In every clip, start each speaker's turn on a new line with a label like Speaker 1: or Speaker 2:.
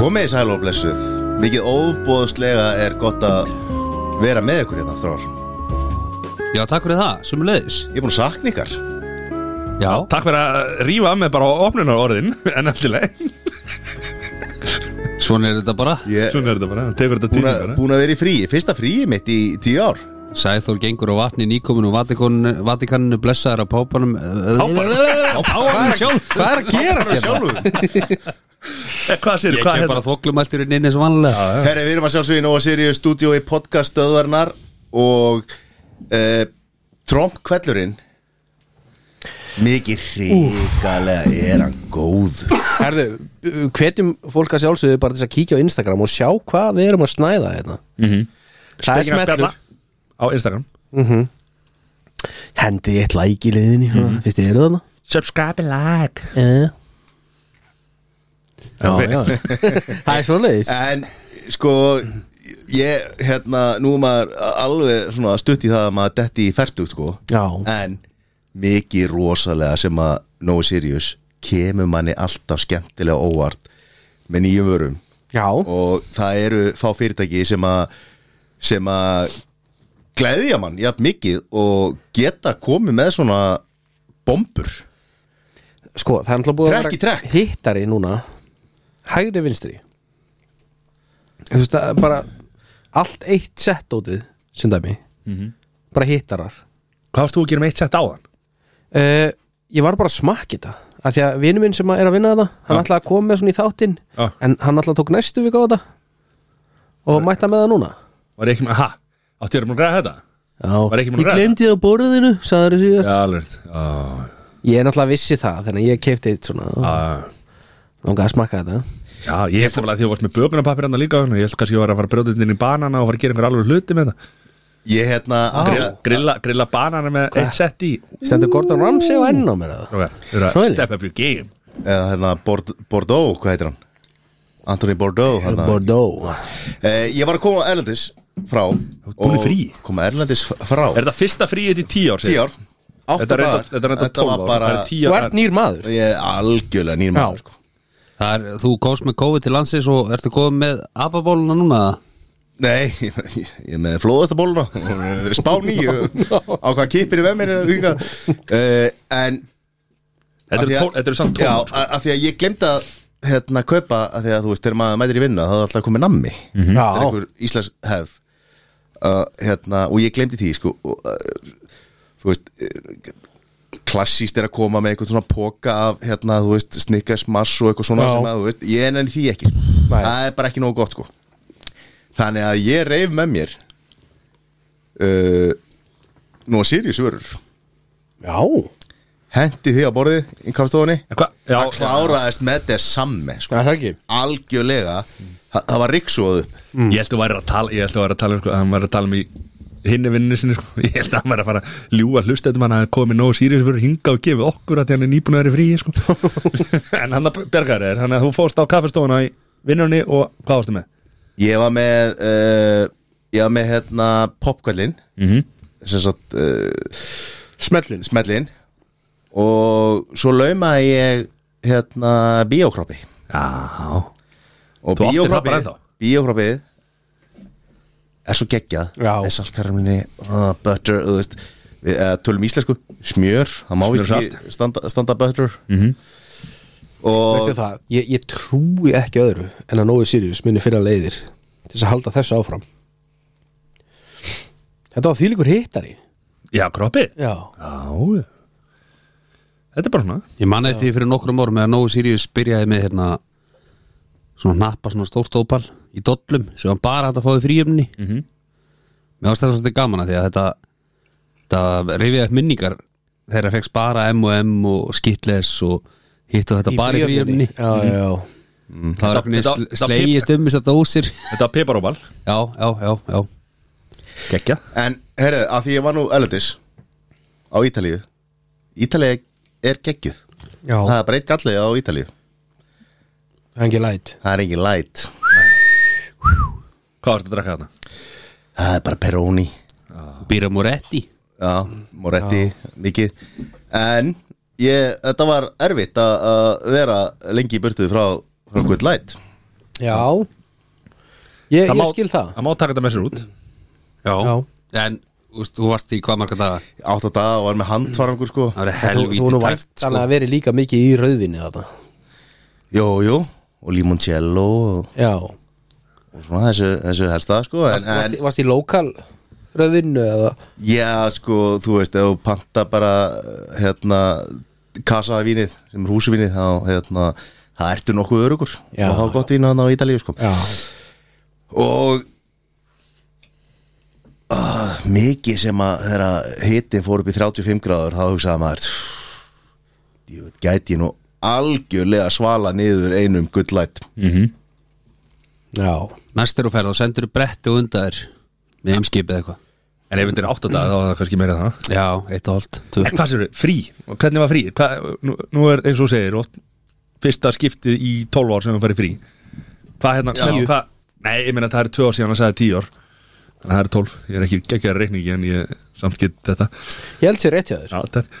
Speaker 1: Síðdeis hæl og blessuð Mikið óbóðslega er gott að vera með ykkur hérna, stráðar
Speaker 2: Já, takk fyrir það, sumulegis
Speaker 1: Ég er búin að sakna ykkar
Speaker 2: Já,
Speaker 3: Takk fyrir að rífa af mig bara á opnunar orðin En alltileg,
Speaker 2: svona er þetta bara
Speaker 1: Ég er
Speaker 3: svona eh? er þetta bara, tegur þetta
Speaker 1: búin
Speaker 3: tíma
Speaker 1: að,
Speaker 3: bara
Speaker 1: búin að vera í fríi Fyrsta fríi mitt í tíu ár
Speaker 2: Sæþór gengur á vatni nýkominu og vatikaninu blessaður á pápanum
Speaker 3: Páfanum?
Speaker 2: Pápanum sjálf, hvað er að gera
Speaker 1: Bara
Speaker 2: þetta?
Speaker 1: sjálfur
Speaker 3: Eh, Hvað sér,
Speaker 2: Ég
Speaker 3: hvað
Speaker 2: kem
Speaker 3: hérna?
Speaker 2: bara þvoklumælturinn inn eins og vanlega
Speaker 1: Herri, við erum að sjálfsögja í Nóa Sirius stúdíó í podcast stöðvarnar og uh, Trump kvellurinn Mikið hrikalega er hann góð
Speaker 4: Herðu, uh, hvetjum fólk að sjálfsögðu bara til þess að kíkja á Instagram og sjá hvað við erum að snæða hérna Það er
Speaker 3: Spekingar Bjarna
Speaker 4: smetlur
Speaker 3: Á Instagram
Speaker 4: Hendi eitt like í liðinni, mm -hmm. fyrst þið eru þarna
Speaker 3: Subscribe and like
Speaker 4: Já,
Speaker 3: Ok.
Speaker 4: já Það er svo leiðis
Speaker 1: En sko Ég, hérna, nú er maður alveg svona stutt í það að maður detti í færtugt sko
Speaker 4: Já,
Speaker 1: En mikið rosalega sem að Nói Sirius kemur manni alltaf skemmtilega óvart með nýjum vörum
Speaker 4: já,
Speaker 1: og það eru fá fyrirtæki sem að sem að gleðja mann jafn mikið og geta komið með svona bombur
Speaker 4: sko, það er náttúrulega búið
Speaker 1: Trekk í trekk.
Speaker 4: hittari núna Hægri vinstri Þú veist, það er bara allt eitt sett ótið, sem dæmi
Speaker 2: Mhm.
Speaker 4: Bara hittarar
Speaker 3: Hvað varst þú að gera með eitt sett á hann?
Speaker 4: uh, Ég var bara að smakka þetta af Því að vinur minn sem að er að vinna þetta Hann ætlaði að koma með svona í þáttinn
Speaker 3: Já.
Speaker 4: En hann ætlaði að tók næstu vika á þetta Og mætta með það núna
Speaker 3: Var ég ekki með, ha, áttu ég að búin að græða þetta?
Speaker 4: Já.
Speaker 3: Var ekki búin að
Speaker 4: Ég
Speaker 3: ræða
Speaker 4: glemdi það á borðinu sagði
Speaker 3: Já,
Speaker 4: þessu síðast
Speaker 3: alveg Ó,
Speaker 4: Ég er náttúrulega vissi það Þannig að ég keipti eitt svona
Speaker 3: á.
Speaker 4: Nónga að smakka þetta
Speaker 3: Já, ég held að því að þú varst með bögunapapir hann líka og ég held kannski að ég var að fara að brjóta þetta inn í banana og fara að gera einhver alveg hluti með þetta
Speaker 1: Ég hérna
Speaker 3: grilla, grilla, grilla banana með eitt sett í
Speaker 4: Stendur Gordon Ramsay og enn á mér að það
Speaker 3: Ok, þú eru að
Speaker 4: Svoleiðis.
Speaker 3: step up your game
Speaker 1: eða hérna Bord Bordeaux, hvað heitir hann? Anthony Bordeaux hérna.
Speaker 4: Bordeaux
Speaker 1: eh, Ég var að koma Erlendis frá
Speaker 3: búin í
Speaker 1: og
Speaker 3: frí?
Speaker 1: Koma Erlendis frá
Speaker 3: Er þetta fyrsta fríið í tíu ár?
Speaker 1: 10 ár átta
Speaker 3: Þetta er
Speaker 1: dagar.
Speaker 3: reyndar- þetta er reyndar 12
Speaker 1: var
Speaker 3: ár
Speaker 1: bara
Speaker 3: Það er 10
Speaker 4: Þú
Speaker 3: ár
Speaker 4: ert nýr maður
Speaker 1: Ég er algjörlega nýr maður sko.
Speaker 2: Það er, þú komst með COVID til landsins og ertu komið með ababóluna núna
Speaker 1: Nei, ég, ég er með flóðasta bóluna Spá nýju Á hvað kipir í vemmir uh, En
Speaker 3: Þetta
Speaker 1: Af
Speaker 3: eru
Speaker 1: því að-
Speaker 3: tól- þetta eru samt sko.
Speaker 1: Já,
Speaker 3: tól
Speaker 1: a- af því að ég glemd að hérna kaupa, af því að þú veist, þegar maður mætir í vinna þá er alltaf komið nammi mm
Speaker 4: Já.
Speaker 1: er einhver íslensk hefð uh, hérna, og ég glemdi því sko, og, uh, þú veist uh, klassíst er að koma með eitthvað svona poka af, hérna, þú veist, snickers mars og eitthvað svona
Speaker 4: Já.
Speaker 1: sem að, þú veist, ég enn því ekki sko.
Speaker 4: Nei.
Speaker 1: það er bara ekki nógu gott sko þannig að ég reif með mér uh, nú að Sirius vörur
Speaker 4: Já
Speaker 1: hendi því á borðið í kaffstofunni
Speaker 3: En hvað- Já,
Speaker 1: það kláraðist með þetta samme
Speaker 4: Já,
Speaker 1: sko.
Speaker 4: það ekki
Speaker 1: algjörlega það, það var riksuðu
Speaker 3: Ég held að væri að tala Ég held að væri að tala um sko, Hann væri að tala um í hinni vinninu sinni sko. Ég held að hann væri að fara að ljúga hlusta Þetta mann að komið nóg sýriðis fyrir hinga og gefið okkur að því hann er nýbúin að vera í fríi sko. En hann að bergar er Þannig að þú fórst á kaffestofuna í vinnunni Og hvað varstu með?
Speaker 1: ég var með uh, ég var með hérna popkvælin
Speaker 3: Mhm.
Speaker 1: sem sagt uh,
Speaker 4: Smellin
Speaker 1: smellin og svo laumaði ég hérna bíókroppi
Speaker 3: Já
Speaker 1: og
Speaker 3: Þú áttir það bara
Speaker 1: bíókroppið
Speaker 3: ennþá?
Speaker 1: bíókroppið er svo geggjað
Speaker 4: Já.
Speaker 1: með saltkarminni, uh, butter þú veist, við uh, tölum íslensku smjör, það má
Speaker 3: Smjör Mhm.
Speaker 1: víst
Speaker 3: og
Speaker 1: ekki standa, standa butter mm -hmm. og
Speaker 4: Veistu það, ég, ég trúi ekki öðru en að Nói Sirius muni finna leiðir til þess að halda þessu áfram Þetta var þvílíkur hittari
Speaker 3: Já, kroppið
Speaker 4: Já
Speaker 3: Já Þetta er bara svona
Speaker 2: Ég manna eftir því fyrir nokkrum árum eða Nói Sirius byrjaði með hérna svona hnappa svona stórt ópal í dollum sem hann bara hægt að fáið fríumni mm
Speaker 3: Mhm.
Speaker 2: -hmm. Mér varst þetta svolítið gaman að því að þetta þetta reyfið upp minningar þegar það fegst bara M&M og Skittles og hitt og þetta bara í fríumni
Speaker 4: Já, já,
Speaker 2: Það var
Speaker 3: Mm. Þetta- þetta-
Speaker 2: einhvern
Speaker 3: þetta-
Speaker 2: veginn slegið stummis að dósir
Speaker 3: Þetta var piparóbal
Speaker 2: Já, já, já, já
Speaker 3: Gekja
Speaker 1: En, herrið, að því ég var nú Elendis á Ítalíu Ítalíu er geggjuð
Speaker 4: já
Speaker 1: Það er bara eitt gallið á Ítalíu
Speaker 4: Það er ekki læt
Speaker 1: Það er engin light
Speaker 3: Hvað varstu að drakka þarna?
Speaker 1: Það er bara Peroni
Speaker 3: Ah.
Speaker 2: Býra Moretti
Speaker 1: Já, Moretti, mikið En, ég, þetta var erfitt að- að vera lengi í burtu frá, frá Good Light
Speaker 4: Já Ég,
Speaker 3: Það
Speaker 4: ég
Speaker 3: má-
Speaker 4: skil það
Speaker 3: Það má taka þetta með sér út
Speaker 2: Já,
Speaker 4: Já.
Speaker 2: En úst, þú varst í hvað marga daga
Speaker 1: átt að daga og var með handvarangur sko
Speaker 2: Það var
Speaker 4: Þú,
Speaker 2: helvítið
Speaker 4: þú nú vært
Speaker 2: tæft
Speaker 4: þannig
Speaker 2: sko.
Speaker 4: að veri líka mikið í rauðvinni þarna
Speaker 1: Jú, jú, og limoncello og,
Speaker 4: Já
Speaker 1: og svona þessu, þessu helsta sko en,
Speaker 4: Varst,
Speaker 1: en
Speaker 4: varst í lokal rauðvinnu eða
Speaker 1: já sko, þú veist, ef þú panta bara hérna kasa af vínið, sem er húsvínið þá hérna, það ertu nokkuð örugur
Speaker 4: Já.
Speaker 1: og þá er gott vín að á Ítalíu sko
Speaker 4: Já
Speaker 1: og uh, mikið sem að þegar hitin fór upp í 35 gráður þá hugsaði maður ég veit, gæti ég nú algjörlega svala niður einum gullætt
Speaker 3: Mhm.
Speaker 4: Já
Speaker 2: Næst eru ferð og sendur bretti og undar Við heimskipið eitthvað
Speaker 3: En ef þetta er átta daga þá er það kannski meira en það
Speaker 2: Já, eitt og hálft tvö.
Speaker 3: En hvað sér þau? Frí? Og Hvernig var frí? Hva, nú, nú er eins og þú segir og Fyrsta skiptið í 12 ár sem við farið frí Hvað hérna? Hvernig, hvað, nei, ég meina það er 2 ár síðan að sagði 10 ár Þannig að það er 12 Ég er ekki geggjara reikningi en ég samt get þetta
Speaker 4: Ég held sér rétt hjá þér
Speaker 3: Já, þetta er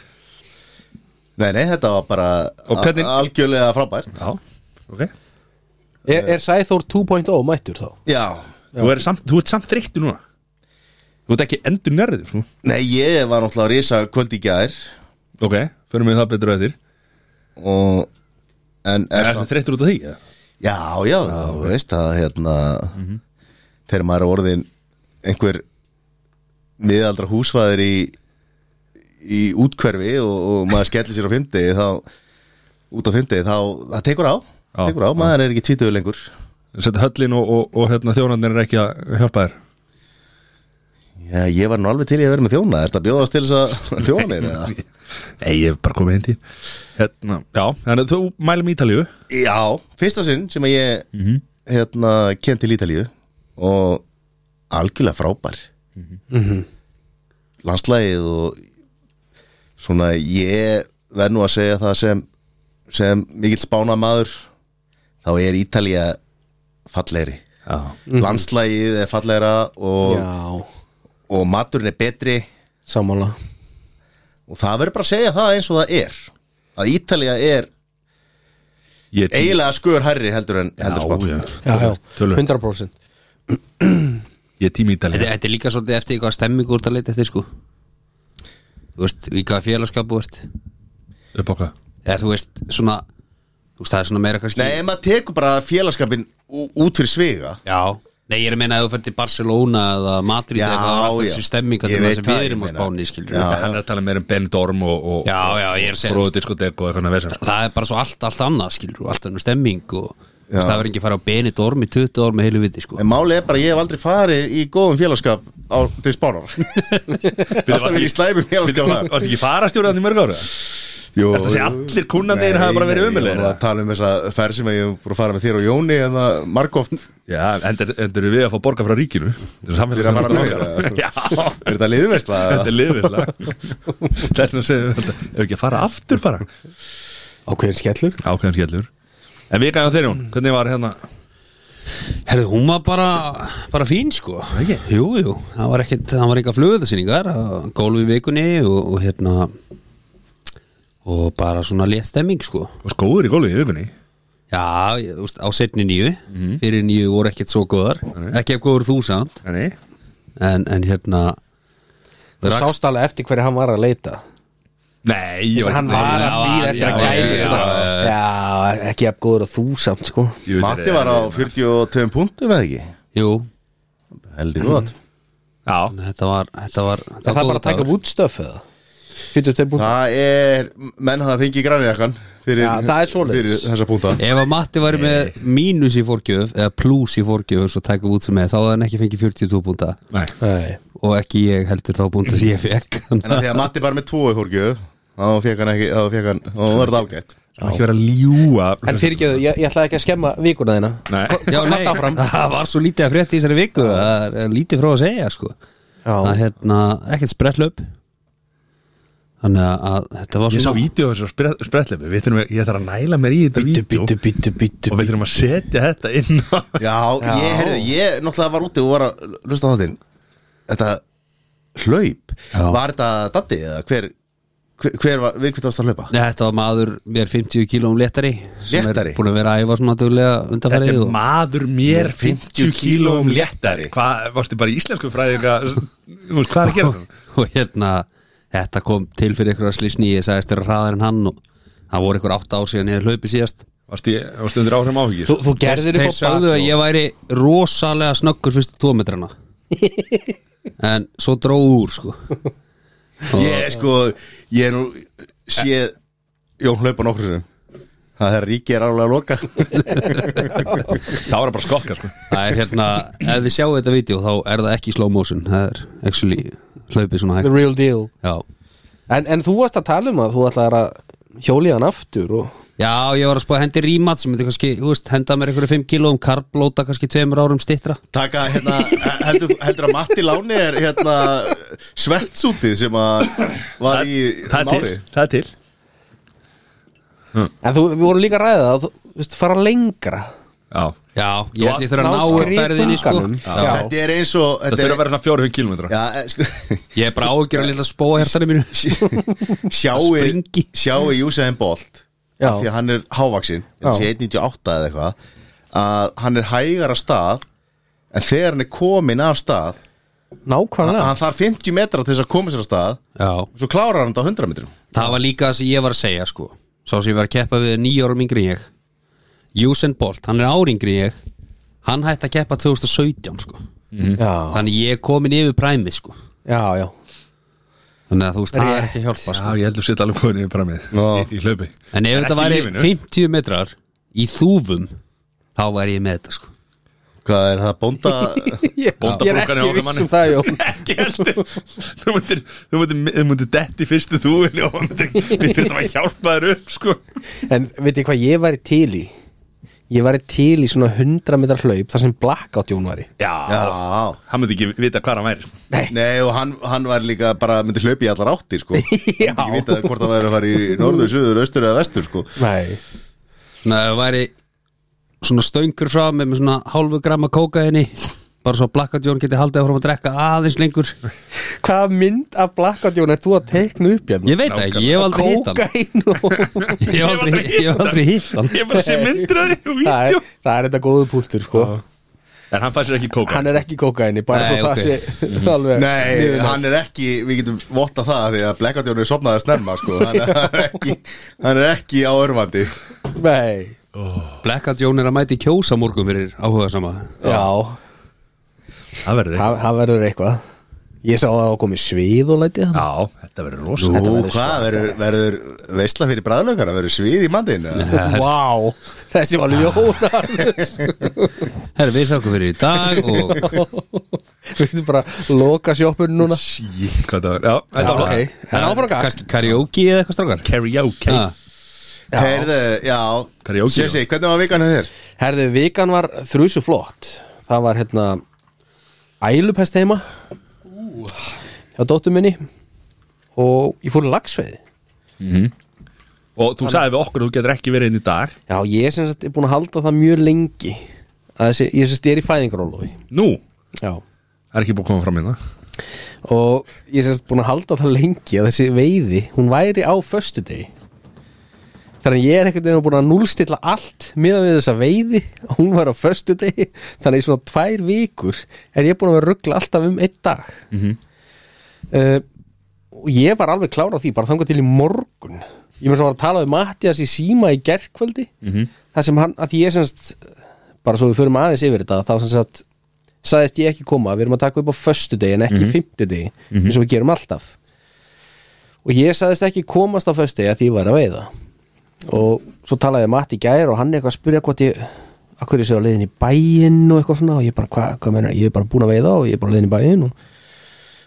Speaker 1: nei nei þetta var bara
Speaker 3: Og hvernig-
Speaker 1: a- algjörlega frábært
Speaker 3: Já, ok
Speaker 4: Er, er Sæþór 2.0 mættur þá?
Speaker 1: já,
Speaker 3: Þú, er samt, þú ert samt reyktu núna Þú ert ekki endur nærrið sko.
Speaker 1: nei ég var náttúrulega að risa kvöld í gær
Speaker 3: Ok, förum við það betur að þér
Speaker 1: og en er
Speaker 3: Er
Speaker 1: samt-
Speaker 3: það þreyttur út af því? eða?
Speaker 1: Já, já, þú veist að hérna þegar maður er orðin einhver miðaldra húsfæðir í í útkverfi og, og maður skellir sér á fymdegi þá út á fymdegi þá, það tekur á,
Speaker 3: Já,
Speaker 1: tekur á maður er ekki tvítuðu lengur
Speaker 3: Sett höllin og, og, og hérna, þjónarnir er ekki að hjálpa þér
Speaker 1: Já, ég var nú alveg til í að vera með þjóna er þetta bjóðast til þess að þjóna mér eða?
Speaker 3: Nei, ég hef bara komið heim til hérna, Já, þannig að þú mælum Ítalíu
Speaker 1: Já, fyrsta sinn sem að ég
Speaker 3: Mhm.
Speaker 1: hérna, kem til Ítalíu og algjörlega frábær landslægið og svona ég verð nú að segja það sem sem mikill spána maður þá er Ítalía fallegri
Speaker 3: Já,
Speaker 1: landslægið er fallegra og, og maturinn er betri
Speaker 4: Samanlega
Speaker 1: og það verður bara að segja það eins og það er að Ítalía er
Speaker 3: ég er
Speaker 1: eiginlega skör hærri heldur en heldur spátt
Speaker 3: já,
Speaker 4: Já, já,
Speaker 3: Tölur,
Speaker 4: 100%
Speaker 3: ég er tími Ítalíu
Speaker 2: þetta, þetta er líka svolítið eftir eitthvað stemmingu úr að leita eftir sko Þú veist, í hvaða félagskapu þú ert
Speaker 3: upp á hvað
Speaker 2: Eða þú veist, svona Þú veist, það er svona meira kannski
Speaker 1: Nei, ef maður tekur bara félagskapin ú- út fyrir sviga
Speaker 2: Já Nei, ég er að meina að þú fyrir til Barcelona eða Madrid
Speaker 1: Já,
Speaker 2: eða eitthvað, það er alltaf
Speaker 1: já.
Speaker 2: þessi stemming að
Speaker 1: Ég
Speaker 2: það
Speaker 1: veit
Speaker 2: sem
Speaker 1: það,
Speaker 2: við
Speaker 1: ég
Speaker 2: erum á
Speaker 1: meina.
Speaker 2: spáni, skilur
Speaker 3: já, Hann er að tala meira um Ben Dorm og, og
Speaker 2: já, já, ég er að segja
Speaker 3: Fróðu diskotek og eitthvað vesen.
Speaker 2: það er bara svo allt, allt annað skilur og allt annað stemming og
Speaker 1: Já.
Speaker 2: það verður ekki að fara á Benidorm í 20 ár með heilu viti sko
Speaker 1: En málið er bara að ég hef aldrei farið í góðum félagskap á, til spánar Alltaf verið í slæmum félagskap þar.
Speaker 3: Varst ekki farastjórað í mörg ára?
Speaker 1: Jú,
Speaker 3: Ertu að segja
Speaker 1: jú.
Speaker 3: allir kúnnarnir hafa bara verið
Speaker 1: nei, Ég
Speaker 3: ömulegir?
Speaker 1: var að tala um þessa ferð sem ég hef búin að fara með þér og Jóni en það margóft er
Speaker 3: Já, endur, endur við að fá borga frá ríkinu Þetta er
Speaker 1: Fyrir að fara
Speaker 3: samfélagslega
Speaker 1: með þér,
Speaker 3: Já,
Speaker 1: þetta liðversla
Speaker 3: þetta er liðvislega Þess vegna segjum við þetta Ef ekki að fara aftur bara
Speaker 4: Ákveðin skellur
Speaker 3: Ákveðan skellur En við gæðum þeir hún, hvernig var hérna
Speaker 2: Herðu, hún var bara, bara fín sko
Speaker 3: Ekki?
Speaker 2: Jú, jú, það var ekkit, það var eitthvað flugöðasýningar gólfi vikunni og, og hérna og bara svona létt stemming sko
Speaker 3: Og skóður í gólfið í vikunni
Speaker 2: Já, ég, þú veist, á setni nýju
Speaker 4: Mhm.
Speaker 2: fyrir nýju voru ekkit svo góðar ekki ef góður þú samt
Speaker 3: Nei
Speaker 2: en, en hérna
Speaker 4: Þú
Speaker 2: rakst-
Speaker 4: sást alveg eftir hverju hann var að leita
Speaker 3: Nei, ég var
Speaker 4: Hann var að
Speaker 2: Já,
Speaker 4: býða eftir að
Speaker 2: já,
Speaker 4: gæla
Speaker 2: já,
Speaker 4: svona. Já, ekki jafn góður að þú samt sko
Speaker 3: Jú,
Speaker 1: Matti var á 42 punktum eða ekki
Speaker 2: Jú,
Speaker 1: Heldur gott
Speaker 3: Já,
Speaker 2: þetta var þetta var, þetta
Speaker 4: Það
Speaker 2: var
Speaker 4: er bara
Speaker 2: góður
Speaker 4: að taka
Speaker 2: dagur.
Speaker 4: vútstöf eða Fyrir til búin
Speaker 1: Það er, menn hafa fengið grænijakkan fyrir,
Speaker 4: Já, það er svoleiðis.
Speaker 1: fyrir þessa punkta
Speaker 2: Ef að Matti væri með mínus í fórgjöf eða plus í fórgjöf svo tækum út sem er þá hafði hann ekki fengið 42 búnda
Speaker 3: nei
Speaker 4: Nei,
Speaker 2: og ekki ég heldur þá búnda sem ég fekk
Speaker 1: En að því að Matti bara með tvo í fórgjöf þá fekk hann ekki, þá fekk hann, þá var þetta ágætt
Speaker 3: Það var ekki verið að ljúa
Speaker 4: en fyrirgeðu, ég, ég ætlaði ekki að skemma vikuna þína
Speaker 3: Nei.
Speaker 4: Ko-
Speaker 2: Já,
Speaker 4: ko-
Speaker 2: nei,
Speaker 4: haltu áfram.
Speaker 2: það var svo lítið að frétta í þessari viku það er lítið frá að segja sko að
Speaker 4: Já,
Speaker 2: hérna, ekkert sprettlöp þannig að- að þetta var
Speaker 3: Ég sá
Speaker 2: svona
Speaker 3: vídeo þessu spretlefi Við þurfum að, ég þarf að næla mér í þetta
Speaker 4: Bítu,
Speaker 3: vídeo
Speaker 4: bítu, bítu, bítu
Speaker 3: Og við þurfum að setja þetta inn á
Speaker 1: Já, ég, heyrðu, ég náttúrulega var úti og var að lusta á þáttinn Þetta hlaup
Speaker 2: Já.
Speaker 1: Var þetta Datti eða hver hver, hver var, við hvað varst að hlaupa?
Speaker 2: Nei, þetta var maður mér 50 kílóum léttari sem
Speaker 1: Léttari?
Speaker 2: er búin að vera að æfa svona duglega
Speaker 3: Þetta
Speaker 2: undanfærið
Speaker 3: er
Speaker 2: og
Speaker 3: maður mér 50 kílóum léttari Hvað, varstu bara í íslensku fræðinga Þú veist, hvað er að gera það?
Speaker 2: og hérna, þetta kom til fyrir ykkur að slísni, ég sagðist þér hraðar en hann og það voru ykkur átta ár síðan ég hef hlaupið síðast
Speaker 3: Varstu, í- varstu undir áhrifum áhyggjur?
Speaker 4: Þú, þú gerðir
Speaker 2: Þeir sagðu að ég væri rosalega snöggur fyrstu tómetrana en svo dró úr sko
Speaker 1: Ég, sko, ég er nú séð Jón hlaupa nokkur sem Það er ríkið er alveg að loka
Speaker 3: Það var bara skokka sko.
Speaker 2: það er hérna, ef þið sjáu þetta vídeo þá er það ekki í slow motion, það er actually hlaupið svona
Speaker 4: The
Speaker 2: hægt
Speaker 4: real deal
Speaker 2: já.
Speaker 4: en, en þú varst að tala um að þú ætlaðir að hjóli hann aftur og
Speaker 2: já, ég var að spá að hendi rímat sem myndi kannski, þú veist, henda mér einhverju 5 kílóum karblóta kannski 2 árum stittra
Speaker 1: Taka, hérna, heldur, heldur að Matti Láni er hérna svettsútið sem að var í
Speaker 3: Það er til,
Speaker 1: nári
Speaker 3: það er til
Speaker 4: En þú, við vorum líka að ræða það að þú, þú veist, fara lengra
Speaker 3: Já
Speaker 2: já, ég held ég þurfa að
Speaker 4: Ná
Speaker 2: ná upp
Speaker 4: skriðþunganum.
Speaker 2: ferðinni sko
Speaker 4: Já.
Speaker 2: Já.
Speaker 1: Þetta er eins og
Speaker 3: Það
Speaker 1: þetta
Speaker 3: þurfa
Speaker 1: er,
Speaker 3: að vera svona 400 kílómetra
Speaker 1: Já, eh, sko
Speaker 2: ég er bara ágjör að lilla spóa hértanum mínu
Speaker 1: sjáu
Speaker 2: springi.
Speaker 1: sjáu Júsefin Bolt
Speaker 4: Já.
Speaker 1: af því að hann er hávaksin
Speaker 4: Já.
Speaker 1: 198 eða eitthvað að hann er hægar að stað en þegar hann er komin af stað
Speaker 4: Nákvæmlega
Speaker 1: hann þarf 50 metra til þess að koma sér af stað
Speaker 2: já,
Speaker 1: svo klárar hann þetta á 100 metrum
Speaker 2: Það var líka það sem ég var að segja sko Sá sem ég var að keppa við er níu árum yngri en ég Usain Bolt, hann er ár yngri en ég Hann hætti að keppa 2017 sko
Speaker 4: Já,
Speaker 2: Þannig ég er komin yfir præmi sko
Speaker 4: já, já
Speaker 2: Þannig að þú veist, það er ekki að hjálpa
Speaker 3: Já,
Speaker 2: sko
Speaker 3: ég heldur að setja alveg konið í framið
Speaker 1: Já.
Speaker 3: í, í hlaupi
Speaker 2: En ef þetta
Speaker 3: ekki
Speaker 2: væri
Speaker 3: í lífinu.
Speaker 2: 50 metrar í þúfum Þá væri ég með þetta sko
Speaker 1: hvað er það bónda
Speaker 4: Ég, ég er
Speaker 3: Bóndabrúkan
Speaker 4: ekki
Speaker 3: í okkar
Speaker 4: viss
Speaker 3: manni.
Speaker 4: um það, Jón
Speaker 3: Ekki heldur Þú myndir, þú myndir, þú myndir detti fyrstu þúin og þú myndir, við þurfum að hjálpa þér upp sko
Speaker 4: En veit ég hvað ég væri til í? Ég væri til í svona 100 metrar hlaup þar sem blackout Jón væri
Speaker 1: já
Speaker 3: Já Hann myndi ekki vita hvað hann væri sko.
Speaker 1: Nei og hann, hann var líka bara myndi hlaupi í allar áttir sko
Speaker 4: Já.
Speaker 1: Hann myndi ekki vita hvort það væri að fara í norður, suður, austur eða vestur sko
Speaker 4: Nei
Speaker 2: Þannig að það væri svona stöngur frá mig með svona hálfu gramma kókaini Bara svo að Blackout Jón geti haldið áfram að drekka aðeins lengur
Speaker 4: Hvaða mynd af blackout Jón er þú að teikna upp hérna?
Speaker 2: Ég veit það ekki, ég hef aldrei hitt hann
Speaker 4: Kókain og
Speaker 2: Ég hef aldrei, ég hef aldrei hitt hann
Speaker 3: Ég bara sé myndir að þig og
Speaker 4: það,
Speaker 3: vídeo
Speaker 4: er, það er þetta góðu punktur sko
Speaker 3: En hann fær sér ekki kóka
Speaker 4: Hann er ekki kókaini, bara
Speaker 2: Nei,
Speaker 4: svo
Speaker 2: ok. Mhm.
Speaker 4: það sé alveg
Speaker 1: Nei,
Speaker 4: niðurlægt.
Speaker 1: hann er ekki, við getum votta það því að Blackadjónu er sopnaði að snemma sko hann er ekki, hann er ekki á örvandi
Speaker 4: Nei,
Speaker 2: Blackout Jón er að mæti kjósa morgun fyrir áhuga sama
Speaker 4: já,
Speaker 3: Það verður
Speaker 4: það, það verður eitthvað Ég sá að það komið svið og læti það
Speaker 3: Já, þetta verður rosa
Speaker 1: Nú,
Speaker 4: verður
Speaker 1: hvað, verður, verður veistla fyrir bræðlökar verður svið í mandin
Speaker 4: Vá, þessi var ljónar
Speaker 2: Herra, við þakkum fyrir í dag og
Speaker 4: Við getum bara loka sjóppun núna
Speaker 3: Sýtt hvað það verður Já, þetta var
Speaker 4: ok.
Speaker 3: okay.
Speaker 4: Það er áfram gakk.
Speaker 2: Kannski karaoke eða eitthvað strákar Ah,
Speaker 3: Karaoke
Speaker 2: Ha,
Speaker 1: Heyrðu, já,
Speaker 3: Karaoke, já.
Speaker 1: Sessi, hvernig var vikan hjá þér?
Speaker 4: Herðu, vikan var þrjusu flott Það var hérna Ælupest heima Hjá dóttur minni Og ég fór í lagsveið
Speaker 3: Og þú sagði við okkur að þú getur ekki verið inn í dag
Speaker 4: Já, ég sem sagt er búin að halda það mjög lengi að þessi, Ég sem sagt er í fæðingarólofi
Speaker 3: Nú,
Speaker 4: Já
Speaker 3: það er ekki búið að koma fram hérna
Speaker 4: Og ég sem sagt búin að halda það lengi að þessi veiði, hún væri á föstudegi Þannig að ég er einhvern veginn búin að núlstilla allt miðan við þessa veiði og hún var á föstudegi þannig að í svona tvær vikur er ég búin að vera að ruggla alltaf um einn dag mm og ég var alveg klár á því bara þangað til í morgun ég mér svo var að tala við Mattias í síma í gerkvöldi -hmm. það sem hann, að því ég semst bara svo við förum aðeins yfir þetta þá sem sagt, sagðist ég ekki koma við erum að taka upp á föstudegi en ekki mm -hmm. fimmtudegi eins og við gerum alltaf og ég sagðist ekki komast á föstudegi að því ég var að veiða og svo talaði ég Matti í gær og hann eitthvað að spyrja hvort ég að hverju séu á leiðin í bæinn og eitthvað svona og ég bara, hvað, hvað meina, ég er bara búin að veiða og ég er bara á leiðin í bæinn og,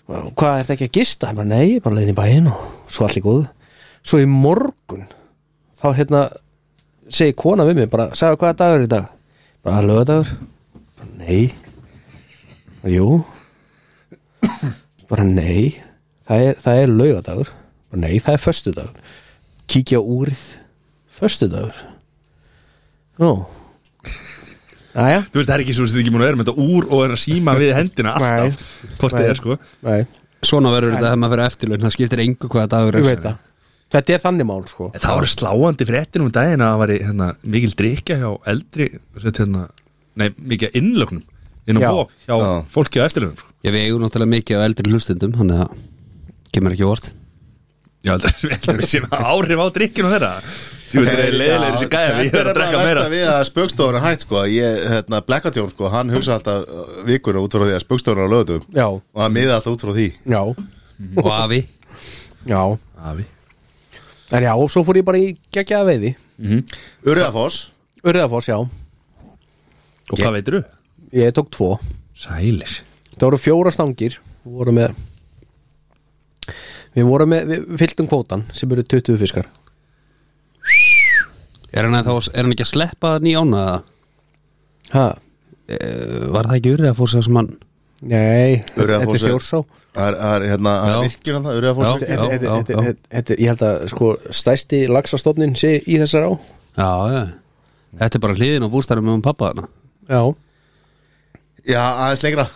Speaker 4: og hvað, er þetta ekki að gista? Ég bara, nei, ég er bara á leiðin í bæinn og svo allir góð svo í morgun þá hérna segi kona við mig, bara, sagði hvaða dagur er í dag bara, lögadagur bara, nei bara, jú bara, nei það er, það er lögadagur bara, nei, það er föstudagur kíkja á úrið Föstudagur Nú Æja
Speaker 3: Þú veist, það er ekki svo sem þið ekki múin að vera með þetta úr og er að síma við hendina alltaf Hvort þið er sko
Speaker 4: Nei,
Speaker 2: Svona verður þetta þegar maður fyrir eftirlaun Það skiptir engu hvaða dagur
Speaker 4: ég
Speaker 2: er
Speaker 4: veit það Þetta er þannig mál sko
Speaker 3: En Það voru sláandi fréttin um daginn að það var hérna, mikil drikja hjá eldri sett, hérna, nei, mikil innlögnum inn á
Speaker 4: Já.
Speaker 3: bók hjá
Speaker 1: Já.
Speaker 3: fólki á eftirlöfum sko.
Speaker 2: Ég við eigum náttúrulega mikið á eldri hlustendum Þannig að kemur ekki vort
Speaker 3: Já, heldur heldur við sem áhrif á drikkinu þeirra Þú veist, það er leiðilegir þessi gæði Ég
Speaker 1: Þetta
Speaker 3: er
Speaker 1: er
Speaker 3: að drekka
Speaker 1: bara
Speaker 3: meira
Speaker 1: versta við að spöggstofuna hætt sko. ég, hérna, Blackatjón, sko, hann hugsa alltaf uh, vikuna út frá því að spöggstofuna á lögutum
Speaker 4: Já,
Speaker 1: og hann miða alltaf út frá því
Speaker 4: já,
Speaker 2: Og afi
Speaker 4: já
Speaker 3: Afi
Speaker 4: En já, svo fór ég bara í geggjaða veiði
Speaker 1: Urðafoss,
Speaker 4: Urðafoss, já
Speaker 3: Og hvað veitir þú?
Speaker 4: Ég tók tvo
Speaker 3: Sælir
Speaker 4: Það voru fjóra stangir Við vorum með Við vorum með, við fylltum kvótan sem eru 20 fiskar
Speaker 2: Er hann, þá, er hann ekki að sleppa það nýjána
Speaker 4: Ha,
Speaker 2: E, Var það ekki urið að fór sér sem hann
Speaker 4: nei, þetta
Speaker 1: Urriðafoss
Speaker 4: er
Speaker 1: er-
Speaker 4: fjórsá
Speaker 1: það er- það er hérna
Speaker 2: Já.
Speaker 1: hann virkir hann það, Urðafoss
Speaker 2: Já.
Speaker 4: Þetta- þetta-
Speaker 2: já,
Speaker 4: þetta-
Speaker 2: já.
Speaker 4: þetta- þetta- Ég held að sko stæsti laxastofnin sé í þessar á
Speaker 2: Já, já Þetta er bara hliðin á bústærum með um pappa þarna
Speaker 4: Já,
Speaker 1: Já, aðeins lengra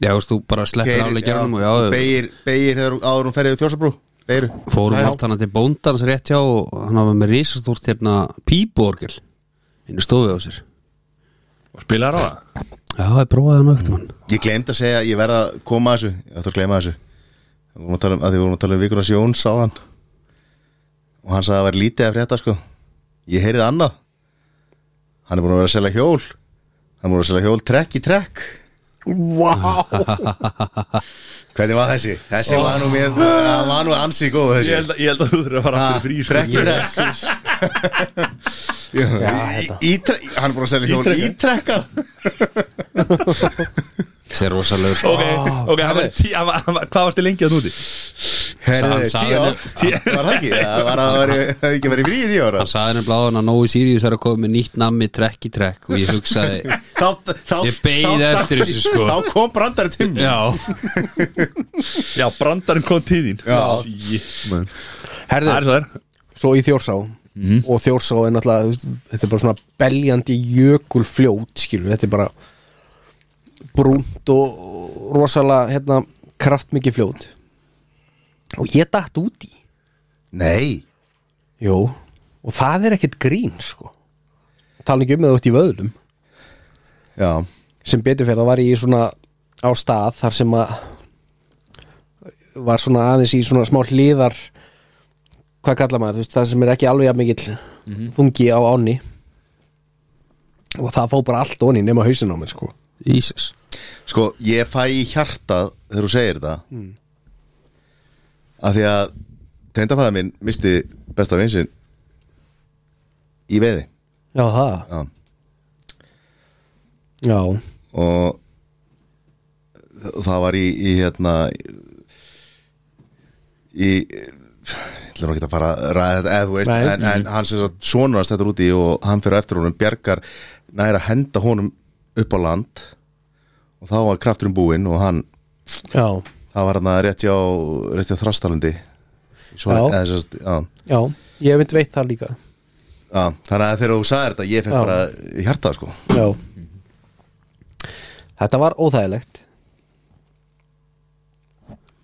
Speaker 2: Já, veist, þú bara sleppir
Speaker 1: Keyrir,
Speaker 2: aflega gerðum og já,
Speaker 1: Beygir, beygir þegar þú- áður hún ferðið þjórsabru Beigir
Speaker 2: fórum oft hann til bóndans rétt hjá og hann hafa með risastórt hérna píborgel inn í stofu á sér
Speaker 3: Og spilar á það
Speaker 2: Já, ég prófaði hann öktum hann
Speaker 1: Ég glemd að segja, ég verð að koma að þessu Ég ætti að gleyma þessu Við vorum að tala um, að því við vorum að tala um Vikunars Jóns á hann Og hann sagði að það væri lítið að frétta sko Ég heyrið annað Hann er búin að vera að selja hjól Hann er búin að selja hjól trekk í trekk
Speaker 4: Vá
Speaker 1: Hvernig var þessi? Þessi var nú mér, hann var nú ansi góð
Speaker 3: Ég
Speaker 1: þessi
Speaker 3: held, að- ég held að þú þurfa að fara aftur í frí
Speaker 1: Trekk í
Speaker 3: sko.
Speaker 1: trekk Já, í, í, í, hann er búin að selja hjól
Speaker 3: Ítrekka.
Speaker 1: ítrekka
Speaker 2: Þessi er rosalegur
Speaker 3: Ok, ok, hann var í tí, hann var, hann var, hvað varstu lengi að núti?
Speaker 1: Herðu,
Speaker 2: Sa-
Speaker 1: tíu ár
Speaker 3: tíu-
Speaker 1: Það var það ekki, það var að vera ekki verið frí í tíu ára
Speaker 2: Hann sagði henni bláðan að Nói Sirius er að koma með nýtt nammi trekk í trekk og ég hugsaði
Speaker 1: þá, þá,
Speaker 2: Ég beið
Speaker 1: þá-
Speaker 2: eftir þessu, sko.
Speaker 1: Þá kom brandari til mér
Speaker 2: Já,
Speaker 3: Já, brandarinn kom til þín
Speaker 1: Já.
Speaker 3: Shit, man. Það er
Speaker 4: Herðu,
Speaker 3: svo þær
Speaker 4: svo í Þjórsá og Þjórsá er náttúrulega þú veist, þetta er bara svona beljandi jökulfljót skilur, þetta er bara brúnt og rosalega hérna, kraftmikið fljót og ég datt út í
Speaker 1: Nei
Speaker 4: Jó, og það er ekkert grín sko tala ekki um að þú ert í vöðlum
Speaker 1: Já,
Speaker 4: sem betur fyrir það var ég í svona á stað þar sem að var svona aðeins í svona smá hliðar hvað kalla maður, þú veist, það sem er ekki alveg jafn mikill þungi á áni og það fó bara allt onni nema hausin á mér sko
Speaker 2: Jesus
Speaker 1: sko, ég fæ í hjartað þegar þú segir þetta mm. að því að tengdafæða minn misti besta vinsinn í veiði
Speaker 4: Já, það
Speaker 1: Já.
Speaker 4: Já,
Speaker 1: og þ- það var í, í hérna í ætlum ekki að fara að ræða þetta eða þú veist,
Speaker 4: Nei.
Speaker 1: en, en hann sem sagt sonur hans þetta úti og hann fyrir á eftir honum bjargar næra að henda honum upp á land og þá var krafturinn búinn og hann,
Speaker 4: já,
Speaker 1: það var hann að réttja á réttja þrastalundi Svo,
Speaker 4: Já.
Speaker 1: eða, sem sagt, já,
Speaker 4: já Ég hef mynd veit það líka
Speaker 1: já, þannig að þegar þú sagðir þetta ég fekk
Speaker 4: Já.
Speaker 1: bara í hjartað sko
Speaker 4: Já Þetta var óþægilegt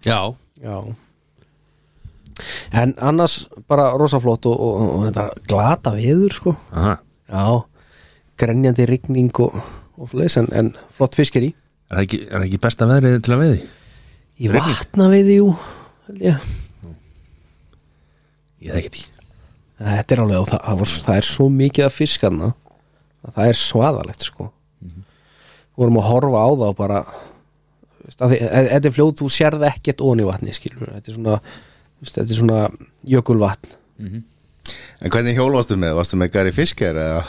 Speaker 2: Já,
Speaker 4: Já En annars bara rosaflott og, og, og þetta glata viður sko
Speaker 3: Aha.
Speaker 4: Já, grenjandi rigning og, og fleis en, en flott fiskir í
Speaker 3: Er það ekki, er það ekki besta veðrið til að veiði?
Speaker 4: Í vatna við jú held ég.
Speaker 3: Ég þekki því
Speaker 4: Þetta er alveg og það, það, var, það er svo mikið af fiskarna að það er svaðalegt sko
Speaker 2: Mhm.
Speaker 4: Við vorum að horfa á það og bara veist, að því- e- Þetta er fljóð, þú sérð ekkert ón í vatni skilur Þetta er svona, veist, þetta er svona jökulvatn
Speaker 1: en hvernig hjól varstu með, varstu með Gary Fisker eða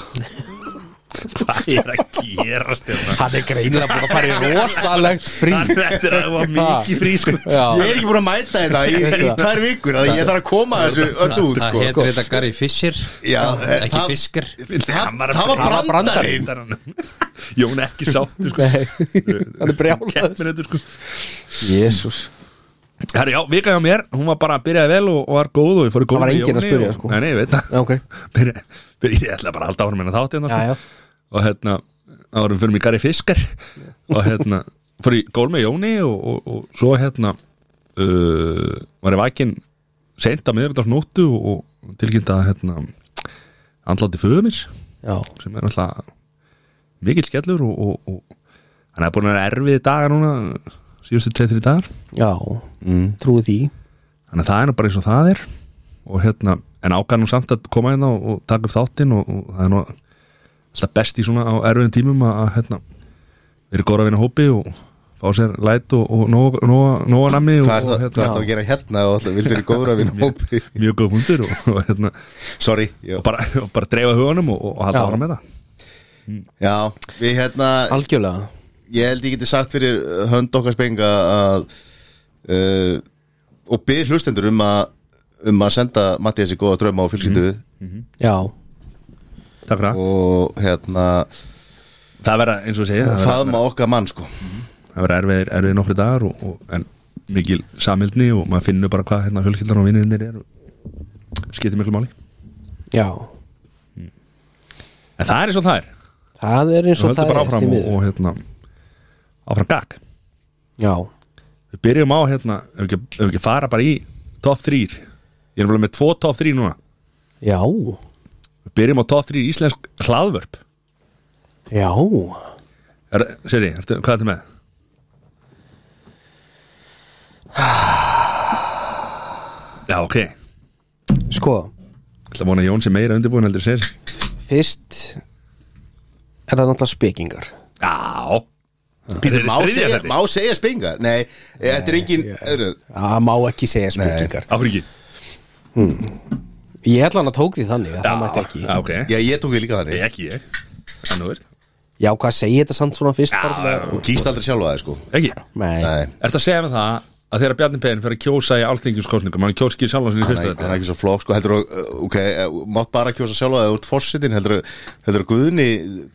Speaker 3: Hvað er að gerast hérna?
Speaker 4: Hann er greinilega búin að fara í rosalegt frí
Speaker 3: Þetta er að það var mikið frí sko
Speaker 1: Ég er ekki búin að mæta þetta í, í tvær vikur að ég þarf að koma þessu öllu út
Speaker 2: það
Speaker 1: sko,
Speaker 2: heitir
Speaker 1: sko.
Speaker 2: þetta Gary Fisher
Speaker 1: Já,
Speaker 2: Ekki
Speaker 1: það-
Speaker 2: Fisker
Speaker 1: Það, það var
Speaker 4: var brandarinn.
Speaker 1: brandarinn
Speaker 3: Jón er ekki sáttu sko
Speaker 4: Nei, hann er brjálaður
Speaker 3: Keppin þetta sko
Speaker 4: Jésús
Speaker 3: Herri, já, vika hjá mér, hún var bara að byrjaði vel og, og var góð og ég fór í góð
Speaker 4: Það var enginn að spyrja, sko.
Speaker 3: Nei, nei, ég veit það
Speaker 4: Já, ok
Speaker 3: byrja, byrja, Ég ætla bara að halda árum en að þátti hérna
Speaker 4: Já, já
Speaker 3: sko. Og hérna, árum fyrir mig Gary Fisker Og hérna, fór í góð með Jóni og, og, og svo hérna uh, Var ég vakin seint að miðvikudagsnóttu og og tilkynnt að hérna, andlátti föðu mér
Speaker 4: já,
Speaker 3: sem er náttúrulega mikill skellur og, og, og hann er búin að vera erfiði daga núna síðustu 2-3 dagar
Speaker 4: já
Speaker 3: Mm.
Speaker 4: trúi því
Speaker 3: þannig að það er nú bara eins og það er og hérna, en ákvæðan nú samt að koma hérna og, og taka upp þáttinn og, og það er nú alltaf best í svona á erfiðum tímum að, að hérna, við erum góra að vinna hópi og fá sér læt og, og nóga- nóga nóga nammi og,
Speaker 1: Hvað er
Speaker 3: og
Speaker 1: það hvað ertu að gera hérna og alltaf vildur í góður að vinna hópi
Speaker 3: mjög góð hundur og, og, hérna,
Speaker 1: Sorry, já.
Speaker 3: og, bara, og bara dreifa huganum og, og halda
Speaker 4: Já.
Speaker 3: ára með það
Speaker 1: já Við hérna,
Speaker 4: algjörlega
Speaker 1: ég held ég geti sagt fyrir uh, hönd okkar spenga að uh, og byrð hlustendur um að um að senda Mattiasi góða drauma og fylgskyndu við
Speaker 4: já,
Speaker 3: Takk fyrir það.
Speaker 1: og hérna
Speaker 3: það verða eins og ég segi, það verða-
Speaker 1: faðma okkar mann sko
Speaker 3: það verða erfiðir erfið nokkri dagar og, og, en mikil samildni og maður finnur bara hvað hérna fjölskyldan og vinninir eru skiptir miklu máli
Speaker 4: já
Speaker 3: en það er eins og það er
Speaker 4: það er eins
Speaker 3: Svo
Speaker 4: og
Speaker 3: höldum
Speaker 4: það
Speaker 3: bara
Speaker 4: er því
Speaker 3: áfram og,
Speaker 4: miður.
Speaker 3: og hérna áfram gag
Speaker 4: já,
Speaker 3: við byrjum á hérna ef við ekki, ef við ekki fara bara í top 3 ég er nefnilega með tvo top 3 núna
Speaker 4: já,
Speaker 3: við byrjum á top 3 íslensk hlaðvörp
Speaker 4: já
Speaker 3: er, Seri, ertu, hvað er þetta með? Já, ok Ég
Speaker 4: sko,
Speaker 3: ætla að vona að Jón sé meira undirbúin heldur sér
Speaker 4: fyrst er það náttúrulega spekingar
Speaker 3: Já
Speaker 1: Pítur, má,
Speaker 3: Þriðja
Speaker 1: segja,
Speaker 3: þætti.
Speaker 1: má segja spenga? Nei, þetta er engin öðru
Speaker 4: það má ekki segja spekingar
Speaker 3: Af hverju ekki?
Speaker 4: ég held að hann að tók því þannig að það mætti ekki
Speaker 3: Já, ok
Speaker 1: Já, ég tók því líka
Speaker 3: Ég
Speaker 1: þannig
Speaker 3: ekki ég En þú veist
Speaker 4: já, hvað segir þetta samt svona fyrst bara til að-
Speaker 1: Þú kýst aldrei sjálfa það sko
Speaker 3: Ekki
Speaker 4: nei,
Speaker 1: Nei,
Speaker 3: Ertu að segja með það að þegar Bjarni Pegin fyrir að kjósa í alþingjumskosningum hann kjósa ekki sjálf hans í
Speaker 1: hann
Speaker 3: fyrsta
Speaker 1: er- hann
Speaker 3: þetta
Speaker 1: er ekki svo flokk sko Heldur þú, uh, ok, uh, mátt bara kjósa sjálfa það úr fórsetin Heldur þú- heldur þú Guðni,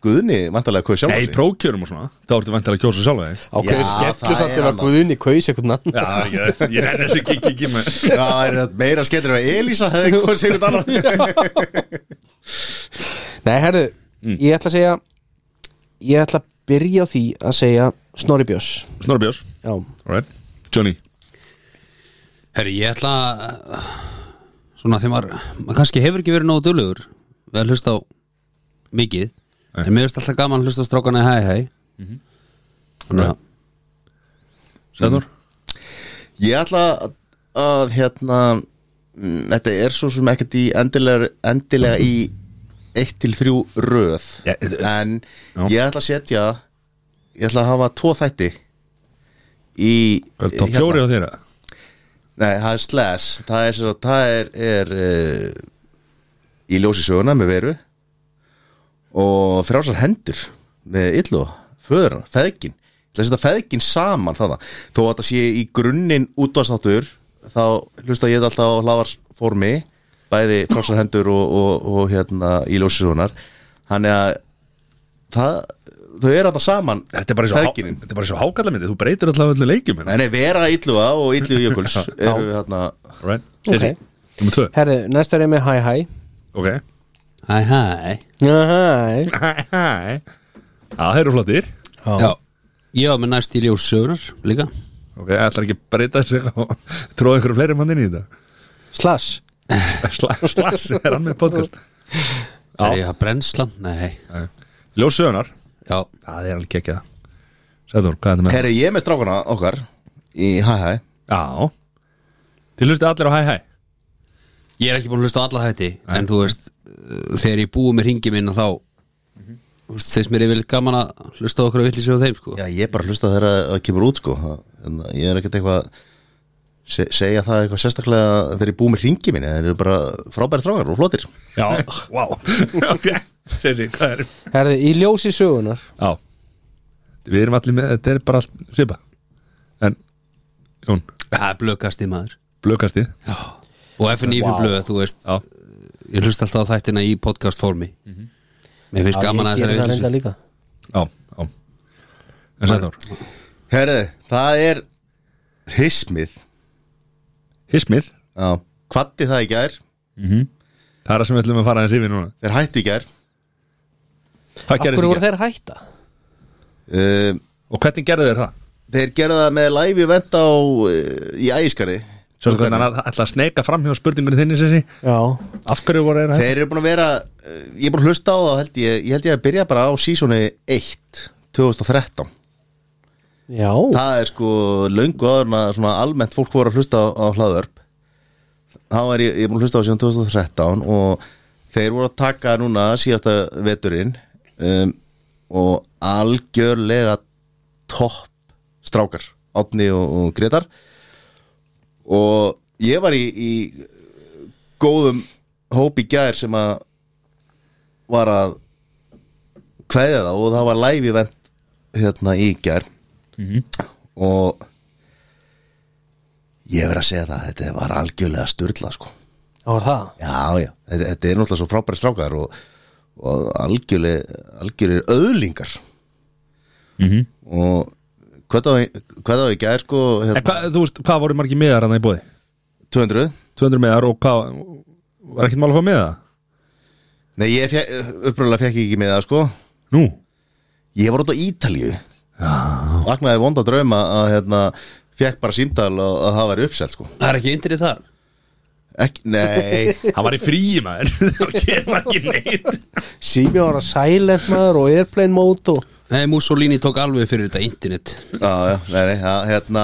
Speaker 1: Guðni vantarlega kjósa sjálfa
Speaker 3: Nei, í prókjörum og svona Þá ertu vantilega að kjósa sjálf þig
Speaker 4: ákveður
Speaker 1: Já,
Speaker 4: skellur
Speaker 1: það
Speaker 4: samt
Speaker 1: er
Speaker 4: ef að
Speaker 1: annað.
Speaker 4: Guðunni kaus eitthvað annan
Speaker 3: Já, ég, ég nenni þessu ekki ekki með
Speaker 1: Já, það er þetta meira skellur að Elísa hefði kosið einhvern annan
Speaker 4: Nei, herru,
Speaker 3: Mm.
Speaker 4: ég ætla að segja Ég ætla að byrja á því að segja Snorri Björns
Speaker 3: Snorri Björns
Speaker 4: Já,
Speaker 3: Alright Johnny
Speaker 2: Herri, ég ætla að svona þegar maður, maður kannski hefur ekki verið nógu dölugur við að hlusta á mikið
Speaker 3: Nei.
Speaker 2: en mér finnst alltaf gaman að hlusta á strákana í hæ hæ þannig að
Speaker 3: Sæður
Speaker 1: Ég ætla að, að hérna mm, Þetta er svo sem ekkert í endilega, endilega í 1 til 3 röð
Speaker 3: Já, þ-
Speaker 1: En
Speaker 3: Já.
Speaker 1: ég ætla að setja Ég ætla að hafa tvo þætti Í
Speaker 3: Hvað er
Speaker 4: hérna.
Speaker 3: top 4 á þeirra?
Speaker 1: Nei, það er slash Það er, svo, það er, er uh, Í ljósi söguna með veru Og frásar hendur Með illu Föðurna, feðgin Það er þetta feðgin saman þarna Þó að þetta sé í grunninn útvarstáttur Þá hlusta ég alltaf á hlaðarsformi Bæði frásar hendur og, og, og hérna í ljósi sögunar Þannig að það, Þau eru alltaf saman
Speaker 3: Þetta er bara svo, há,
Speaker 1: feðginin.
Speaker 3: þetta er bara svo hákalla myndi Þú breytir alltaf öllu leikjum hérna.
Speaker 1: Nei, nei, Vera Illuga og Illu Jökuls eru við þarna
Speaker 3: Alright
Speaker 4: Ok.
Speaker 3: Seri Númer 2
Speaker 4: herru, næst er ég með Hæ Hæ
Speaker 3: Ok
Speaker 2: hæ hæ
Speaker 4: Hæ
Speaker 3: Já, þeir eru flottir
Speaker 2: já, ég var með næst í ljós sögunar líka
Speaker 3: Ok, ætlar ekki að breyta sig og tróða ykkur fleiri mann inn í þetta
Speaker 4: Slass
Speaker 3: Sla- Slass er hann með podcast Já.
Speaker 2: er ég að brennslan, nei
Speaker 3: Ljós sögunar
Speaker 2: já,
Speaker 3: Það er alveg kekkja Sæður, hvað er þetta með?
Speaker 1: Herri, ég er með strákana okkar í hæ hæ
Speaker 3: Já Þið hlustið allir á hæ hæ
Speaker 2: ég er ekki búin að hlusta á alla hætti en þú veist, uh, þegar ég búi með ringi minna þá þú veist, þeir sem er yfir gaman að hlusta á okkur að villi sig á þeim sko
Speaker 1: Já, ég er bara að hlusta þegar að það kemur út sko Það- en Ég er ekkert eitthvað se segja það eitthvað sérstaklega þegar ég búið með ringi minni þeir eru bara frábæri strákar og flottir
Speaker 3: Já, vá Ok, Sessi, hvað er
Speaker 4: Herru, í ljósi sögunar
Speaker 3: Já Við erum allir með, þetta er bara allt svipa En, Jón,
Speaker 2: það er blökast í maður
Speaker 3: blökasti
Speaker 2: og FNI fyrir
Speaker 4: Vá.
Speaker 2: blöð, þú veist
Speaker 3: Já.
Speaker 2: ég hlust alltaf á þættina í podcast formi mér finnst gaman að
Speaker 4: Ég
Speaker 2: þessari
Speaker 4: geri það
Speaker 2: vitleysu.
Speaker 4: reynda líka
Speaker 3: Já, já En Sæður,
Speaker 1: Herri, það er hismið
Speaker 3: hismið
Speaker 1: Já, kvatti það í gær
Speaker 4: Mhm.
Speaker 3: Það er það sem við ætlum að fara aðeins yfir núna
Speaker 1: þeir hættu í gær
Speaker 3: Hvað
Speaker 4: Af
Speaker 3: gerðist
Speaker 4: hverju
Speaker 3: í
Speaker 4: voru
Speaker 3: gær?
Speaker 4: þeir að hætta?
Speaker 1: um, Eh,
Speaker 3: Og hvernig gerðu þeir það?
Speaker 1: Þeir gerða það með live event á uh, eh, í ægiskarði
Speaker 3: Svo hvernig hann ætla að sneika fram hjá spurningunni þinni sem sé
Speaker 4: Já,
Speaker 3: Af hverju voru þeir að
Speaker 1: Þeir eru búin að vera eh, Ég er búin að hlusta á það held ég Ég held ég að byrja bara á sísoni 1 2013
Speaker 4: já
Speaker 1: Það er sko löngu áður en að svona almennt fólk voru að hlusta á, á hlaðvörp Þá er ég, ég er búin að hlusta á síðan 2013 og þeir voru að taka núna síðasta veturinn um, og algjörlega topp strákar Átni og, og Gretar og ég var í, í góðum hópi gær sem að var að kveðja það og það var live event hérna í gær og ég verið að segja það þetta var algjörlega styrla sko
Speaker 4: Já, var það
Speaker 1: já, já, þetta, þetta er náttúrulega svo frábæri strákar og, og algjörlega algjörlega öðlingar
Speaker 3: Mhm.
Speaker 1: og hvað það hvað það ekki er sko
Speaker 3: En
Speaker 1: hérna,
Speaker 3: hvað, þú veist, hvað voru margir miðar hann í bóði?
Speaker 1: 200
Speaker 3: 200 miðar og hvað Var ekkert mál að fá miða?
Speaker 1: nei, ég fjæ, uppröðlega fekk ég ekki með það sko
Speaker 3: Nú?
Speaker 1: ég var út á Ítalju vaknaði vonda drauma að hérna, fekk bara símdal og að það væri uppselt sko
Speaker 2: Það er ekki yndir í þar
Speaker 1: ekki, nei
Speaker 3: Hann var í fríi maður Það gerði ekki neitt
Speaker 4: Sými var að silent maður og airplane mode og
Speaker 2: Nei, Mussolini tók alveg fyrir þetta internet
Speaker 1: Já, já, nei, nei, það, hérna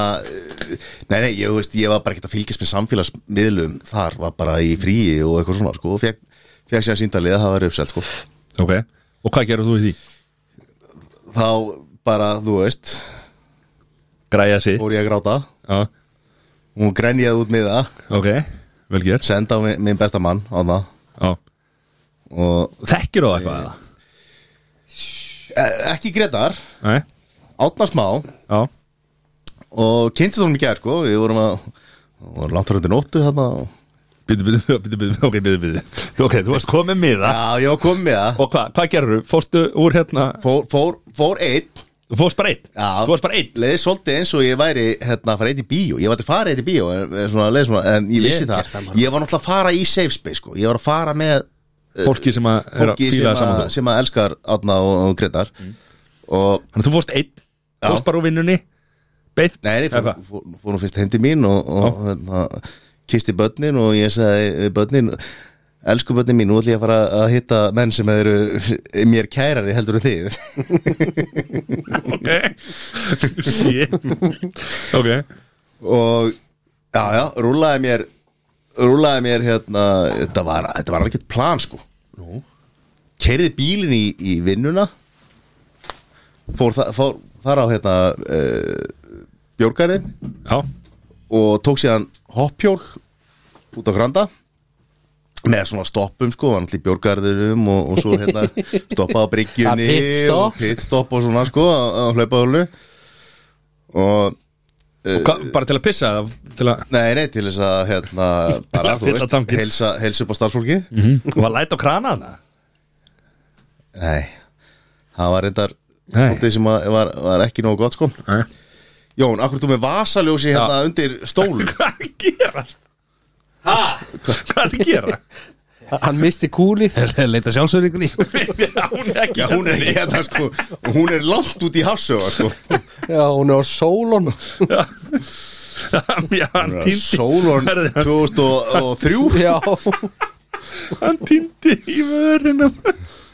Speaker 1: Nei, nei, ég, þú veist, ég var bara ekkert að fylgjast með samfélagsmiðlum Þar var bara í fríi og eitthvað svona, sko Og fekk, fekk sér síndalið að það var uppselt, sko
Speaker 3: Ok, og hvað gerðu þú í því?
Speaker 1: Þá bara, þú veist,
Speaker 3: Græja sig
Speaker 1: fór ég að gráta
Speaker 3: Já,
Speaker 1: Hún grenjaði út miða
Speaker 3: ok, vel gerð
Speaker 1: Senda á mi- minn besta mann á það
Speaker 3: Já.
Speaker 1: Og
Speaker 3: Þekkir þú eitthvað eða?
Speaker 1: e, ekki Gretar,
Speaker 3: Nei,
Speaker 1: átna smá
Speaker 3: já,
Speaker 1: Og kynntist honum í gær, sko Við vorum að, vorum langt frá undir nóttu þarna og-
Speaker 3: býtu, býtu, býtu, býtu, ok, býtu, býtu Ok, þú varst komið með það
Speaker 1: Já, ég var komið með það
Speaker 3: Og hvað, hvað gerðu? Fórstu úr hérna,
Speaker 1: Fór, fór, fór einn
Speaker 3: þú fórst bara einn
Speaker 1: Já.
Speaker 3: Þú varst bara einn
Speaker 1: leiði svolítið eins og ég væri hérna að fara eitt í bíó, ég var til að fara eitt í bíó en, en svona, leið svona, en ég vissi
Speaker 2: Ég
Speaker 1: það
Speaker 2: gert það, maður.
Speaker 1: ég var náttúrulega að fara í safe space sko. ég var að fara með
Speaker 3: Fólki sem að er að
Speaker 1: fólki sem,
Speaker 3: fíla
Speaker 1: að-
Speaker 3: saman þú
Speaker 1: sem að elskar Átna og, og Gretar og
Speaker 3: Þannig að þú fórst einn,
Speaker 1: Já.
Speaker 3: fórst bara úr vinnunni Beinn
Speaker 1: nei, ég fór,
Speaker 3: Eða hvað?
Speaker 1: fór, fór nú fyrst heim til mín og, og hérna, kisti börnin og ég sagði við börnin elsku börnin mín, nú ætlum ég að fara að hitta menn sem eru mér kærari heldur en þið
Speaker 3: Ok Shit. Ok,
Speaker 1: og já, já, rúlaði mér rúlaði mér hérna þetta var, þetta var alveg plan sko
Speaker 3: nú
Speaker 1: keiriði bílinn í, í vinnuna fór, þa fór þar á hérna uh, bjórgarinn
Speaker 3: Já,
Speaker 1: og tók síðan hoppjól út á granda með svona stoppum sko, hann í bjórgarðurum og, og svo hérna stoppa á bryggjunni
Speaker 4: Að pitstopp.
Speaker 1: og pitstopp og svona sko á, á hlaupahólu og
Speaker 3: og hvað,
Speaker 1: Eh.
Speaker 3: bara til að pissa eða Til að,
Speaker 1: nei, nei, til þess að hérna bara,
Speaker 3: Að
Speaker 1: þú
Speaker 3: fylla
Speaker 1: veist,
Speaker 3: tankinn. Mhm.
Speaker 1: heilsa, heilsa upp á starfsfólkið
Speaker 3: og að læta á krana hana
Speaker 1: nei, það var reyndar
Speaker 3: Nei.
Speaker 1: úti sem að- var, var ekki nógu gott sko
Speaker 3: Nei
Speaker 1: Jón, akkur þú með vasaljósi hérna undir stólum
Speaker 3: Hvað er að gerast? Hæ? Hvað er að gera?
Speaker 4: Hann misti kúlið
Speaker 2: Leita sjálfsöringunni
Speaker 3: Já, hún er ekki
Speaker 1: Já, hún er hérna sko og Hún er langt út í hafsöga sko
Speaker 4: Já, hún er á sólun
Speaker 3: Já, hann týndi
Speaker 1: Sólorn
Speaker 3: Herði, hann-
Speaker 1: 2003
Speaker 4: Já,
Speaker 3: Hann týndi í vörunum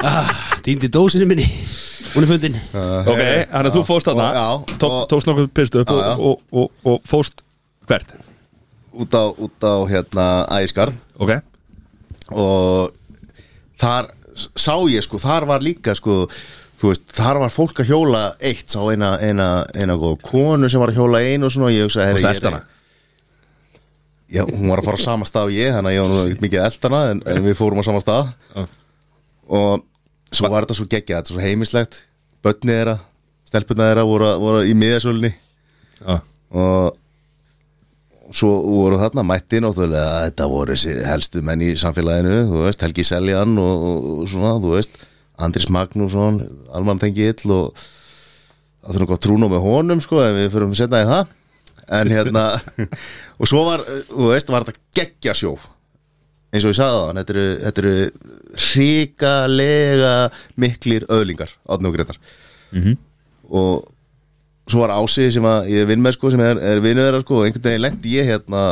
Speaker 2: ah, Týndi dósinu minni Hún er fundin
Speaker 3: Ok, hann að þú fórst
Speaker 1: Eh. Já,
Speaker 3: þarna
Speaker 1: og-
Speaker 3: tó- Tókst nokkuð pyrst upp
Speaker 1: Já,
Speaker 3: og,
Speaker 1: já.
Speaker 3: og, og, og fórst hvert
Speaker 1: út á, út á hérna ægiskarð
Speaker 3: Ok
Speaker 1: og þar s- sá ég sko, þar var líka sko þú veist, þar var fólk að hjóla eitt sá eina, eina, eina góð konu sem var að hjóla einu og svona og ég hugsa
Speaker 3: Fórst eltana
Speaker 1: Já, hún var að fara á sama stað og ég þannig að ég var nú ekkert mikið að elta hana en, en við fórum á sama stað
Speaker 3: Já.
Speaker 1: og svo var þetta svo geggjað, þetta er svo heimislegt börnið þeirra, stelpunna þeirra voru, voru í miðasölunni
Speaker 3: Já,
Speaker 1: og svo voru þarna mætti náttúrulega þetta voru þessi helstu menn í samfélaginu þú veist, Helgi Seljan og, og, og svona, þú veist, Andris Magnússon Alman Tengi Ill og það þurfum eitthvað trúna með honum sko, ef við fyrir að setja í það en hérna, og svo var þú veist, var þetta geggja sjó eins og ég sagði það, þetta eru, þetta eru hrikalega miklir öðlingar, átni og greitar og svo var Ási sem að ég vinn með sko, sem er, er vinnu þeirra sko, og einhvern veginn lendi ég hérna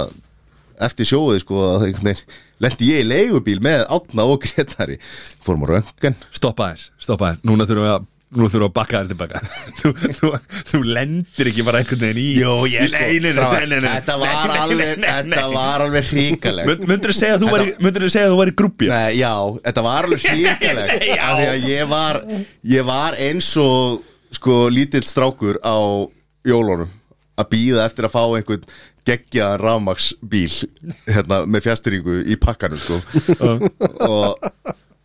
Speaker 1: eftir sjóði sko að einhvern veginn lendi ég í leigubíl með átna og gretari fórum á röngan
Speaker 3: Stoppa þess, stoppa þess Núna þurfum við að Nú þurfum við að bakka þér tilbaka þú, þú, þú lendir ekki bara einhvern veginn í
Speaker 1: ég sko
Speaker 3: Nei, nei, nei,
Speaker 1: það var-
Speaker 3: nei, nei, nei.
Speaker 1: Þetta var
Speaker 3: Nei, nei,
Speaker 1: alveg
Speaker 3: nei, nei,
Speaker 1: Þetta
Speaker 3: nei.
Speaker 1: var alveg hrikalegt
Speaker 3: Mund- Myndirðu segja að þú væri- myndirðu segja að þú væri grúppi
Speaker 1: Nei, já, þetta var alveg hrikalegt
Speaker 3: Nei, já.
Speaker 1: af því að ég var ég var eins og sko lítill strákur á jólunum að býða eftir að fá einhvern geggjaðan rafmaksbíl hérna, með fjastyringu í pakkanum sko. og,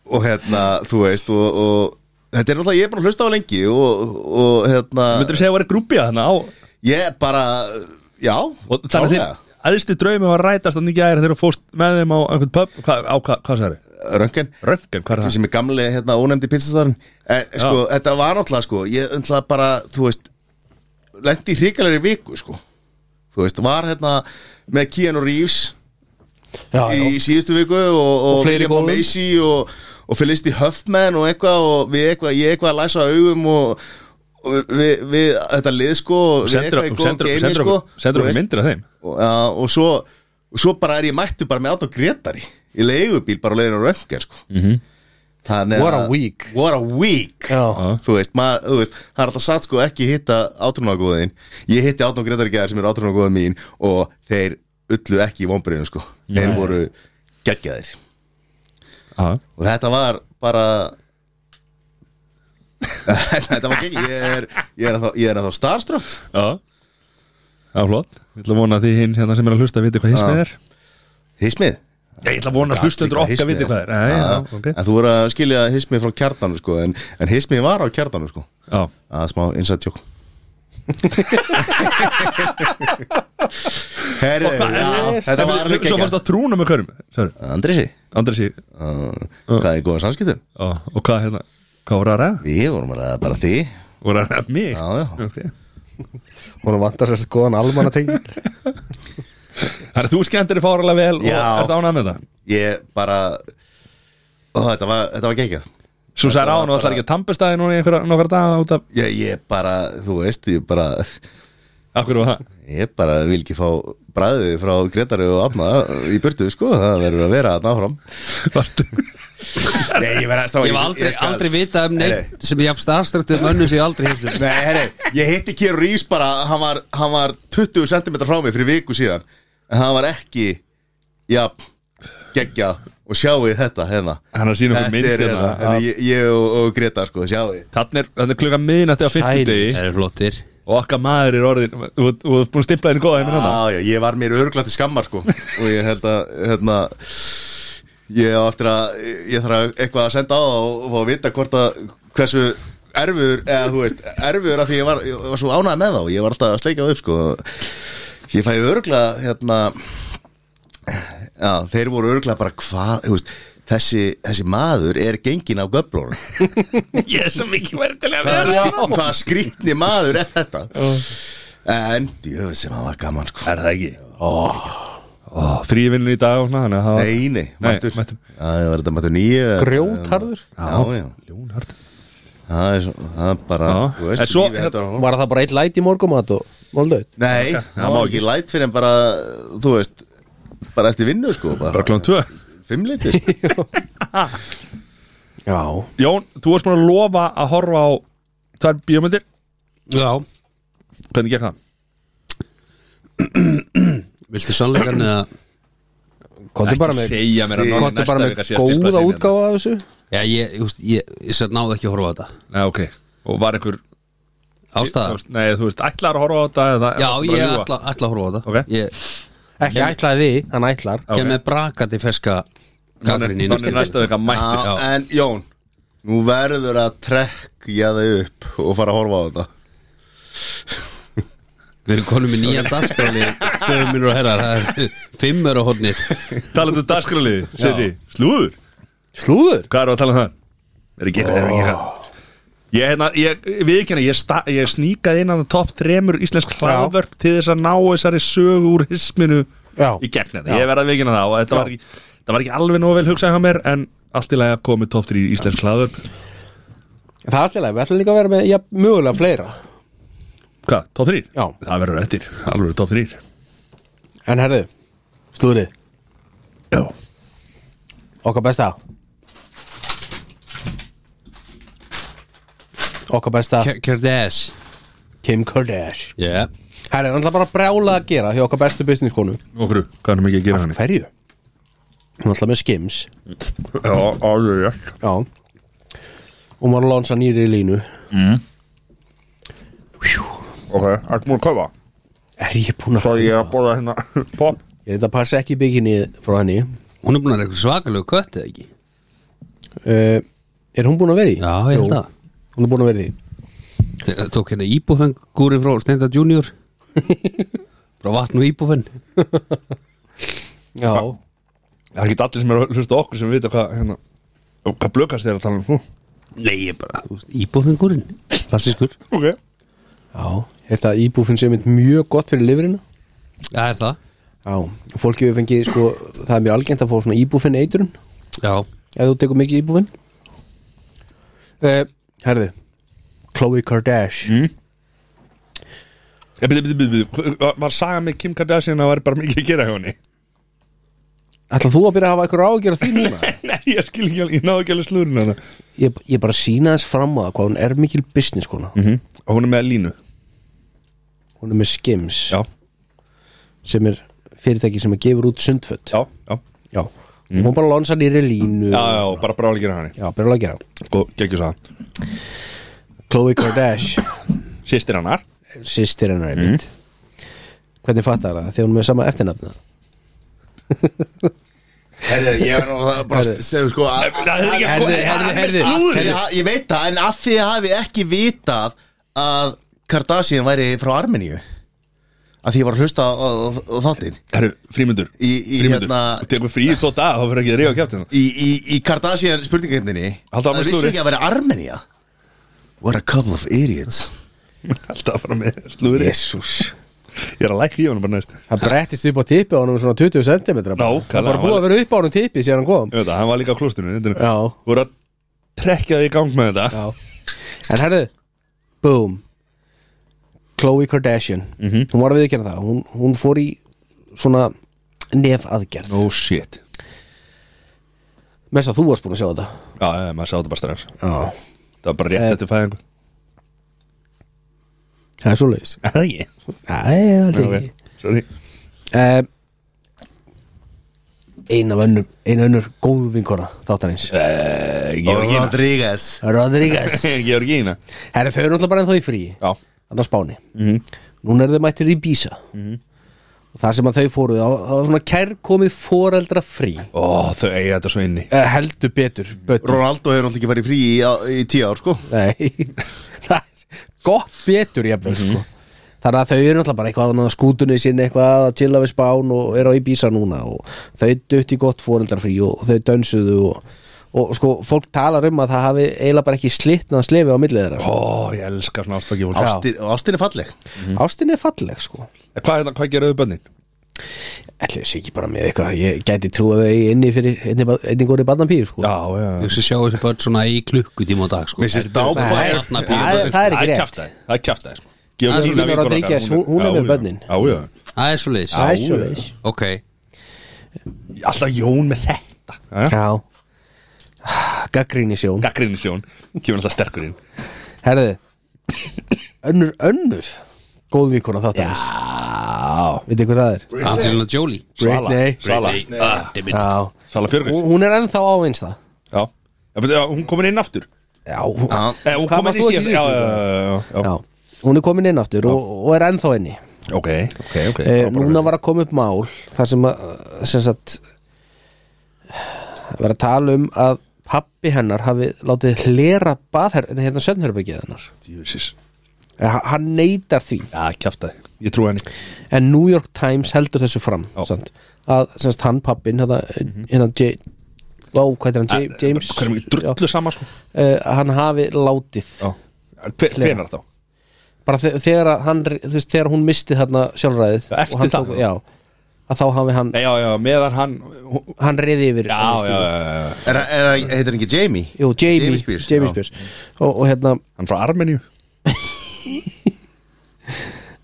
Speaker 1: og hérna þú veist og, og þetta er náttúrulega, ég er búin að hlusta á lengi og, og hérna
Speaker 3: Myndirðu segja að þú væri grúppi að þannig á
Speaker 1: ég bara, já
Speaker 3: Og þannig að
Speaker 1: klárlega.
Speaker 3: þinn aðstu draumi var rætast þannig ekki aðeins þegar þú fóst með þeim á einhvern pub Hvað, á, hvað, hvað sagði?
Speaker 1: Röntgen
Speaker 3: Röntgen, hvað er það?
Speaker 1: sem er gamli, hérna, ónefndi pizzastarinn en sko, þetta var náttúrulega, sko ég náttúrulega bara, þú veist lendi hrikalegri viku, sko þú veist, var hérna með Keanu Reeves
Speaker 4: já,
Speaker 1: í
Speaker 4: já.
Speaker 1: síðustu viku og, og,
Speaker 4: Og fleiri
Speaker 1: William
Speaker 4: góðum.
Speaker 1: Macy og, og Felicity Huffman og eitthvað og við eitthvað, ég eitthvað að læsa augum og, og við, við, við þetta lið, sko og við
Speaker 3: Sendur
Speaker 1: eitthvað í
Speaker 3: okkur-
Speaker 1: góðum
Speaker 3: sendur-
Speaker 1: geimi,
Speaker 3: sendur
Speaker 1: sko
Speaker 3: okkur- sendur
Speaker 1: þú
Speaker 3: okkur
Speaker 1: veist.
Speaker 3: myndir af þeim
Speaker 1: og, ja, og svo og svo bara er ég mættu bara með Adolf Gretari í leigubíl bara á leiðinu röntgen sko. mm
Speaker 3: Mhm.
Speaker 1: -hmm.
Speaker 4: What a week.
Speaker 1: what a week
Speaker 4: Já.
Speaker 1: þú veist, maður, þú veist, það er alltaf satt sko ekki hitta átrunagóðin ég hitti Adolf Gretari gæðar sem er átrunagóðin mín og þeir ullu ekki í vombriðum sko, þeir voru geggjaðir
Speaker 3: Aha.
Speaker 1: og þetta var bara þetta var geggjað ég er, ég er að þá, ég er að þá starstruck
Speaker 3: Já Já, flott Ég ætla að vona að því hinn hérna sem er að hlusta viti hvað hismið er
Speaker 1: hismið
Speaker 3: Ég ætla að vona að hlustendur
Speaker 1: Líka
Speaker 3: okkar viti
Speaker 1: hismið.
Speaker 3: hvað er Nei,
Speaker 1: Já,
Speaker 3: já, ok
Speaker 1: En þú voru að skilja hismið frá kjartanum sko, en, en hismið var á kjartanum sko.
Speaker 3: Já,
Speaker 1: að smá inside joke Herri, já, þetta var alveg
Speaker 3: Svo fórst
Speaker 1: ekki
Speaker 3: að trúna með hverjum Sorry,
Speaker 1: Andrisi,
Speaker 3: Andresi uh.
Speaker 1: uh, hvað er góða samskiptum?
Speaker 3: Og hvað hérna, hvað voru að ræða?
Speaker 1: Við vorum að ræða bara því
Speaker 3: Voru að ræða mig?
Speaker 1: Já, já,
Speaker 3: Okay.
Speaker 4: Hún vantar sér skoðan almanatenging
Speaker 3: Þannig að þú skemmtir þér fáralega vel
Speaker 1: Já.
Speaker 3: og ert ánað með það
Speaker 1: ég bara ó, þetta var, þetta var geggjað
Speaker 3: Svo sagði ráðan og ætlar ekki að tampestæði núna í einhverja nokkra daga út af
Speaker 1: ég, ég bara, þú veist, ég bara
Speaker 3: Akkur var það
Speaker 1: ég bara vil ekki fá bræðið frá Gretari og Afna í burtu sko, það verður að vera að náfram
Speaker 3: Varstu
Speaker 1: Nei, ég verða strá
Speaker 2: Ég hef aldrei, aldrei vitað um neitt sem ég haf starfstrættið um önnu sem ég aldrei hittum
Speaker 1: Nei, herri, ég hitti Keir Reeves bara hann var, hann var 20 cm frá mig fyrir viku síðan En hann var ekki Já, geggja Og sjáuði þetta hérna
Speaker 3: Hann er að sýna okkur mynd
Speaker 1: er hérna
Speaker 3: hérna.
Speaker 1: hérna, Ég, ég og, og Greta sko, sjáuði
Speaker 3: Þannig er, þarna er klukka miðnætti á 50
Speaker 2: Það eru flottir
Speaker 3: Og okkar maður er orðin og- Og og þú ert búin að stimpla henni góða heiminn hérna. hann
Speaker 1: Já, já, ég var mér örglætt til skammar sko Og ég held að, hérna Ég á eftir að Ég þarf að eitthvað að senda á það og, og fá að vita hvort að Hversu erfur Eða þú veist, erfur af því ég var, ég var svo ánægð með þá og Ég var alltaf að sleika það upp sko Ég fæ örgla, hérna Já, þeir voru örgla bara hvað, þú veist Þessi, þessi maður er gengin af göflunum
Speaker 3: Ég er svo mikið verðilega
Speaker 1: Hvaða
Speaker 3: sko.
Speaker 1: skrí- hvaða skrýtni maður er þetta En, jöfn sem hann var gaman sko
Speaker 3: Er það ekki? Oh. Frívinnur í dag og svona Þannig að hafa
Speaker 1: Nei, nei, mættur
Speaker 3: mættur.
Speaker 1: Já, ég var þetta mættur nýju
Speaker 4: Grjótharður
Speaker 1: Já, já,
Speaker 3: Ljónhart
Speaker 1: það er, svo- það er bara
Speaker 3: Já.
Speaker 1: Þú veist,
Speaker 3: En svo-
Speaker 1: lífið þetta var
Speaker 4: Var það bara eitt læti í morgumat og Móldaut
Speaker 1: Nei, það má ekki læt fyrir en bara Þú veist, bara eftir vinnu sko Bara
Speaker 3: Klón 2
Speaker 1: fimmliti sko.
Speaker 4: Já
Speaker 3: Jón, þú varst mér að lofa að horfa á Tvær bíómyndir
Speaker 2: Já,
Speaker 3: Hvernig gekk það?
Speaker 2: viltu sannleikarni að
Speaker 4: Kontu bara með
Speaker 3: segja mér að
Speaker 4: Kontu bara með góða útgáfa af þessu
Speaker 2: Já, ég, ég, ég, ég satt náði ekki að horfa á þetta
Speaker 3: Nei, ok Og var einhver
Speaker 2: Ástæða?
Speaker 3: Nei, þú veist, ætlar að horfa á þetta eða-
Speaker 2: Já,
Speaker 3: varstu bara
Speaker 2: ég
Speaker 3: að ljúga?
Speaker 2: ætla, ætla að horfa á þetta
Speaker 3: Ok.
Speaker 2: Ég
Speaker 4: Ekki ætlaði því, hann ætlar
Speaker 2: kem með brakandi ferska gagrinni
Speaker 3: Þannig þannig næsta vika mættur
Speaker 1: Já, En Jón, nú verður að trekkja þau upp Og fara að horfa á þetta
Speaker 2: Við erum konum í nýjan dagskráli Döðum mínur og herrar Það er fimm eru hodnið
Speaker 3: Talandu dagskrálið, um Sessi Slúður,
Speaker 4: Slúður
Speaker 3: hvað eru að tala um það? Er ekki eitthvað, er ekki eitthvað Ég, hérna, ég, við ekki hérna, ég, sta- ég sníkaði inn á top 3 íslensk hlaðvörp til þess að ná þessari sögu úr hisminu
Speaker 4: Já.
Speaker 3: í gegn þetta, ég verða að vikina það og þetta var, ekki, þetta var ekki alveg nóg vel hugsað hjá mér en allt í lagi að koma með top 3 íslensk hlaðvörp
Speaker 4: Það er alltaf leið, við ætlum líka að vera með ja, mögulega fleira
Speaker 3: Hvað, top 3?
Speaker 4: Já.
Speaker 3: Það verður eftir, alveg top 3
Speaker 4: En herðu, Stúri,
Speaker 3: Já
Speaker 4: okkar besta Okkar besta
Speaker 2: Kerdes
Speaker 4: Kim Kardashian
Speaker 2: yeah.
Speaker 4: Það er náttúrulega bara brjála að gera hjá okkar bestu business konu
Speaker 3: Og hverju, hvað er mikið að gera hérna? hann
Speaker 4: Hverju? Hún var alltaf með skims
Speaker 3: Já, alveg rétt
Speaker 4: Já Hún var að lansa nýri í línu
Speaker 3: Ok, ertu múin að kaupa?
Speaker 4: Er ég búin að
Speaker 3: Svo ég er að borða hérna Pop
Speaker 4: Ég er þetta að passa ekki bygginnið frá henni
Speaker 2: Hún er búin að reyna svakalegu kött eða ekki
Speaker 4: uh, Er hún búin að vera í?
Speaker 2: Já, ég held
Speaker 4: Jú,
Speaker 2: að.
Speaker 4: Hún er búin að vera í
Speaker 2: Þegar tók hérna íbúfengúrin frá Steinda Junior Frá vatn og íbúfen
Speaker 4: Já
Speaker 3: Það er ekki allir sem er að hlusta á okkur sem vita hvað hérna og Hvað blökast þér að tala um þú?
Speaker 2: Nei, ég bara Íbúfengúrin Klassiskur
Speaker 3: Ok
Speaker 4: Já Er þetta íbúfinn sem er mjög gott fyrir lifrina?
Speaker 2: Já, er það
Speaker 4: Já Fólki hefur fengið sko Það er mjög algengt að fá svona íbúfinn eitrun
Speaker 2: Já
Speaker 4: Ef þú tekur mikið íbúfinn uh, Herðu Khloe Kardashian
Speaker 3: Mm. Ég byrði, byrði, byrði, byrði Var saga með Kim Kardashian að það væri bara mikið að gera hjá henni?
Speaker 4: Ætlar þú að byrja að hafa eitthvað ráðgjör að því núna?
Speaker 3: Nei, ég skil ekki alveg, ég náðu ekki alveg slúrin að það
Speaker 4: ég, ég bara sína þess fram á það hvað hún er mikil business kona
Speaker 3: Og hún er með línu
Speaker 4: Hún er með skims
Speaker 3: Já,
Speaker 4: sem er fyrirtæki sem að gefur út sundfött
Speaker 3: já, já
Speaker 4: Já, Mm. hún bara lansa nýri línu
Speaker 3: Já, já, bara bara alveg gera Sko, henni
Speaker 4: já byrja að gera
Speaker 3: Og geggjur það
Speaker 4: Khloe Kardashian,
Speaker 3: Sýstir hannar
Speaker 4: sýstir hennar einmitt Mm. Hvernig fattar það? Þegar hún er með sama eftirnafna
Speaker 1: Herðu, ég er nú það bara stefðu sko að-
Speaker 3: Það er ekki að
Speaker 4: Herðu, herðu, herðu
Speaker 1: Herðu, ha- Ég veit það, en af því að hafi ekki vitað að Kardashian væri frá Armeníu að því ég var að hlusta á, á, á þáttinn
Speaker 3: Herru, frímyndur
Speaker 1: Í- í
Speaker 3: Frímyndur
Speaker 1: hérna-
Speaker 3: Þú tekur frí í tvo dag, þá fyrir ekki að reyja kjátt
Speaker 1: í, í, í Kardashian spurningakefninni
Speaker 3: Haltu áfram
Speaker 1: að vissi
Speaker 3: slúðrið.
Speaker 1: ekki að vera Armenia What a couple of idiots
Speaker 3: Alltaf að fara með slúður
Speaker 4: Jésús
Speaker 3: Ég er að lækka í honum bara næst
Speaker 4: Það brettist upp á tippi á hann um svona 20 cm Það
Speaker 3: Nákvæmlega.
Speaker 4: er bara búið að vera upp á hann tippi síðan hann kom
Speaker 3: Ég veit það, hann var líka á klóstunum þetta er-
Speaker 4: Já.
Speaker 3: Voru að trekja þig í gang með þetta
Speaker 4: En herðu, boom Khloe Kardashian Hún var að viðkjöna það hún, hún fór í svona nef aðgerð
Speaker 3: Oh shit
Speaker 4: Mest að þú varst búin að sjá þetta
Speaker 3: Já, já, maður sá þetta bara strax
Speaker 4: Já
Speaker 3: Það var bara rétt
Speaker 4: Eh.
Speaker 3: eftir fæðingu
Speaker 4: Það er svo leiðis
Speaker 3: Er Það ekki
Speaker 4: Nei, það er
Speaker 3: Ok,
Speaker 4: ekki
Speaker 3: Sorry
Speaker 4: Eh, Ein af önnur Ein af önnur góð vinkona þáttanins
Speaker 3: Eh, Georgina
Speaker 1: Rodriguez
Speaker 4: Rodríguez
Speaker 3: Georgina
Speaker 4: Herra, þau eru náttúrulega bara ennþá í frí
Speaker 3: Já
Speaker 4: Þannig á Spáni Núna eru þau mættir í Bísa Og það sem að þau fóruð Það það var svona kærkomið foreldra frí
Speaker 3: Ó, þau eiga þetta svo inni
Speaker 4: eh, Heldur betur betur.
Speaker 1: Ronaldo hefur alltaf ekki farið í frí í, í tíu ár sko
Speaker 4: Nei Það er gott betur jafnvel sko Þannig að þau eru náttúrulega bara eitthvað á skútunni sinni eitthvað að chilla við spán og eru á Ibiza núna og þau dutt í gott fóreldarfrí og þau dönsuðu og, og sko fólk talar um að það hafi eiginlega bara ekki slitnað slefi á millið þeirra sko.
Speaker 3: Ó, ég elska svona ástfæki fólk
Speaker 4: Já.
Speaker 1: Ástin, ástin er falleg
Speaker 4: Ástin er falleg sko
Speaker 3: Eh, Hvað, hérna- hvað geraðu bönnin?
Speaker 4: Ætli þessi ekki bara með eitthvað ég gæti trú að þau inni fyrir einni, ba- einni góri barnapíu sko
Speaker 3: Já, já
Speaker 2: Ég sé sjá þessi börn svona í klukkutíma á dag sko
Speaker 1: Mér sést dáfæður
Speaker 4: Nei, það er- það er ekki rétt
Speaker 3: kjaftaði Það er kjaftaði sko
Speaker 4: Það er
Speaker 3: Georgina
Speaker 4: Júlía
Speaker 3: vinkona okkar,
Speaker 4: Rodríguez,
Speaker 3: er-
Speaker 4: hún- hún er
Speaker 3: Já,
Speaker 4: með
Speaker 3: já.
Speaker 4: börnin.
Speaker 3: Já, já
Speaker 2: Það er svo leiðis
Speaker 4: Það er svoleiðis.
Speaker 2: Ok
Speaker 3: Alltaf Jón með þetta Jæja.
Speaker 4: Já Gaggríni sjón
Speaker 3: Gagnrýnis Jón Kemur alltaf sterkur inn
Speaker 4: Herðu Önnur, önnur Góð vikuna þáttanins
Speaker 3: Já
Speaker 4: Vitið hvað það er?
Speaker 2: Angelina Jolie
Speaker 4: Britney.
Speaker 3: Svala
Speaker 2: Ah, damn it.
Speaker 4: Já
Speaker 3: Svala Björgur
Speaker 4: Hún hún er ennþá áveins það
Speaker 3: Já Já, betur, já, Hún komin inn aftur
Speaker 4: Já, hún,
Speaker 1: Já.
Speaker 3: Eh, hún
Speaker 4: Hvað
Speaker 3: komin
Speaker 4: varst
Speaker 3: í
Speaker 4: þú
Speaker 3: síðast
Speaker 4: ekki
Speaker 3: Já,
Speaker 4: síðast?
Speaker 3: já, já, já, já.
Speaker 4: já, hún er komin inn aftur og, og er ennþá inni
Speaker 3: Ok, ok, ok
Speaker 4: e,
Speaker 3: frábæra
Speaker 4: Núna
Speaker 3: mynd.
Speaker 4: var að koma upp mál þar sem að sem sagt, var að tala um að pappi hennar hafi látið hlera baðherr en hérna söndherbergið hennar
Speaker 3: Jössis.
Speaker 4: Eh, ha- hann neytar því
Speaker 3: Já, kjaftaði Ég trú henni
Speaker 4: en New York Times heldur þessu fram
Speaker 3: Já.
Speaker 4: sant, að sem sagt, hann pappin hérna,
Speaker 3: Mhm.
Speaker 4: hérna J, wow, hvað er hann,
Speaker 3: Eh, Ah,
Speaker 4: J, James
Speaker 3: Hvernig mikið drullu sama sko
Speaker 4: uh, hann hafi látið
Speaker 3: Já Hve-
Speaker 4: Hlera.
Speaker 3: Hvenær þá?
Speaker 4: bara þe- þegar að hann, þú veist, þegar hún misti þarna sjálfræðið
Speaker 3: Já, eftir
Speaker 4: og hann
Speaker 3: það, já.
Speaker 4: já, að þá hafi hann
Speaker 3: Nei, já, já, meðan hann hún-
Speaker 4: hann reyði yfir
Speaker 3: Já,
Speaker 4: henni,
Speaker 3: já, já,
Speaker 4: skilur.
Speaker 3: já já.
Speaker 1: Er það, heitir hann ekki Jamie?
Speaker 4: Jú, Jamie,
Speaker 1: Jamie Spears,
Speaker 4: Jamie
Speaker 1: já.
Speaker 4: Spears. Og, og hérna
Speaker 3: Hann frá Armeníu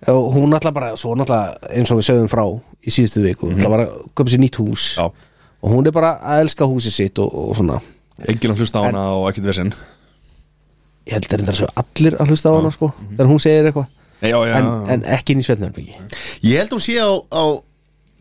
Speaker 4: og hún náttúrulega bara, svo náttúrulega eins og við sögðum frá í síðustu viku mm -hmm.
Speaker 1: Mhm.
Speaker 4: bara köpa sér nýtt hús
Speaker 3: Já.
Speaker 4: og hún er bara að elska húsið sitt og, og svona
Speaker 3: Enginn að hlusta á hana og ekkert vesinn
Speaker 4: ég held er þetta svo allir að hlusta á hana sko,
Speaker 1: Mhm.
Speaker 4: þegar hún segir eitthvað
Speaker 3: Nei, Já, já,
Speaker 4: en,
Speaker 3: já.
Speaker 4: en ekki inn í Svetnarbyggi
Speaker 1: Ég held hún sé á, á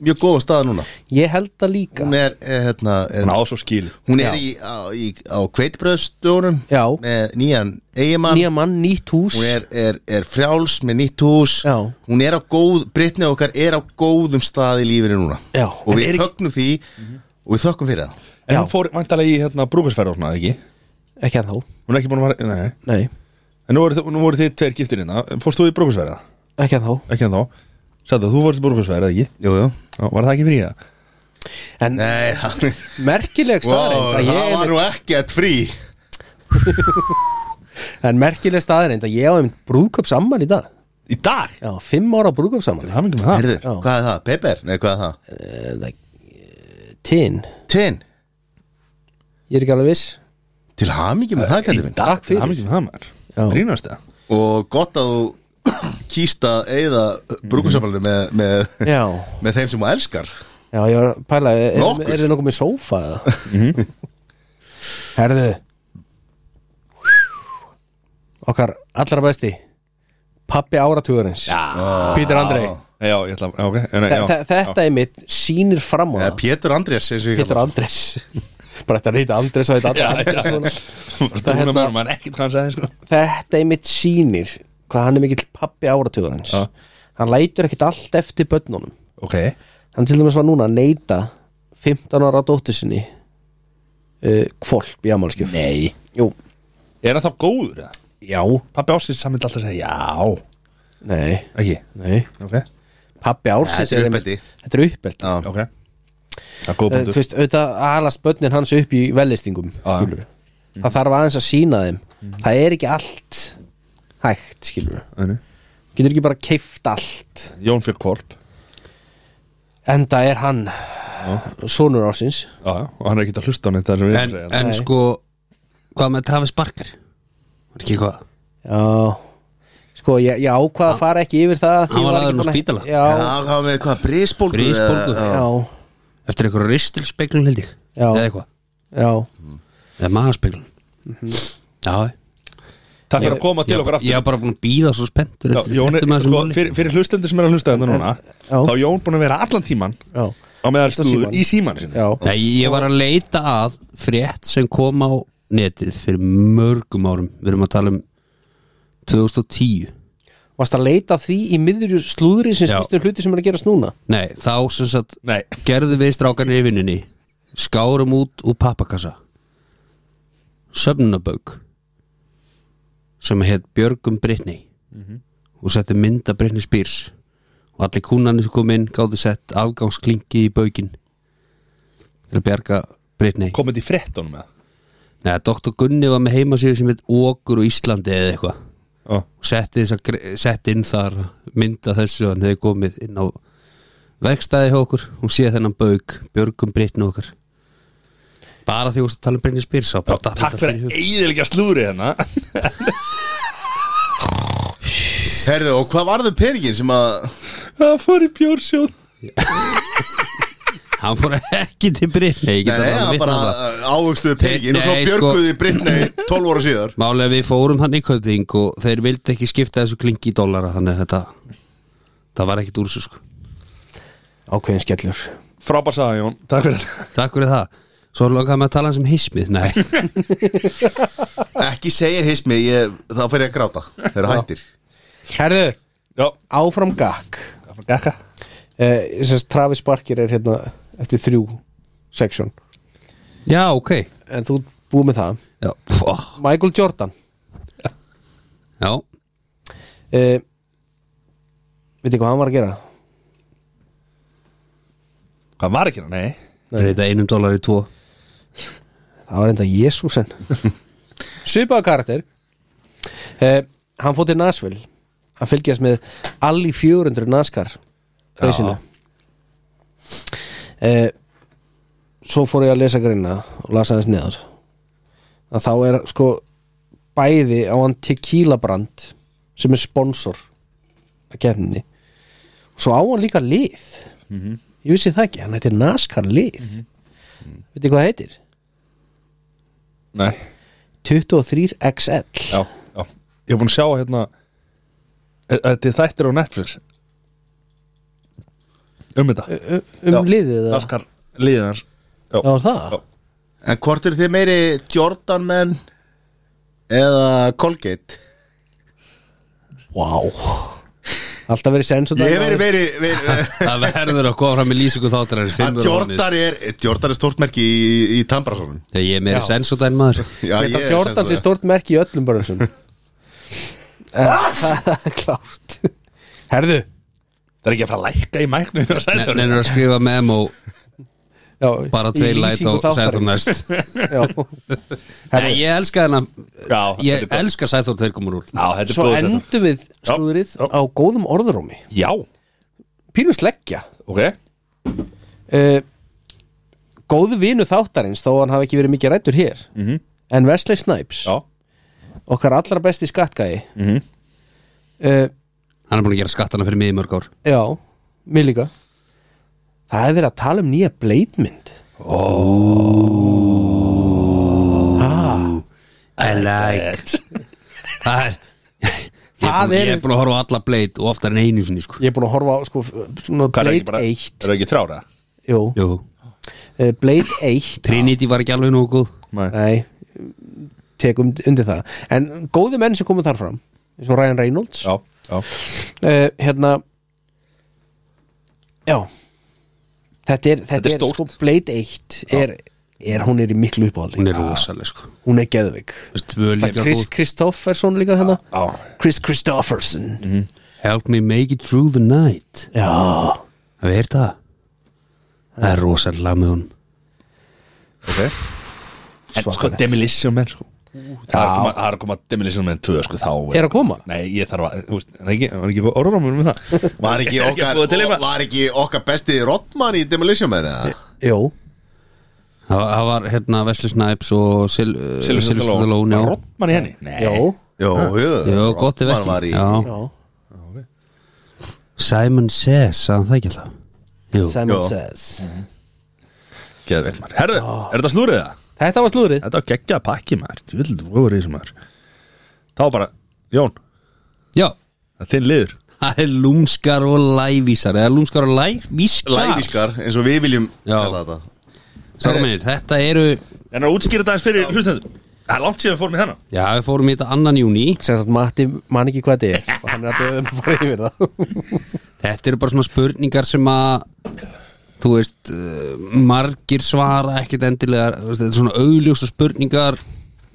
Speaker 1: mjög góða staða núna
Speaker 4: ég held það líka
Speaker 1: Hún er, er, hérna, er,
Speaker 3: Hún á svo skil
Speaker 1: hún er í, á, í, á kveitbröðstjórnum
Speaker 4: Já.
Speaker 1: með nýjan eigimann
Speaker 4: nýja mann, nýtt hús
Speaker 1: Hún er, er, er frjáls með nýtt hús
Speaker 4: Já.
Speaker 1: Hún er á góð, Brittany okkar er á góðum stað í lífinu núna
Speaker 4: Já.
Speaker 1: Og við þögnum því og við þökkum fyrir það
Speaker 3: En
Speaker 4: Já.
Speaker 3: hún fór vantalega í hérna brúkarsferð og svona, ekki?
Speaker 4: ekki að þá,
Speaker 3: Hún er ekki búin að vara, nei
Speaker 4: nei,
Speaker 3: En nú voru, þi- nú voru þið tveir giftir hérna Fórst þú í brúkarsferða?
Speaker 4: ekki að þá
Speaker 3: Ekki en þá Sætta, þú fórst í brúkarsferða, ekki?
Speaker 1: Jú, jú
Speaker 3: Já, var það ekki frí það?
Speaker 4: en
Speaker 1: Nei, það,
Speaker 4: merkileg staðreind
Speaker 1: wow,
Speaker 4: að ég
Speaker 1: það var nú ekkert frí
Speaker 4: en merkileg staðreind að ég á einmitt brúðköp saman í dag
Speaker 3: Í dag?
Speaker 4: já, fimm ára brúðköp saman
Speaker 3: Það mingum það
Speaker 1: Herður,
Speaker 4: Já.
Speaker 1: hvað er það? Pepper? Nei, hvað er það?
Speaker 4: tinn,
Speaker 1: Tin
Speaker 4: ég er ekki alveg viss
Speaker 1: Til hamingi með það, kallið minn
Speaker 4: Takk fyrir.
Speaker 3: Það mingum það
Speaker 4: Já.
Speaker 3: maður Brínast það
Speaker 1: Og gott að þú kýst að eigða brúkusamhælunum með, með,
Speaker 4: já,
Speaker 1: með þeim sem þú elskar
Speaker 4: já, ég var að pæla er,
Speaker 1: Með
Speaker 4: er,
Speaker 1: okkur?
Speaker 4: þið nokkuð með sófa eða herðu okkar allra besti pappi áratugurins já. Pítur Andrei
Speaker 3: Já, ég ætla að, já, ok já, nei,
Speaker 4: Þe-
Speaker 3: já,
Speaker 4: þe- þetta er mitt sínir fram á
Speaker 1: Eða
Speaker 4: það
Speaker 1: Pétur Andrés eins og ég
Speaker 4: Pétur
Speaker 1: kalla hann.
Speaker 4: Andrés bara þetta reyta Andrés að þetta Andrés svona.
Speaker 3: Varstu hún að maður, maður ekkert hvað hann sagði, sko
Speaker 4: þetta er mitt sýnir hvað hann er mikill pappi áratugur hans
Speaker 3: Já.
Speaker 4: hann lætur ekkit allt eftir börnunum
Speaker 3: Ok
Speaker 4: hann til dæmis var núna að neyta 15 ára dóttur sinni uh, kvolp í amálskjöf nei Jú,
Speaker 3: Er hann þá góður, eða?
Speaker 4: já,
Speaker 3: Pappi ásins samvind alltaf að segja já
Speaker 4: nei,
Speaker 3: Ekki
Speaker 4: nei
Speaker 3: Ok
Speaker 4: pappi ársins
Speaker 1: Þetta er
Speaker 4: einmitt-
Speaker 1: uppeldi.
Speaker 4: þetta er uppeldi
Speaker 1: Já.
Speaker 3: Ok Það er góð
Speaker 4: Eh, þú
Speaker 3: punktur
Speaker 4: veist, auðvitað aðalast börnin hans upp í vellistingum
Speaker 3: Já.
Speaker 4: skilur það þarf aðeins að sína þeim það er ekki allt hægt skilur
Speaker 3: Nei, nei.
Speaker 4: getur ekki bara keift allt
Speaker 3: Jón fyrir korp
Speaker 4: enda er hann sonur ársins
Speaker 3: Já, já, og hann er ekki að hlusta á neitt það sem við
Speaker 2: en,
Speaker 3: erum að segja.
Speaker 2: en
Speaker 4: Nei.
Speaker 2: sko hvað með Travis Barker var ekki hvað
Speaker 4: Já Sko, ég, ég ákvað að fara ekki yfir það því
Speaker 2: Hann
Speaker 4: ég
Speaker 2: var
Speaker 4: ekki
Speaker 2: lagður inn á
Speaker 4: búin að-
Speaker 2: spítala.
Speaker 4: Já,
Speaker 1: Já, hvað með hvað? Brísbólgu?
Speaker 2: Brisbólgu.
Speaker 1: Já,
Speaker 4: já,
Speaker 2: eftir einhverju ristilspeglun held ég
Speaker 4: Já.
Speaker 2: eða eitthvað,
Speaker 4: já
Speaker 2: eða magaspeglun
Speaker 3: Mhm.
Speaker 2: já,
Speaker 3: Takk fyrir að koma til
Speaker 2: ég-
Speaker 3: okkur
Speaker 2: ég
Speaker 3: aftur
Speaker 2: var bara búin að býða svo spenntur
Speaker 3: Já,
Speaker 2: eftir-
Speaker 3: Jón,
Speaker 2: eftir
Speaker 3: er,
Speaker 2: maður sem
Speaker 3: sko,
Speaker 2: máli.
Speaker 3: fyrir, fyrir hlustendur sem er að hlusta þetta núna
Speaker 4: Já.
Speaker 3: þá er Jón búin að vera allan tíman
Speaker 4: Já,
Speaker 3: á meðal
Speaker 4: Ítt á
Speaker 3: stúður
Speaker 4: símann.
Speaker 3: í síman sinni
Speaker 4: já,
Speaker 2: Nei, ég var að leita að frétt sem kom á netið fyrir mörgum árum við erum að tala um 2010
Speaker 4: Varst að leita að því í miðurju slúðri sem
Speaker 2: Já.
Speaker 4: skýstum hluti sem er að gerast núna
Speaker 2: Nei, þá sem sagt
Speaker 3: Nei,
Speaker 2: gerðum við strákarnir í vinnunni skárum út úr pappakassa sömnabögg sem hétt Björgum Brittany og setti mynda Brittany Spears og allir kúnarnir sem kom inn gáði sett afgangsklingi í bögin til að bjarga Brittany
Speaker 3: komið í frettunum með
Speaker 2: Nei, Dr. Gunni var með heimasíðu sem heit Ókur og Íslandi eða eitthvað
Speaker 3: það
Speaker 2: og setti, þessa, gre- setti inn þar mynda þessu að hann hefði komið inn á vegstæði hjá okkur hún sé þennan bauk, Björgum Brittnu okkar bara því þú varst að tala um Brynni Spyrs á bara datt mér
Speaker 3: Takk
Speaker 2: þetta
Speaker 3: fyrir
Speaker 2: allt í hug.
Speaker 3: að eigðilega slúðri hérna
Speaker 1: Herðu, og hvað varðu peningin sem að
Speaker 3: Það fór í bjórsjóð
Speaker 2: hann fór ekki til Brittni
Speaker 1: Nei, nei,
Speaker 2: um
Speaker 1: það bara ávöxtuðu peningin og svo
Speaker 2: Nei, sko-
Speaker 1: björguðu sko... Brittany 12 ára síðar
Speaker 2: Málega við fórum hann í köðing og þeir vildi ekki skipta þessu klingi í dollara þannig að þetta það var ekkit úr þessu sko
Speaker 4: Ákveðin skellur
Speaker 3: Frábær saga Jón, takk fyrir þetta
Speaker 2: Takk fyrir það Svo lokaði maður að tala hans um hismið Nei,
Speaker 1: Ekki segja hismi, ég, þá fer ég að gráta Þeir eru hættir
Speaker 4: Herðu,
Speaker 3: Já,
Speaker 4: áfram gakk
Speaker 3: það fór gekka
Speaker 4: eh, sem sagt, Travis Barker er hérna eftir þrjú section
Speaker 2: já, ok
Speaker 4: En þú ert búið með það
Speaker 2: Já, fó-
Speaker 4: Michael Jordan
Speaker 2: já.
Speaker 4: eh, Veitir hvað hann var að gera?
Speaker 3: Hvað var ekki hérna, nei
Speaker 2: reyta einum dólar í tvo
Speaker 4: Það var enda Jésúsen Svipaða karakter eh, Hann fótt í Nashville Hann fylgjast með allir 400 NASCAR reysinu eh, Svo fór ég að lesa greina og lasa þess neður að þá er sko bæði á hann tequila brand sem er sponsor kefninni svo á hann líka lið ég vissi það ekki, hann heitir NASCAR lið mm veitir hvað það heitir?
Speaker 3: Nei,
Speaker 4: 23XL
Speaker 3: já, já Ég hef búin að sjá hérna e- Þetta er þættir á Netflix Um þetta
Speaker 4: um, um
Speaker 3: Já.
Speaker 4: liðið það
Speaker 3: Naskar liðið hans
Speaker 4: Já, var það?
Speaker 3: Já.
Speaker 1: En hvort eru þið meiri Jordan menn eða Colgate?
Speaker 4: Vá Alltaf verið sensor
Speaker 1: Ég hef verið meiri, meiri
Speaker 2: Það verður að koma fram með lýsingu þáttir
Speaker 1: að Jordan er, Jordan er stórt merki í, í Tambrarsonum
Speaker 2: Ég er meira
Speaker 4: Já.
Speaker 2: sensodæn maður
Speaker 1: Já,
Speaker 4: Þetta
Speaker 1: ég er
Speaker 4: Jordans
Speaker 1: sem
Speaker 4: er
Speaker 1: sagt
Speaker 4: stort merki í öllum börnsum Það er klárt Herðu
Speaker 3: Það er ekki að fara að lækka í mæknu
Speaker 2: Nennir að skrifa memo
Speaker 4: já,
Speaker 2: Bara
Speaker 4: í
Speaker 2: tveir læt
Speaker 4: lýsingu
Speaker 2: og Sæþór
Speaker 4: þáttarins.
Speaker 2: næst
Speaker 4: Já.
Speaker 2: Nei, ég elska þennan
Speaker 3: Já,
Speaker 2: Ég
Speaker 3: þetta er gott.
Speaker 2: elska Sæþór þeir komur úr
Speaker 3: Já, þetta er
Speaker 4: Svo
Speaker 3: góð þetta.
Speaker 4: endum við slúðrið
Speaker 3: Já.
Speaker 4: á góðum orðurómi
Speaker 3: Já,
Speaker 4: Pínum sleggja
Speaker 3: ok
Speaker 4: uh, Góðu vinu þáttarins þó hann hafi ekki verið mikið rættur hér -hmm. en Wesley Snipes
Speaker 3: Mhm. Já,
Speaker 4: okkar allra besti eh, skattgæði mm
Speaker 3: Mhm.
Speaker 2: Hann er búin að gera skattana fyrir mig í mörg ár
Speaker 4: Já, mér líka Það er verið að tala um nýja bleitmynd
Speaker 2: I like Það er Ég er
Speaker 4: Það
Speaker 2: búin-
Speaker 4: eru-
Speaker 2: ég er búin að horfa á alla bleit og oftar en einu sinni sko
Speaker 4: Ég er búin að horfa á sko, svona
Speaker 3: Hvað er ekki
Speaker 4: Blade
Speaker 3: bara-
Speaker 4: 1
Speaker 3: Er það ekki þrára?
Speaker 4: Jú,
Speaker 2: Jú,
Speaker 4: uh, Blade 1
Speaker 2: Trinity var ekki alveg nógu góð
Speaker 3: Nei
Speaker 4: Nei, tekum undir það En góði menn sem komu þar fram eins og Ryan Reynolds
Speaker 3: Já, já
Speaker 4: uh, Hérna Já Þetta er, þetta
Speaker 3: Þetta er
Speaker 4: er,
Speaker 3: stórt.
Speaker 4: sko Blade 1 er, er, hún er í miklu uppáhaldi
Speaker 2: Hún er rosaleg sko
Speaker 4: Hún er geðveik
Speaker 2: Tvöleikja
Speaker 4: Chris
Speaker 2: góð
Speaker 4: Kristofferson líka hérna
Speaker 3: Já,
Speaker 4: Chris Kristofferson
Speaker 2: Help me make it through the night
Speaker 4: Já
Speaker 2: Hafið heyrt það? Það er rosalega lag með hún
Speaker 3: ok En sko,
Speaker 4: Svakalegt.
Speaker 3: demolition menn sko Það er að
Speaker 4: Já.
Speaker 3: koma- það er að koma demolition menn 2 sko þá
Speaker 4: Er að koma?
Speaker 3: Nei, ég þarf að, þú veist, er ekki, er ekki orðrómur um það
Speaker 1: Var ekki,
Speaker 3: Ég er ekki
Speaker 1: okkar,
Speaker 3: búið til eitthvað.
Speaker 1: var ekki okkar besti Rodman í Demolition Man eða?
Speaker 4: Jó
Speaker 2: Það var- það var hérna Wesley Snipes og Sil- uh, Sylvester Stallone já.
Speaker 3: Rottmann í henni? Nei
Speaker 4: Jó
Speaker 1: Jó, jú,
Speaker 2: Jó, gott ef
Speaker 1: Rodman var í
Speaker 2: ekki já.
Speaker 4: Já
Speaker 2: Simon Says, sagði hann það ekki alltaf Jú,
Speaker 4: Simon
Speaker 1: Já.
Speaker 4: Says
Speaker 3: Geðveikt maður Herðu, er þetta slúrið það?
Speaker 4: Þetta var slúðrið
Speaker 3: Þetta var geggjað pakki maður Tjöld voru í þessum maður Þá bara, Jón,
Speaker 2: já
Speaker 3: það er þinn liður
Speaker 2: Það er lúmskar og lævísar Eða lúmskar og lævískar
Speaker 1: Lævískar, eins og við viljum
Speaker 2: Já.
Speaker 1: kalla þetta
Speaker 2: Sára minn, þetta eru
Speaker 3: En að útskýra þetta eins fyrir hlustendum Það er langt síðan við fórum í þennan
Speaker 2: Já, við fórum í þetta annan júni
Speaker 4: Sem sagt Matti man ekki hvað þetta er Og hann er að beða um að fara yfir það
Speaker 2: Þetta eru bara svona spurningar sem að Þú veist, uh, margir svara ekkit endilega þú veist, Þetta er svona augljósa spurningar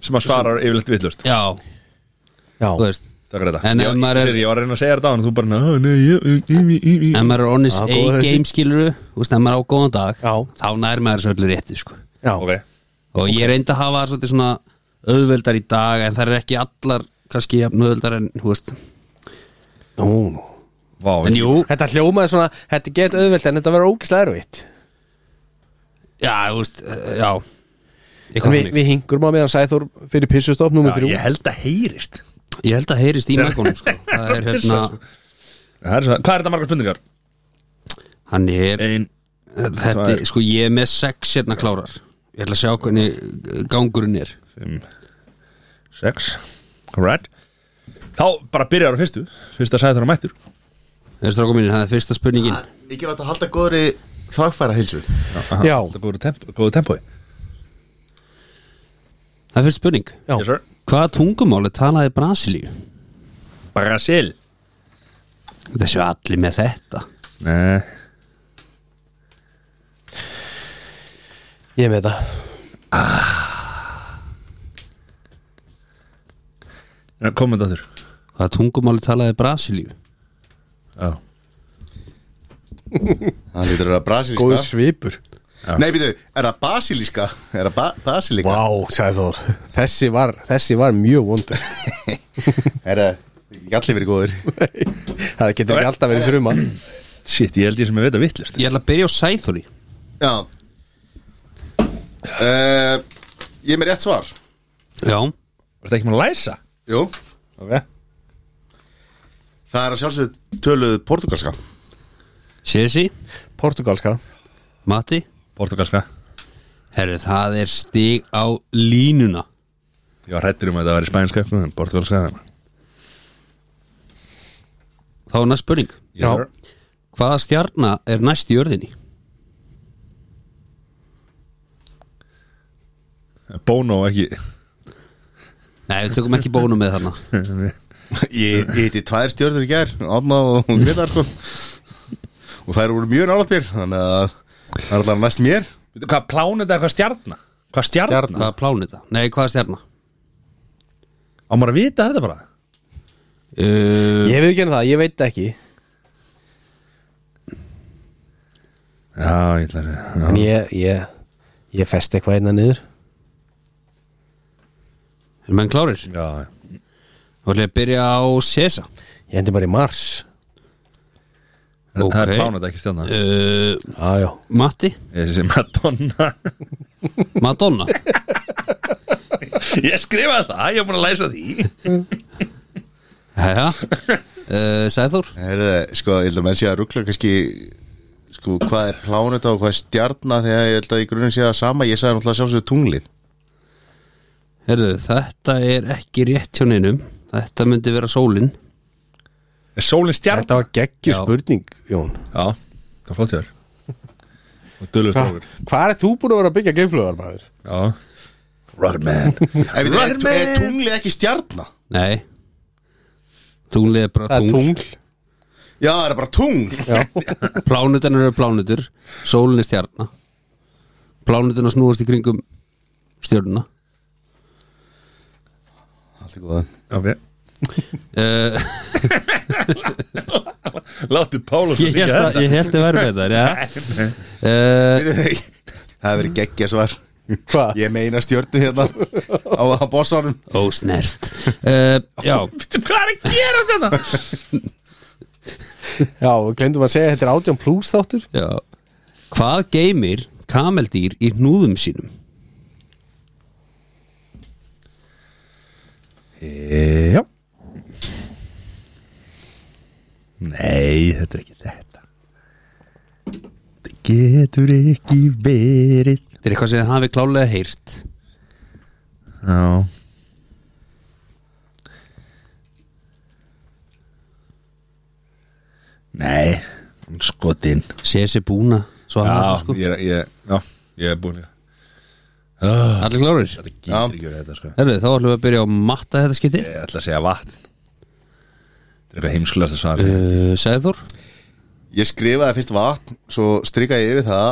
Speaker 3: Sem að svarar yfirleitt villust
Speaker 2: Já, þú
Speaker 4: Já
Speaker 2: veist
Speaker 3: Takk fyrir þetta
Speaker 2: En ef
Speaker 3: Ég,
Speaker 2: maður
Speaker 3: ég,
Speaker 2: er-
Speaker 3: sér, ég var að reyna að segja þetta á hann Þú bara, "Ná, nei, ég, ég, ég, ég, ég.
Speaker 2: Ef maður er honest
Speaker 4: Já, góð
Speaker 2: A
Speaker 4: þessi.
Speaker 2: game skiluru Þú veist, ef maður er á góðan dag
Speaker 4: Já.
Speaker 2: Þá nær maður þessu öllu rétti, sko
Speaker 4: Já
Speaker 3: Ok,
Speaker 2: Og ég reyndi að hafa svolítið svona auðveldar í dag En það er ekki allar, kannski, jafn auðveldar en, þú veist
Speaker 4: Nú
Speaker 3: vá
Speaker 2: En jú,
Speaker 4: Þetta hljómaði svona Þetta get auðvelt en þetta verður ógislega erfitt
Speaker 2: já, þú veist, uh, já
Speaker 4: En
Speaker 2: Eitthvað
Speaker 4: við,
Speaker 2: þannig.
Speaker 4: við hingurum að meðan Sæþór fyrir pissustopp nummer
Speaker 3: Já,
Speaker 4: þrjú
Speaker 3: Ég held að heyrist
Speaker 2: Ég held að heyrist í mækónum, sko Það er hérna,
Speaker 3: Það er svo- Hvað er þetta margar spurningar?
Speaker 2: hann er
Speaker 3: Ein
Speaker 2: Þetta,
Speaker 3: Tvær.
Speaker 2: sko, ég er með sex hérna klárar Ég ætla að sjá hvernig uh, gangurinn er
Speaker 3: fimm, sex Alright Þá bara byrjar á fyrstu Fyrsta sæður á mættur
Speaker 2: Þessi strákum mínir, það er fyrsta spurningin
Speaker 1: Mikilvægt að halda góðri þagfæra hilsu
Speaker 3: Aha,
Speaker 4: Já.
Speaker 3: Þetta er góðu temp- góðu tempói
Speaker 2: Það er fyrsta spurning
Speaker 4: Já.
Speaker 3: Yes sir
Speaker 2: Hvaða tungumáli talaði Brasilíu?
Speaker 3: Brasil
Speaker 2: Þetta séu allir með þetta
Speaker 3: Nei
Speaker 4: Ég er með þetta
Speaker 3: Komum þetta þurr
Speaker 2: Hvaða tungumáli talaði Brasilíu?
Speaker 3: Já
Speaker 1: Það lítur að vera
Speaker 4: Góð
Speaker 1: brasilíska
Speaker 4: svipur
Speaker 1: Nei, býtu, er það basilíska? Er það ba basilíka?
Speaker 4: Vá, Sæþór Þessi var, þessi var mjög vondur
Speaker 1: Er það ekki allir verið góður?
Speaker 4: Það getur ekki alltaf verið þrjum mann
Speaker 3: Shit, ég held ég sem ég veit að vitlust
Speaker 2: Ég ætla að byrja á Sæþóri
Speaker 1: Já uh, Ég er með rétt svar
Speaker 2: Já,
Speaker 3: Var þetta ekki maður að læsa?
Speaker 1: Jú
Speaker 3: Ok
Speaker 1: Það er að sjálfsögðu töluðu portugalska
Speaker 2: Sessi,
Speaker 4: Portugalska
Speaker 2: Matti
Speaker 3: Portugalska
Speaker 2: Herru, það er stig á línuna
Speaker 3: Ég var hrættur um að þetta væri spænska sko, en Portugalska þannig
Speaker 2: Þá er næst spurning
Speaker 3: Yes, sir.
Speaker 2: Hvaða stjarna er næst í jörðinni?
Speaker 3: Bono ekki
Speaker 2: Nei, við tökum ekki bónum með þarna
Speaker 1: Ég ég hitti tvær stjörnur í gær Átna og Grétar sko. Og þær voru mjög nálægt mér Þannig að það er alltaf næst mér
Speaker 3: Veitu, Hvað plánið þetta, hvað stjarna? Hvað stjarna?
Speaker 4: Stjarna.
Speaker 2: Hvaða plánita? Nei, hvaða stjarna?
Speaker 3: Á maður að vita þetta bara
Speaker 2: Uh,
Speaker 4: Ég veit ekki um það, ég veit ekki
Speaker 3: Já, ég ætla að segja,
Speaker 4: En ég, ég, ég festi eitthvað einna niður
Speaker 2: er menn klárir?
Speaker 3: já, já.
Speaker 2: Þá ætlum ég að byrja á Sessa
Speaker 4: Ég endi bara í Mars
Speaker 3: Það okay. er
Speaker 2: Ok.
Speaker 3: plánið þetta ekki stjarna
Speaker 2: uh,
Speaker 4: Já, já
Speaker 2: Matti,
Speaker 3: Ég sé Madonna
Speaker 2: Madonna
Speaker 3: Ég skrifaði það, ég er búin að læsa því
Speaker 2: Jæja uh, Sæður
Speaker 1: Herðu, sko, ég held að menn sé að ruggla kannski sko, hvað er pláneta og hvað er stjarna þegar ég held að í grunin sé það sama ég sagði náttúrulega sjálfsögðu tunglið
Speaker 2: Herðu, þetta er ekki rétt hjá neinum Þetta myndi vera sólin
Speaker 3: Er sólin stjarna?
Speaker 4: Þetta var geggju
Speaker 2: Já.
Speaker 4: spurning, Jón
Speaker 3: Já, það er flott hjá þér Og dölur strókur
Speaker 4: Hvað er þú búin að vera að byggja geimflugar, maður?
Speaker 3: Já Rocketman
Speaker 1: Ef við er, er tunglið ekki stjarna?
Speaker 2: Nei Tunglið er bara
Speaker 4: Það er
Speaker 2: tungl
Speaker 4: tungl
Speaker 1: Já, það er bara tungl
Speaker 2: Plánutan eru plánutur Sólin er stjarna Plánutuna snúast í kringum stjörnuna
Speaker 1: Allt í góða
Speaker 3: Ok
Speaker 2: uh,
Speaker 3: Láttu Pálus
Speaker 2: Ég held að ég held að vera með það ja. uh,
Speaker 1: Það hefur verið geggja svar
Speaker 4: Hvað?
Speaker 1: Ég meina stjörnu hérna á, á bossanum
Speaker 2: Ósnert uh, Já,
Speaker 3: Hvað er að gera þetta?
Speaker 4: Já, við glemdum að segja að þetta er átján plus þáttur
Speaker 2: já Hvað geymir kameldýr í hnúðum sínum?
Speaker 3: Já Nei, þetta er ekki þetta Þetta getur ekki verið
Speaker 2: Þetta er eitthvað sem það hafi klálega heyrt
Speaker 3: Já Nei, hún skotinn
Speaker 2: Sesi búna Svo hann
Speaker 3: Já,
Speaker 2: var sko.
Speaker 3: ég er, ég, já, ég er búin í það.
Speaker 2: Allir klárir
Speaker 3: Þetta getur
Speaker 1: Já.
Speaker 3: ekki verið þetta sko
Speaker 2: Herðu, þá ætlum við að byrja á matta þetta skipti
Speaker 3: Ég ætla að segja vatn Þetta er eitthvað heimskulegast að svara uh.
Speaker 2: uh, Sæður
Speaker 1: Ég skrifaði fyrst vatn, svo strikaði ég yfir það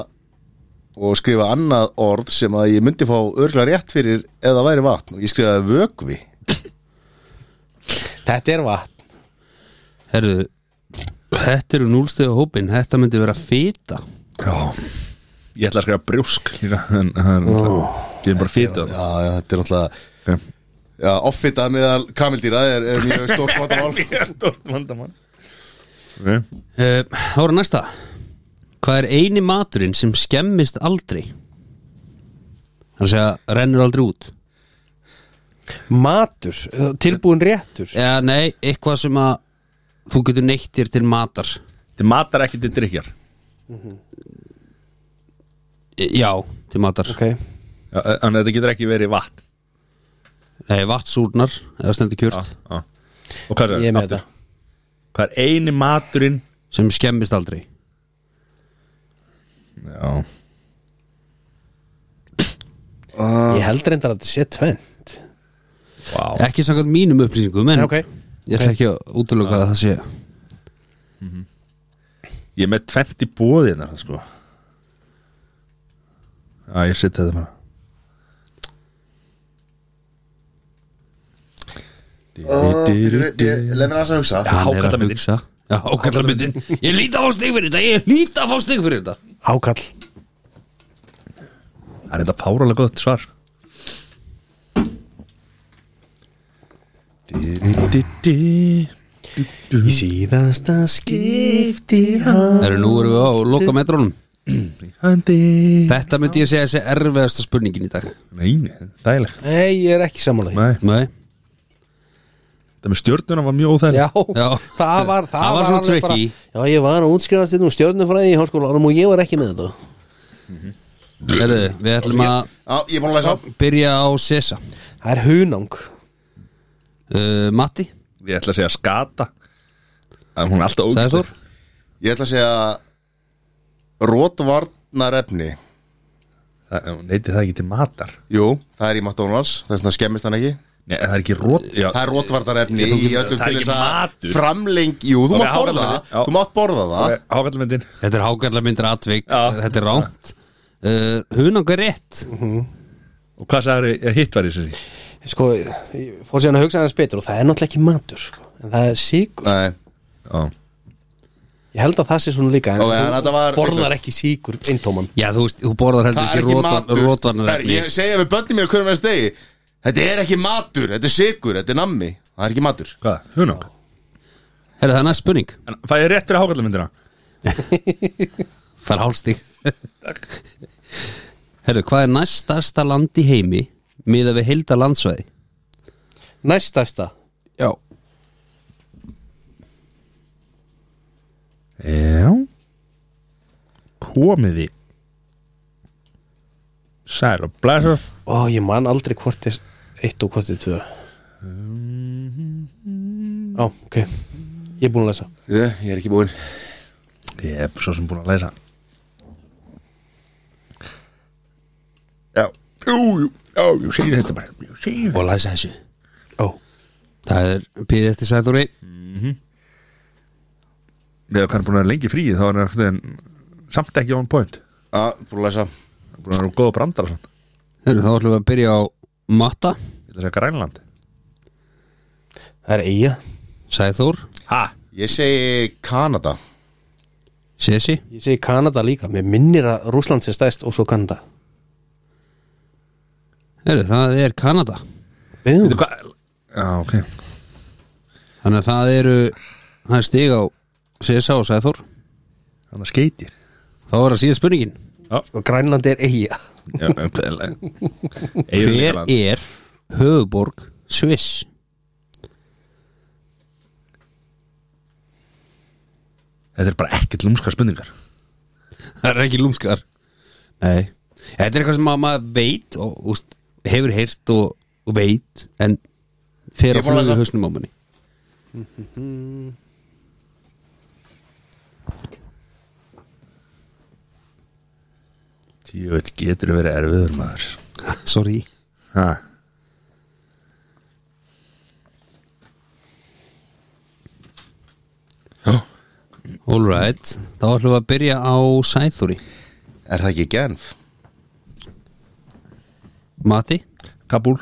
Speaker 1: og skrifaði annað orð sem að ég myndi fá örgla rétt fyrir eða væri vatn og ég skrifaði vögvi
Speaker 4: Þetta er vatn
Speaker 2: Herðu, þetta eru núlstöðu hópin Þetta myndi vera fita
Speaker 3: Já Ég ætla að skrifa brjósk líka En það er Ég er bara fýta
Speaker 1: Já, já, þetta er náttúrulega
Speaker 3: okay.
Speaker 1: Já, offitað meðal kamildýra er, er mjög stórt vandamál
Speaker 3: Ég er stórt vandamann okay.
Speaker 2: uh, Þá er næsta Hvað er eini maturinn sem skemmist aldrei? Það er að segja, rennur aldrei út
Speaker 4: Matur, tilbúin réttur
Speaker 2: Eða nei, eitthvað sem að þú getur neitt þér til matar
Speaker 3: Þið matar ekki til drikjar
Speaker 2: E- Já, til matar
Speaker 4: Ok,
Speaker 3: Þannig að þetta getur ekki verið vatn
Speaker 2: Nei, vatsúrnar, Eh, eða stendur kjört
Speaker 3: Já, já. Og hvað
Speaker 4: ég er
Speaker 3: er
Speaker 4: með
Speaker 3: aftur? Hvað er eini maturinn
Speaker 2: sem skemmist aldrei
Speaker 3: Já
Speaker 4: þetta Ég held reyndar að þetta sé tvend
Speaker 3: Vá
Speaker 2: Ekki samkvæmt mínum upplýsingum en
Speaker 4: Ok,
Speaker 2: ég ætla ekki að útlöka að það sé
Speaker 3: Ég er með tvent í bóðina sko. Já, ég hérna. setja þetta bara
Speaker 1: Leif mér aðeins að hugsa
Speaker 3: Já.
Speaker 2: Hann er að
Speaker 3: hákarlamyndin.
Speaker 2: hugsa. Já, hákallamyndin Ég líti að fá stig fyrir þetta Ég líti að fá stig fyrir þetta
Speaker 4: hákall
Speaker 3: Það er þetta fáralega gott svar
Speaker 4: Í síðasta skipti hann
Speaker 2: Eru nú erum við á loka metrónum
Speaker 3: Nei,
Speaker 2: Þetta myndi ég segja þessi erfiðasta spurningin í dag
Speaker 3: nei, dægileg
Speaker 4: Nei, ég er ekki sammála því
Speaker 3: Nei,
Speaker 2: Nei,
Speaker 3: þetta Það með stjörnuna var mjög óþægilegt
Speaker 4: Já,
Speaker 2: Já.
Speaker 4: það var
Speaker 2: Það var svona
Speaker 4: alveg bara,
Speaker 2: tricky.
Speaker 4: Já, ég var að útskrifast þetta um stjörnufræði í háskólanum og ég var ekki með þetta
Speaker 2: Herðu, við ætlum að
Speaker 1: Já, ég er búin að læsa á
Speaker 2: byrja á Sessa
Speaker 4: Það er hunang
Speaker 2: uh, Matti,
Speaker 3: Ég ætla að segja skata að Hún er alltaf
Speaker 2: sagði Þór
Speaker 3: ógæstur
Speaker 1: Ég ætla að segja Rótvarnarefni
Speaker 3: Neiti það ekki til matar
Speaker 1: Jú, það er í McDonalds, þess vegna skemmist hann ekki
Speaker 3: Nei, það er ekki rót Já,
Speaker 1: Það er rótvarnarefni
Speaker 3: Ég tók
Speaker 1: í
Speaker 3: ekki-
Speaker 1: öllum til
Speaker 3: það er ekki
Speaker 1: þess að
Speaker 3: matur.
Speaker 1: framleng Jú, þú
Speaker 3: Ok,
Speaker 1: mátt borða það
Speaker 3: hákarlamyndin, já.
Speaker 1: Þú mátt borða það
Speaker 3: Hákallamyndin
Speaker 2: Þetta er hákarla myndir atvik,
Speaker 3: Já.
Speaker 2: þetta er ránt uh, Hunang er rétt
Speaker 3: Og hvað sagði að hitt var í sér
Speaker 4: Sko, ég fór síðan að hugsa hans betur og það er náttúrulega ekki matur sko. en það er síkur
Speaker 1: Nei,
Speaker 4: Ég held að það sé svona líka en
Speaker 1: Ok, en þetta var-
Speaker 4: borðar ekki síkur eintóman
Speaker 2: Já, þú veist, þú borðar
Speaker 1: það er
Speaker 2: heldur
Speaker 1: ekki
Speaker 2: ekki
Speaker 1: matur Það er-
Speaker 2: rótvarnarefni
Speaker 1: Ég segja við bönni mér hverjum veist degi Þetta er ekki matur, þetta er sigur, þetta er nammi Það er ekki matur
Speaker 3: Hvað? Hunang
Speaker 2: Herðu, það er næst spurning
Speaker 3: En fæ ég rétt fyrir hákallamyndina
Speaker 2: Það er hálstig Herðu, hvað er næstasta land í heimi miða við heilda landsvæði?
Speaker 4: Næstasta
Speaker 2: Já
Speaker 3: Já Komiði Sæl og blæsar
Speaker 4: Ó, ég man aldrei hvort er eitt og hvort er tvö Ó, ok Ég er búin að lesa
Speaker 1: Ég ég er ekki búinn
Speaker 3: Ég er svo sem búin að læsa Já Jú, jú, já, jú, segir þetta bara Jú, segir
Speaker 2: Og læsa þessu
Speaker 4: Ó,
Speaker 2: Það er píðið eftir sæðúri
Speaker 3: Við erum kannski búin að vera lengi í fríi þá er hann einhvern veginn samt ekki on point
Speaker 1: Já, búin að læsa
Speaker 3: Búin að vera góða brandar og svona
Speaker 2: Herðu, þá ætlum við að byrja á Matta
Speaker 3: Ég ætla að segja Grænland
Speaker 4: það er eiga
Speaker 2: Sæðúr,
Speaker 3: Ha?
Speaker 1: Ég segi Kanada
Speaker 2: Sessi
Speaker 4: Ég segi Kanada líka, mér minnir að Rússland sé stæst og svo Kanada
Speaker 2: Herðu, það er Kanada
Speaker 4: Bum,
Speaker 3: Veitu hvað? Já, ok
Speaker 2: Þannig að það eru Það er stig á Sessa og Sæðúr
Speaker 3: Þannig að skeitir
Speaker 2: Þá var það síða spurningin
Speaker 4: sko, Grænland er eiga
Speaker 3: Hver
Speaker 2: Hver er höfuborg Sviss?
Speaker 3: Þetta er bara ekkert lúmska spurningar
Speaker 2: Það er ekki lúmskar Nei, þetta er eitthvað sem að maður veit og úst, hefur heyrt og, og veit en fer
Speaker 1: Ég
Speaker 2: að
Speaker 1: fór að
Speaker 2: flöðu
Speaker 1: lesa.
Speaker 2: hausnum á manni
Speaker 3: Tíu veit getur verið erfiður maður
Speaker 2: Sorry
Speaker 3: Ha?
Speaker 2: All right, þá ætlum við að byrja á Sæþúri
Speaker 1: Er það ekki Genf?
Speaker 2: Mati,
Speaker 3: Kabul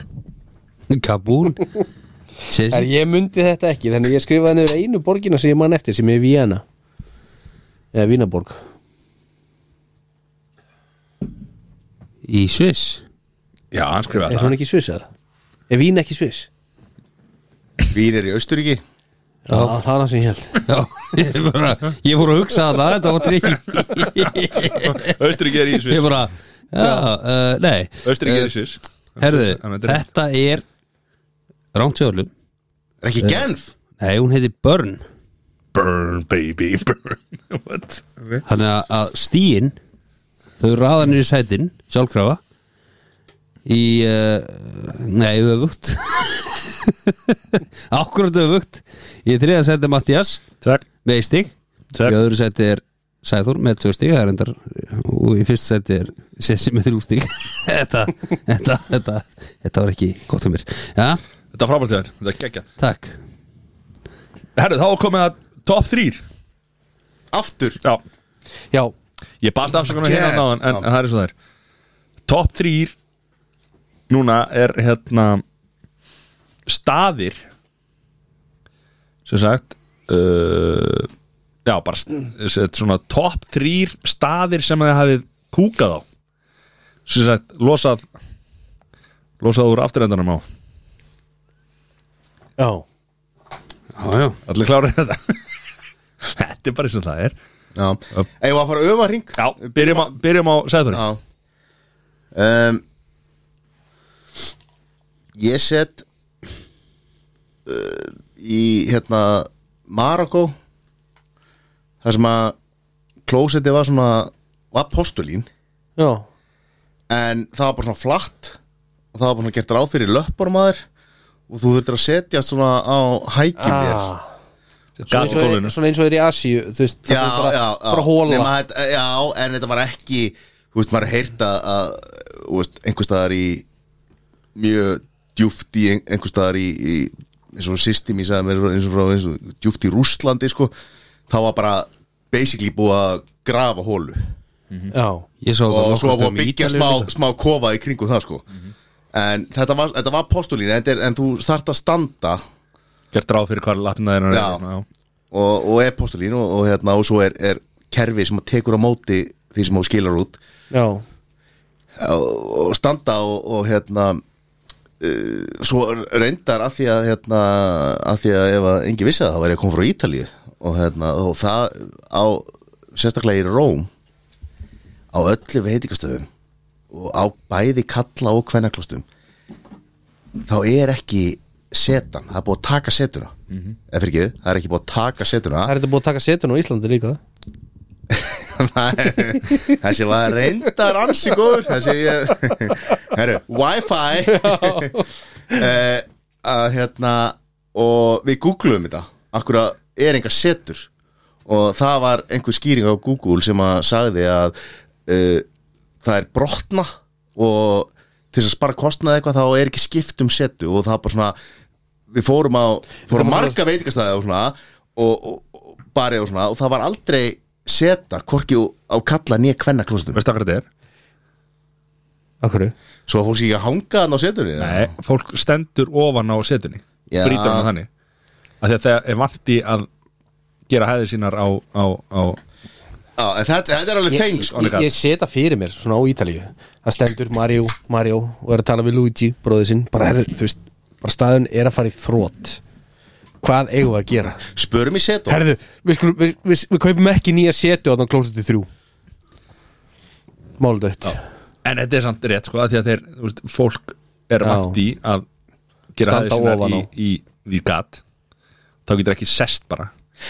Speaker 2: Kabul
Speaker 4: Er
Speaker 2: Sessi,
Speaker 4: ég myndi þetta ekki, þannig ég skrifaði niður einu borgina sem ég man eftir sem er Víana eða Vínaborg
Speaker 2: í Sviss
Speaker 3: Já, hann skrifaði
Speaker 4: Er
Speaker 3: það
Speaker 4: hún ekki sviss eða? Er Vín ekki sviss?
Speaker 1: Vín er í Austuríki
Speaker 4: Já, það er það sem ég held
Speaker 2: Já, ég, bara, ég fór að hugsa að það, þetta var trikki
Speaker 3: Austuríki er í
Speaker 2: Ég
Speaker 3: Sviss
Speaker 2: bara, já, uh, nei
Speaker 3: Austuríki
Speaker 2: Eh,
Speaker 3: er í Sviss
Speaker 2: Herðu, þetta er Ránt hjálum
Speaker 1: Er ekki Genf?
Speaker 2: Nei, hún heiti Börn
Speaker 3: Burn baby burn What? Okay.
Speaker 2: Þannig að- að stíin Þau ráða niður í sætin Sjálfkrafa Í, uh, nei, öfugt Akkurat öfugt Í þriða sæti Mattias
Speaker 3: Takk
Speaker 2: Með eitt stig
Speaker 3: Tvö.
Speaker 2: Í öðru sæti er Sæður með tvö stig það er endar, Og í fyrst sæti er Sessi með þrjú stig þetta, þetta, þetta, þetta var ekki gott um mér Já,
Speaker 3: Þetta er frábært hjá þér, þetta er geggja
Speaker 2: takk
Speaker 3: Herru, þá er komið að top 3
Speaker 1: Aftur
Speaker 3: Já,
Speaker 4: Já,
Speaker 3: ég baðst afsökunar hérna
Speaker 1: Yeah.
Speaker 3: náðan en
Speaker 1: Já.
Speaker 3: en það er svo það er Top 3 Núna er hérna Staðir Sem sagt uh, Já, bara st- sem sagt, svona top 3 staðir sem þið hafið kúkað á Sem sagt, losað Losað úr afturrendanum á
Speaker 4: já,
Speaker 2: Já, já
Speaker 3: Allir klárið þetta Þetta er bara eins og það er
Speaker 1: Já Eða að fara að öfa hring?
Speaker 3: Já, byrjum á, byrjum á sæður
Speaker 1: Já um, Ég set uh, í hérna Marokko þar sem að klósetti var svona var postulín
Speaker 4: já,
Speaker 1: en það var bara svona flatt og það var bara svona gert ráð fyrir löppar maður og þú þurftir að setja svona á hækjum þér
Speaker 4: ah, svona,
Speaker 3: Gat
Speaker 4: eins
Speaker 3: í
Speaker 4: og,
Speaker 3: gólfinu.
Speaker 4: svona eins og er í Asíu þú veist,
Speaker 1: já,
Speaker 4: það er bara,
Speaker 1: já, já,
Speaker 4: bara hóla
Speaker 1: Nema þetta- já, en þetta var ekki þú veist, maður heyrt að, að þú veist, einhvers staðar í mjög djúft í ein- einhvers staðar í, í eins og system í sagði mér eins og frá eins og djúft í Rússlandi sko, þá var bara basically búið að grafa hólu
Speaker 4: já,
Speaker 2: Ég sá
Speaker 1: og svo var
Speaker 2: nokkrum
Speaker 1: að byggja
Speaker 2: stöðum í
Speaker 1: smá,
Speaker 2: Ítalíu líka.
Speaker 1: smá kofa í kringum það sko en þetta var, þetta var postulín en, þetta er- en þú þarft að standa
Speaker 3: Gert ráð fyrir hvar hérna, lappina þeirra
Speaker 1: Já. og, og er postulín og, og, hérna, og svo er, er kerfi sem að tekur á móti því sem þú skilar út
Speaker 4: já,
Speaker 1: og, og standa og, og hérna uh, svo reyndar að því að hérna, að því að ef að engi vissi það þá væri ég að koma frá Ítalíu og hérna og það á sérstaklega í Róm á öllu veitingastöðum og á bæði kalla og kvennaklostum þá er ekki setan, það er búið að taka setuna mm -hmm. eða fyrir ekki, það er ekki búið að taka setuna
Speaker 4: Mhm. það er þetta búið að taka setun á Íslandi líka
Speaker 1: Nei, þessi var reyndar ansi góður þessi ég herru, wifi uh, að hérna og við googluðum þetta akkur að er enga setur og það var einhver skýring á Google sem að sagði að uh, það er brotna og til þess að spara kostnaði eitthvað þá er ekki skipt um setu og það er bara svona við fórum á, fórum á marga veitingastæði og svona og, og, og bari og svona og það var aldrei seta, hvorki á kalla nýja kvenna klósetum
Speaker 3: Veistu hvað þetta er?
Speaker 4: Akkur?
Speaker 1: svo fólk sé ekki að hanga þann á setunni eða?
Speaker 3: Nei, fólk stendur ofan á setunni
Speaker 1: Já.
Speaker 3: Brýtur hann þannig Af því að það er vandi að gera hæðir sínar á, á, á
Speaker 1: Já, en þetta, þetta er alveg þeng sko.
Speaker 4: ég, ég seta fyrir mér svona á Ítalíu það stendur Mario, Mario og er að tala við Luigi, bróðið sinn bara, er, þú veist, bara staðun er að fara í þrótt hvað eigum við að gera
Speaker 1: spörum í setu
Speaker 4: herðu, við, skulum, við, við, við kaupum ekki nýja setu á þann klósetu þrjú máldögt
Speaker 3: En þetta er samt rétt sko af Því að þeir, þú veist, fólk er
Speaker 4: Já.
Speaker 3: vandi að gera
Speaker 4: Standa
Speaker 3: hæðir
Speaker 4: ofan
Speaker 3: sínar
Speaker 4: á.
Speaker 3: í, í, í gat Þá getur ekki sest bara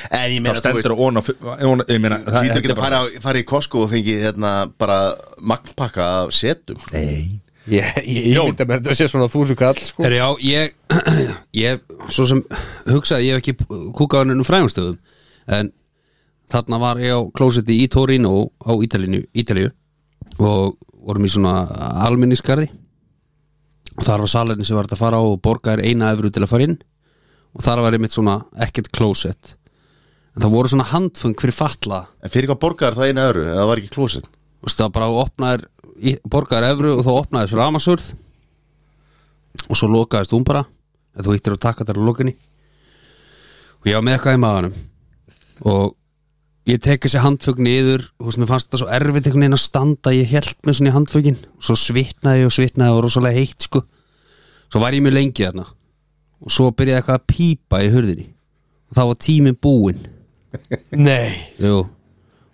Speaker 1: en ég
Speaker 3: Það
Speaker 1: meina, þú veist,
Speaker 3: stendur ofan á ofan á- Ég meina, það
Speaker 1: Lítur
Speaker 3: þetta
Speaker 1: ekki
Speaker 3: er
Speaker 1: að fara, á- fara í Costco og fengi hérna bara magnpakka af setum
Speaker 3: Nei
Speaker 4: ég, ég, ég
Speaker 3: Jón.
Speaker 4: mynda mér að þetta sé svona þúsu kall sko.
Speaker 2: Herri, já, ég, ég svo sem hugsaði, ég hef ekki kúkað hann um frægumstöðum en þarna var ég á klósetti í Torino á Ítalíu, Ítalíu og vorum í svona alminniskarði og þar var salinni sem var þetta að fara á og borga er eina efru til að fara inn og þar var einmitt svona ekkert klósett en það voru svona handfung fyrir fatla
Speaker 1: en fyrir hvað borgar það einu öru, það var ekki klóset
Speaker 2: Þú veist, það bara opnaðir í- borgaðir evru og þá opnaðir svo ramasurð og svo lokaðist hún bara eða þú hittir að taka þar á lokinni og ég var með eitthvað í maðanum og ég tek þessi handfögg niður þú veist, mér fannst það svo erfitt einhvern veginn að standa ég held með svona í handföggin og svo svitnaði ég og svitnaði og rosalega heitt sko svo var ég mjög lengi þarna og svo byrjaði eitthvað að pípa í hurðinni og þá var tíminn búinn
Speaker 4: nei,
Speaker 2: Jú,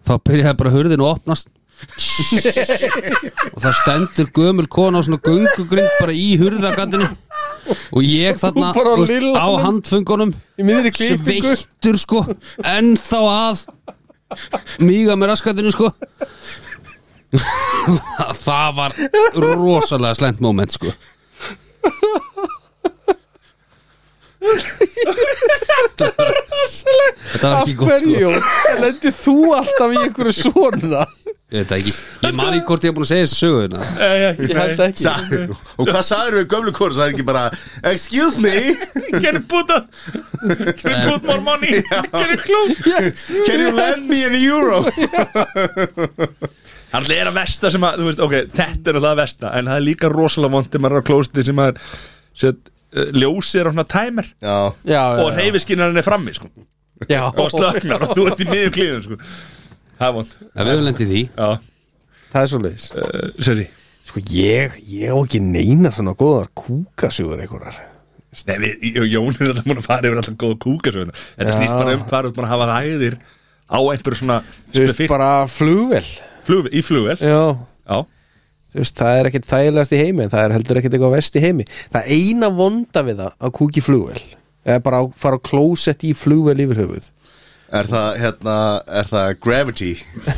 Speaker 2: þá byrjaði bara hurðin að opnast og það stendur gömul kona á svona göngugrind bara í hurðagandinu og ég þarna
Speaker 4: Bara á
Speaker 2: þú veist,
Speaker 4: lillanum.
Speaker 2: á handfungunum
Speaker 4: Í miðri klippingu.
Speaker 2: sveittur sko ennþá að míga með raskatinu sko það var rosalega slend moment sko Þetta var
Speaker 4: af
Speaker 2: ekki gott sko
Speaker 4: hverju lendi þú alltaf í einhverju svona
Speaker 2: Ég veit það ekki, ég man ekki hvort ég hef búin að segja þessu hérna. söguna
Speaker 3: Nei, ekki,
Speaker 4: ég held ekki
Speaker 1: og hvað sagður við gömlu kóru, það er ekki bara excuse me,
Speaker 3: Can you put a Can you put more money Can you
Speaker 1: can you lend me an euro
Speaker 3: Það er að versta sem að, þú veist, ok, þetta er alltaf að versta En það er líka rosalega vond þegar maður er á klósti sem að set, uh, ljósið er á svona tæmer
Speaker 1: já,
Speaker 4: já, já,
Speaker 3: og reyfiskinnarinn er frammi, sko
Speaker 4: já,
Speaker 3: og slöknar og þú ert í miður klíðum, sko Það er vond
Speaker 2: Það við höfum lendið því
Speaker 3: Já,
Speaker 4: það er svo leiðis
Speaker 3: uh, sérri
Speaker 4: Sko ég, ég á ekki neina svona góðar kúkasjóður einhverjar
Speaker 3: Nei, við, J- Jón er alltaf búin að fara yfir alltaf góða kúka svo sko. Þetta
Speaker 4: Já.
Speaker 3: snýst bara um hvað er búin að hafa hæðir á einhverju svona
Speaker 4: Þú veist
Speaker 3: spefík-
Speaker 4: bara flugvel
Speaker 3: flug, í flugvel
Speaker 4: Já
Speaker 3: Já,
Speaker 4: Þú veist það er ekkit þægilegast í heimi en það er heldur ekkit eitthvað vest í heimi Það eina vonda við það að kúki flugvel eða bara á, fara á klósett í flugvel yfir höfuð
Speaker 1: Er það, hérna, er það Gravity?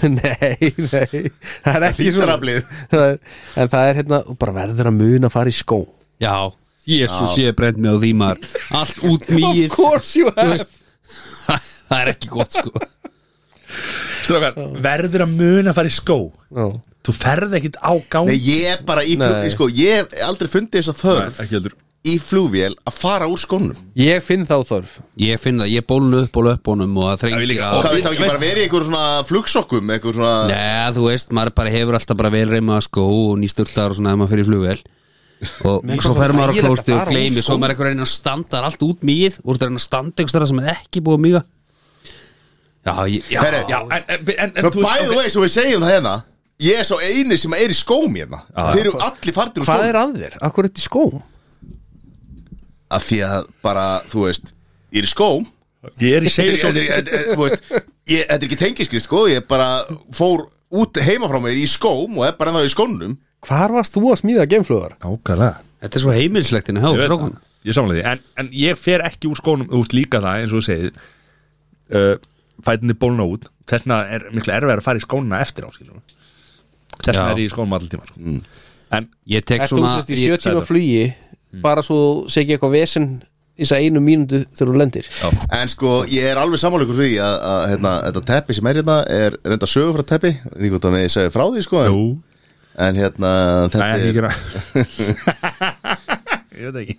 Speaker 4: nei, nei það er ekki svona
Speaker 1: Þýttaraflið?
Speaker 4: Það er- en það er hérna, þú bara verður að muna að fara í skó
Speaker 2: Já, jésus, ég er brent með á því maður Allt út mýið
Speaker 4: course you
Speaker 2: Þú veist, Það er ekki gott sko
Speaker 3: Strákar, verður að muna að fara í skó
Speaker 4: Já.
Speaker 3: Þú ferð ekkit á gang
Speaker 1: Nei, ég er bara í
Speaker 4: Nei.
Speaker 1: flugvél, sko, ég hef aldrei fundið þess að þörf
Speaker 3: ekki heldur
Speaker 1: í flugvél að fara úr skónum
Speaker 4: ég finn þá þörf
Speaker 2: Ég finn það, ég bólu upp og löp honum og það
Speaker 3: Já, ég
Speaker 2: þrengi
Speaker 3: líka.
Speaker 1: Hvað
Speaker 2: að
Speaker 1: veist það ekki bara verið í einhverjum svona flugsokkum, einhverjum svona
Speaker 2: Nei, þú veist, maður bara hefur alltaf bara vel reyma skó og nýsturtar og svona ef maður fyrir flugvel og svo
Speaker 4: Mér finnst
Speaker 2: fer
Speaker 4: það
Speaker 2: maður á
Speaker 4: þægilegt að
Speaker 2: klósti og
Speaker 4: fara úr
Speaker 2: gleymi svo
Speaker 4: skóm.
Speaker 2: maður er eitthvað reyna að standa það er allt út mýð og þú ert að reyna að standa einhvers þar sem er ekki búið að mýga Já, ég, já,
Speaker 1: Herre,
Speaker 3: Já, en, en, en, en
Speaker 1: Svo By the way, svo við segjum það hérna Ég er svo eini sem er í skóm hérna Þeir eru allir fardir úr
Speaker 4: hvað
Speaker 1: skóm
Speaker 4: er að þér? akkur er þetta í skó?
Speaker 1: Af því að bara, þú veist, ég er í skóm
Speaker 3: Ég er í
Speaker 1: Þetta
Speaker 3: segir
Speaker 1: er- þetta er- þetta er- þú veist, ég- þetta er ekki tengiskrift sko Ég bara fór út heima frá mér í skóm Og er bara ennþá í skónum
Speaker 4: hvar varst þú að smíða geimflugar?
Speaker 3: Ákvæðlega
Speaker 2: þetta er svo heimilslegtinu hjá
Speaker 3: Ég veit
Speaker 2: strákan
Speaker 3: það. Ég samlega því, en, en ég fer ekki úr skónum út líka það eins og þú segir uh, fætinni bólna út þessna er miklu erfið að fara í skónuna eftir á skilum þessna
Speaker 2: Já.
Speaker 3: er ég í skónum allir tíma sko.
Speaker 1: Mm.
Speaker 3: en
Speaker 2: Ég tek
Speaker 4: er þú
Speaker 2: svona
Speaker 4: sérst í
Speaker 2: ég-
Speaker 4: sjö tíma flugi bara svo þú segi eitthvað vesen í þess að einu mínundu þegar þú lendir
Speaker 1: En sko, ég er alveg samanleikur því að, að hérna, þetta teppi sem er hérna er reynda sögur frá teppi, ég veit ekki hvort að við segja frá því sko, en,
Speaker 3: jú,
Speaker 1: en hérna þetta
Speaker 3: það er
Speaker 1: er,
Speaker 3: ekki ég veit ekki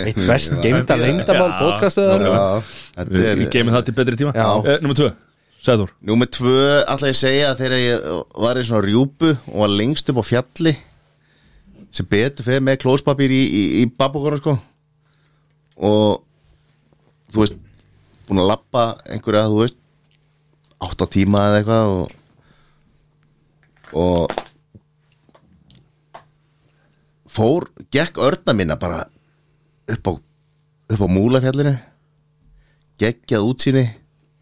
Speaker 4: eitt best geimda lengdamál
Speaker 3: Já.
Speaker 4: bókastuðar
Speaker 1: já, þetta
Speaker 3: við
Speaker 1: er
Speaker 3: við geymum það til betri tíma
Speaker 1: Já.
Speaker 3: uh, Númer 2, Sæður
Speaker 1: Númer tvö, alltaf ég segja að þegar ég var í svona rjúpu og var lengst upp á fjalli sem betur fyrir með klóspapír í, í, í babbókonu sko og þú veist búin að lappa einhverja, þú veist átta tíma eða eitthvað og, og fór, gekk örna minna bara upp á, upp á múlafjallinu geggjað útsýni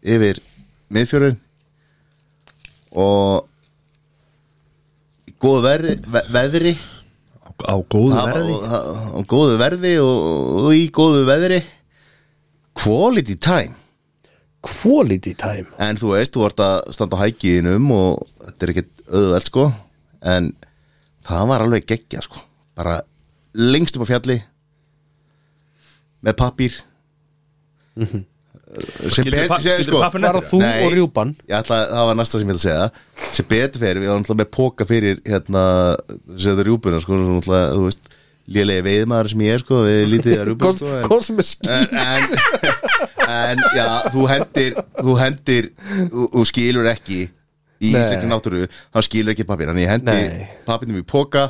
Speaker 1: yfir miðfjörðin og í góðu verði, ve veðri
Speaker 3: á, á góðu
Speaker 1: það-
Speaker 3: verði
Speaker 1: og- það- og góðu verði og, og í góðu veðri quality time
Speaker 4: quality time
Speaker 1: en þú veist, þú ert að standa á hækiðinum og þetta er ekkert auðveld sko en það var alveg geggja sko bara lengst upp á fjalli með pappír sem
Speaker 3: Skildirðu
Speaker 1: betur
Speaker 3: pa-
Speaker 1: séð, sko.
Speaker 3: skildirðu pappírinn
Speaker 4: bara
Speaker 3: eftir
Speaker 4: þú
Speaker 1: Nei.
Speaker 4: og rjúpan
Speaker 1: Ég ætla, það var næsta sem ég ætla að segja sem betur fyrir, við varum alltaf með póka fyrir hérna, segðu rjúpuna sko, svona alltaf, þú veist, lélegi veiðmaður sem ég er, sko, við lítið að rjúpuna sko, en,
Speaker 4: hvað sem er skýr
Speaker 1: en, en, en, já, þú hendir þú hendir, þú, þú skilur ekki í
Speaker 4: Nei.
Speaker 1: íslenskri náttúru þá skilur ekki pappir, þannig ég hendi
Speaker 4: Nei.
Speaker 1: pappinum í póka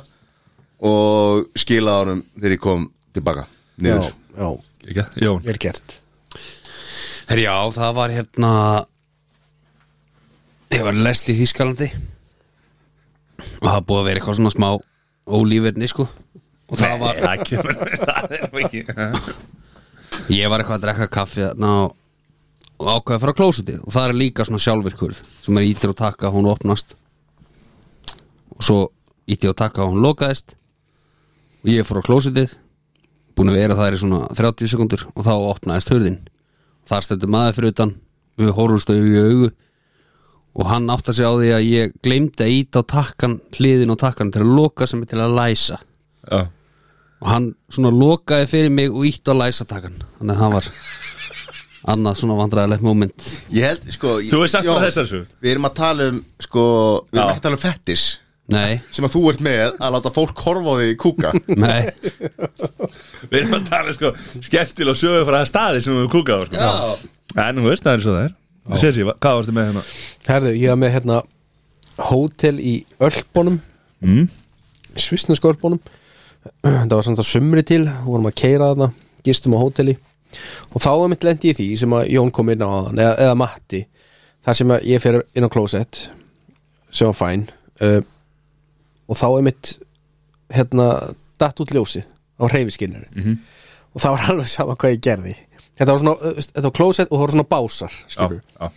Speaker 1: og skila honum þegar ég kom tilbaka
Speaker 4: já,
Speaker 1: niður,
Speaker 4: já,
Speaker 3: Ekki? Jón,
Speaker 4: vel gert
Speaker 2: Herra, Já, það var hérna Ég var lest í Þýskalandi Og það búið að vera eitthvað svona smá Ólíverni, sko Og það var,
Speaker 3: það kemur það er nú ekki
Speaker 2: ég var eitthvað að drekka kaffi Ná, og ákveða að fara á klósitið Og það er líka svona sjálfvirkur Sem er ítir og taka, hún opnast Og svo ítir og taka, hún lokaðist Og ég fór á klósitið Búin að vera það er í svona 30 sekundur Og þá opnaðist hurðin Þar stendur maður fyrir utan Við horfumst augu í augu Og hann átt að segja á því að ég gleymdi að íta á takkan Hliðin og takkan til að loka sem er til að læsa
Speaker 3: Já.
Speaker 2: Og hann svona lokaði fyrir mig og ítt á læsa takkan Þannig að það var Annað svona vandræðilegt moment
Speaker 1: ég held, sko
Speaker 3: Þú er sagt
Speaker 1: Jón,
Speaker 3: frá þessar svo
Speaker 1: við erum að tala um, sko við erum
Speaker 3: Já.
Speaker 1: ekki að tala um fettis
Speaker 2: Nei,
Speaker 1: sem að þú ert með að láta fólk horfa á því kúka
Speaker 2: nei
Speaker 3: Við erum að tala sko skemmtilega sögur frá það staði sem við kúkaði á, sko. En þú veist það er svo það er Það sér sér, hvað varstu með hérna?
Speaker 4: Herðu, ég var með hérna hótel í Ölpunum
Speaker 3: Mm.
Speaker 4: Svissnesku Ölpunum það var samt að sumri til vorum að keira þarna, gistum á hóteli og þá er mitt lendi í því sem að Jón kom inn á þaðan, eða, eða Matti þar sem að ég fer inn á klósett sem var fæn uh, og þá er mitt hérna, datt út ljósið á reyfiskinnur
Speaker 3: Mhm.
Speaker 4: og það var alveg sama hvað ég gerði þetta var svona, uh, þetta var klósett og það var svona básar skilur
Speaker 3: já.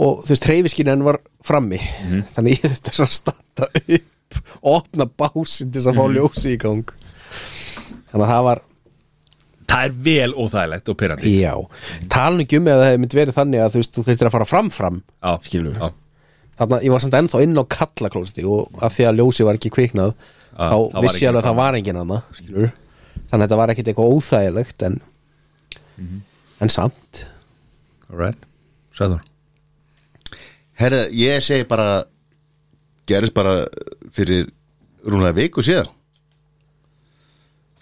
Speaker 4: og þú veist hreyfiskinan var frammi
Speaker 3: Mhm.
Speaker 4: þannig ég þurfti svona að standa upp
Speaker 3: Mhm.
Speaker 4: og opna básinn til þess að fá ljósi í gang þannig að það var
Speaker 3: það er vel óþægilegt og pyrrandi
Speaker 4: Já, talan ekki um ef það hefði mynd verið þannig að þú veist, þú þurftir að fara fram fram skilur
Speaker 3: já,
Speaker 4: Þarna, ég var samt ennþá inn á kallaklósti og að því að ljósi var ekki kviknað
Speaker 3: Ah, það
Speaker 4: þá
Speaker 3: var
Speaker 4: vissi
Speaker 3: enginn
Speaker 4: ég alveg að það
Speaker 3: þarna.
Speaker 4: var enginn hana skilur Þannig að þetta var ekkit eitthvað óþægilegt en,
Speaker 3: Mhm.
Speaker 4: en samt
Speaker 3: alright, sæður
Speaker 1: Herra, ég segi bara gerist bara fyrir rúmlega viku síðan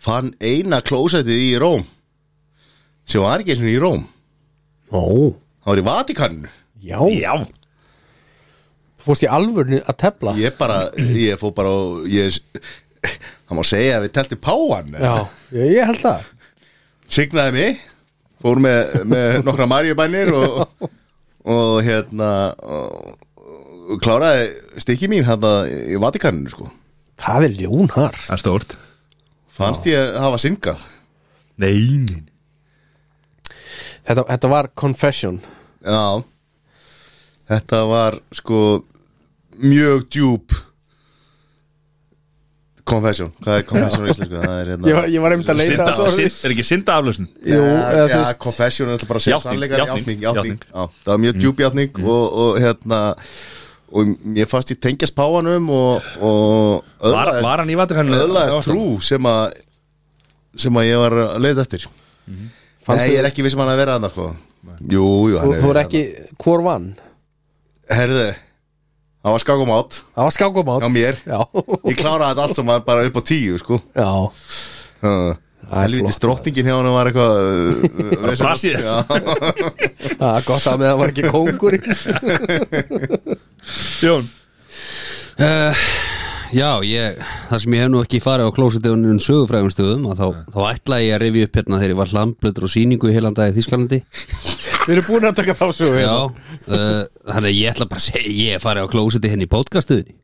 Speaker 1: fann eina klósætið í Róm sem var ekki eins og í Róm
Speaker 4: Ó,
Speaker 1: það var í Vatikaninu
Speaker 4: já,
Speaker 3: Já,
Speaker 4: þú fórst í alvörni að tefla
Speaker 1: ég bara, ég fó bara og ég, það má segja að við telti páan
Speaker 4: Já, ég, ég held það
Speaker 1: signaði mig fór með, með nokkra marjubænir og, og hérna og, og kláraði stikki mín hérna í Vatikaninu sko
Speaker 4: Það er ljónar
Speaker 3: það er stórt
Speaker 1: fannst ég að hafa syngað
Speaker 3: Nei, nei
Speaker 4: þetta, þetta var confession
Speaker 1: Já Þetta var sko mjög djúb confession Hvað er confession á íslensku? Það er hérna
Speaker 4: Ég var, ég var einmitt að leita
Speaker 3: Synda,
Speaker 4: að svo
Speaker 3: synd, er ekki synda aflösn
Speaker 1: Já,
Speaker 4: Jú, eða
Speaker 1: já
Speaker 4: þú veist-
Speaker 1: confession er alltaf bara að segja
Speaker 3: Játning,
Speaker 1: sannleikar
Speaker 3: játning,
Speaker 1: Játning, játning Já, Það var
Speaker 4: Mm.
Speaker 1: mjög djúb játning og, og hérna og mér fannst ég tengjast páanum og, og
Speaker 3: var, var hann í Vatikaninu?
Speaker 1: öðlaðist trú sem að sem að ég var að leita eftir Nei,
Speaker 4: Fannstu-
Speaker 1: ég er ekki vissum hann að vera hann sko. Jú, jú, hann
Speaker 4: Þú, þú
Speaker 1: verið
Speaker 4: er ekki, hvor vann?
Speaker 1: þarna. Herðu, það var skakum átt
Speaker 4: Það var
Speaker 1: á
Speaker 4: skákumátt
Speaker 1: mér
Speaker 4: Já,
Speaker 1: ég kláraði þetta allt saman bara upp á tíu sko
Speaker 4: já
Speaker 1: helviti stróttingin hjá hann var eitthvað uh, uh,
Speaker 3: Brasilía.
Speaker 1: Já,
Speaker 4: Það er gott að með það var ekki kóngur í.
Speaker 3: Jón,
Speaker 2: Já, ég, það sem ég hef nú ekki farið á klósetiðunum sögufrægum stöðum að þá, þá ætlaði ég að rifja upp hérna þegar ég var hlamblöður og sýningu í heilan dag í Þískalandi
Speaker 4: Við erum búin að taka þá hérna. svo
Speaker 2: Já, uh, þannig að ég ætla bara að segja ég hef farið á klósetið henni í podcastuðinni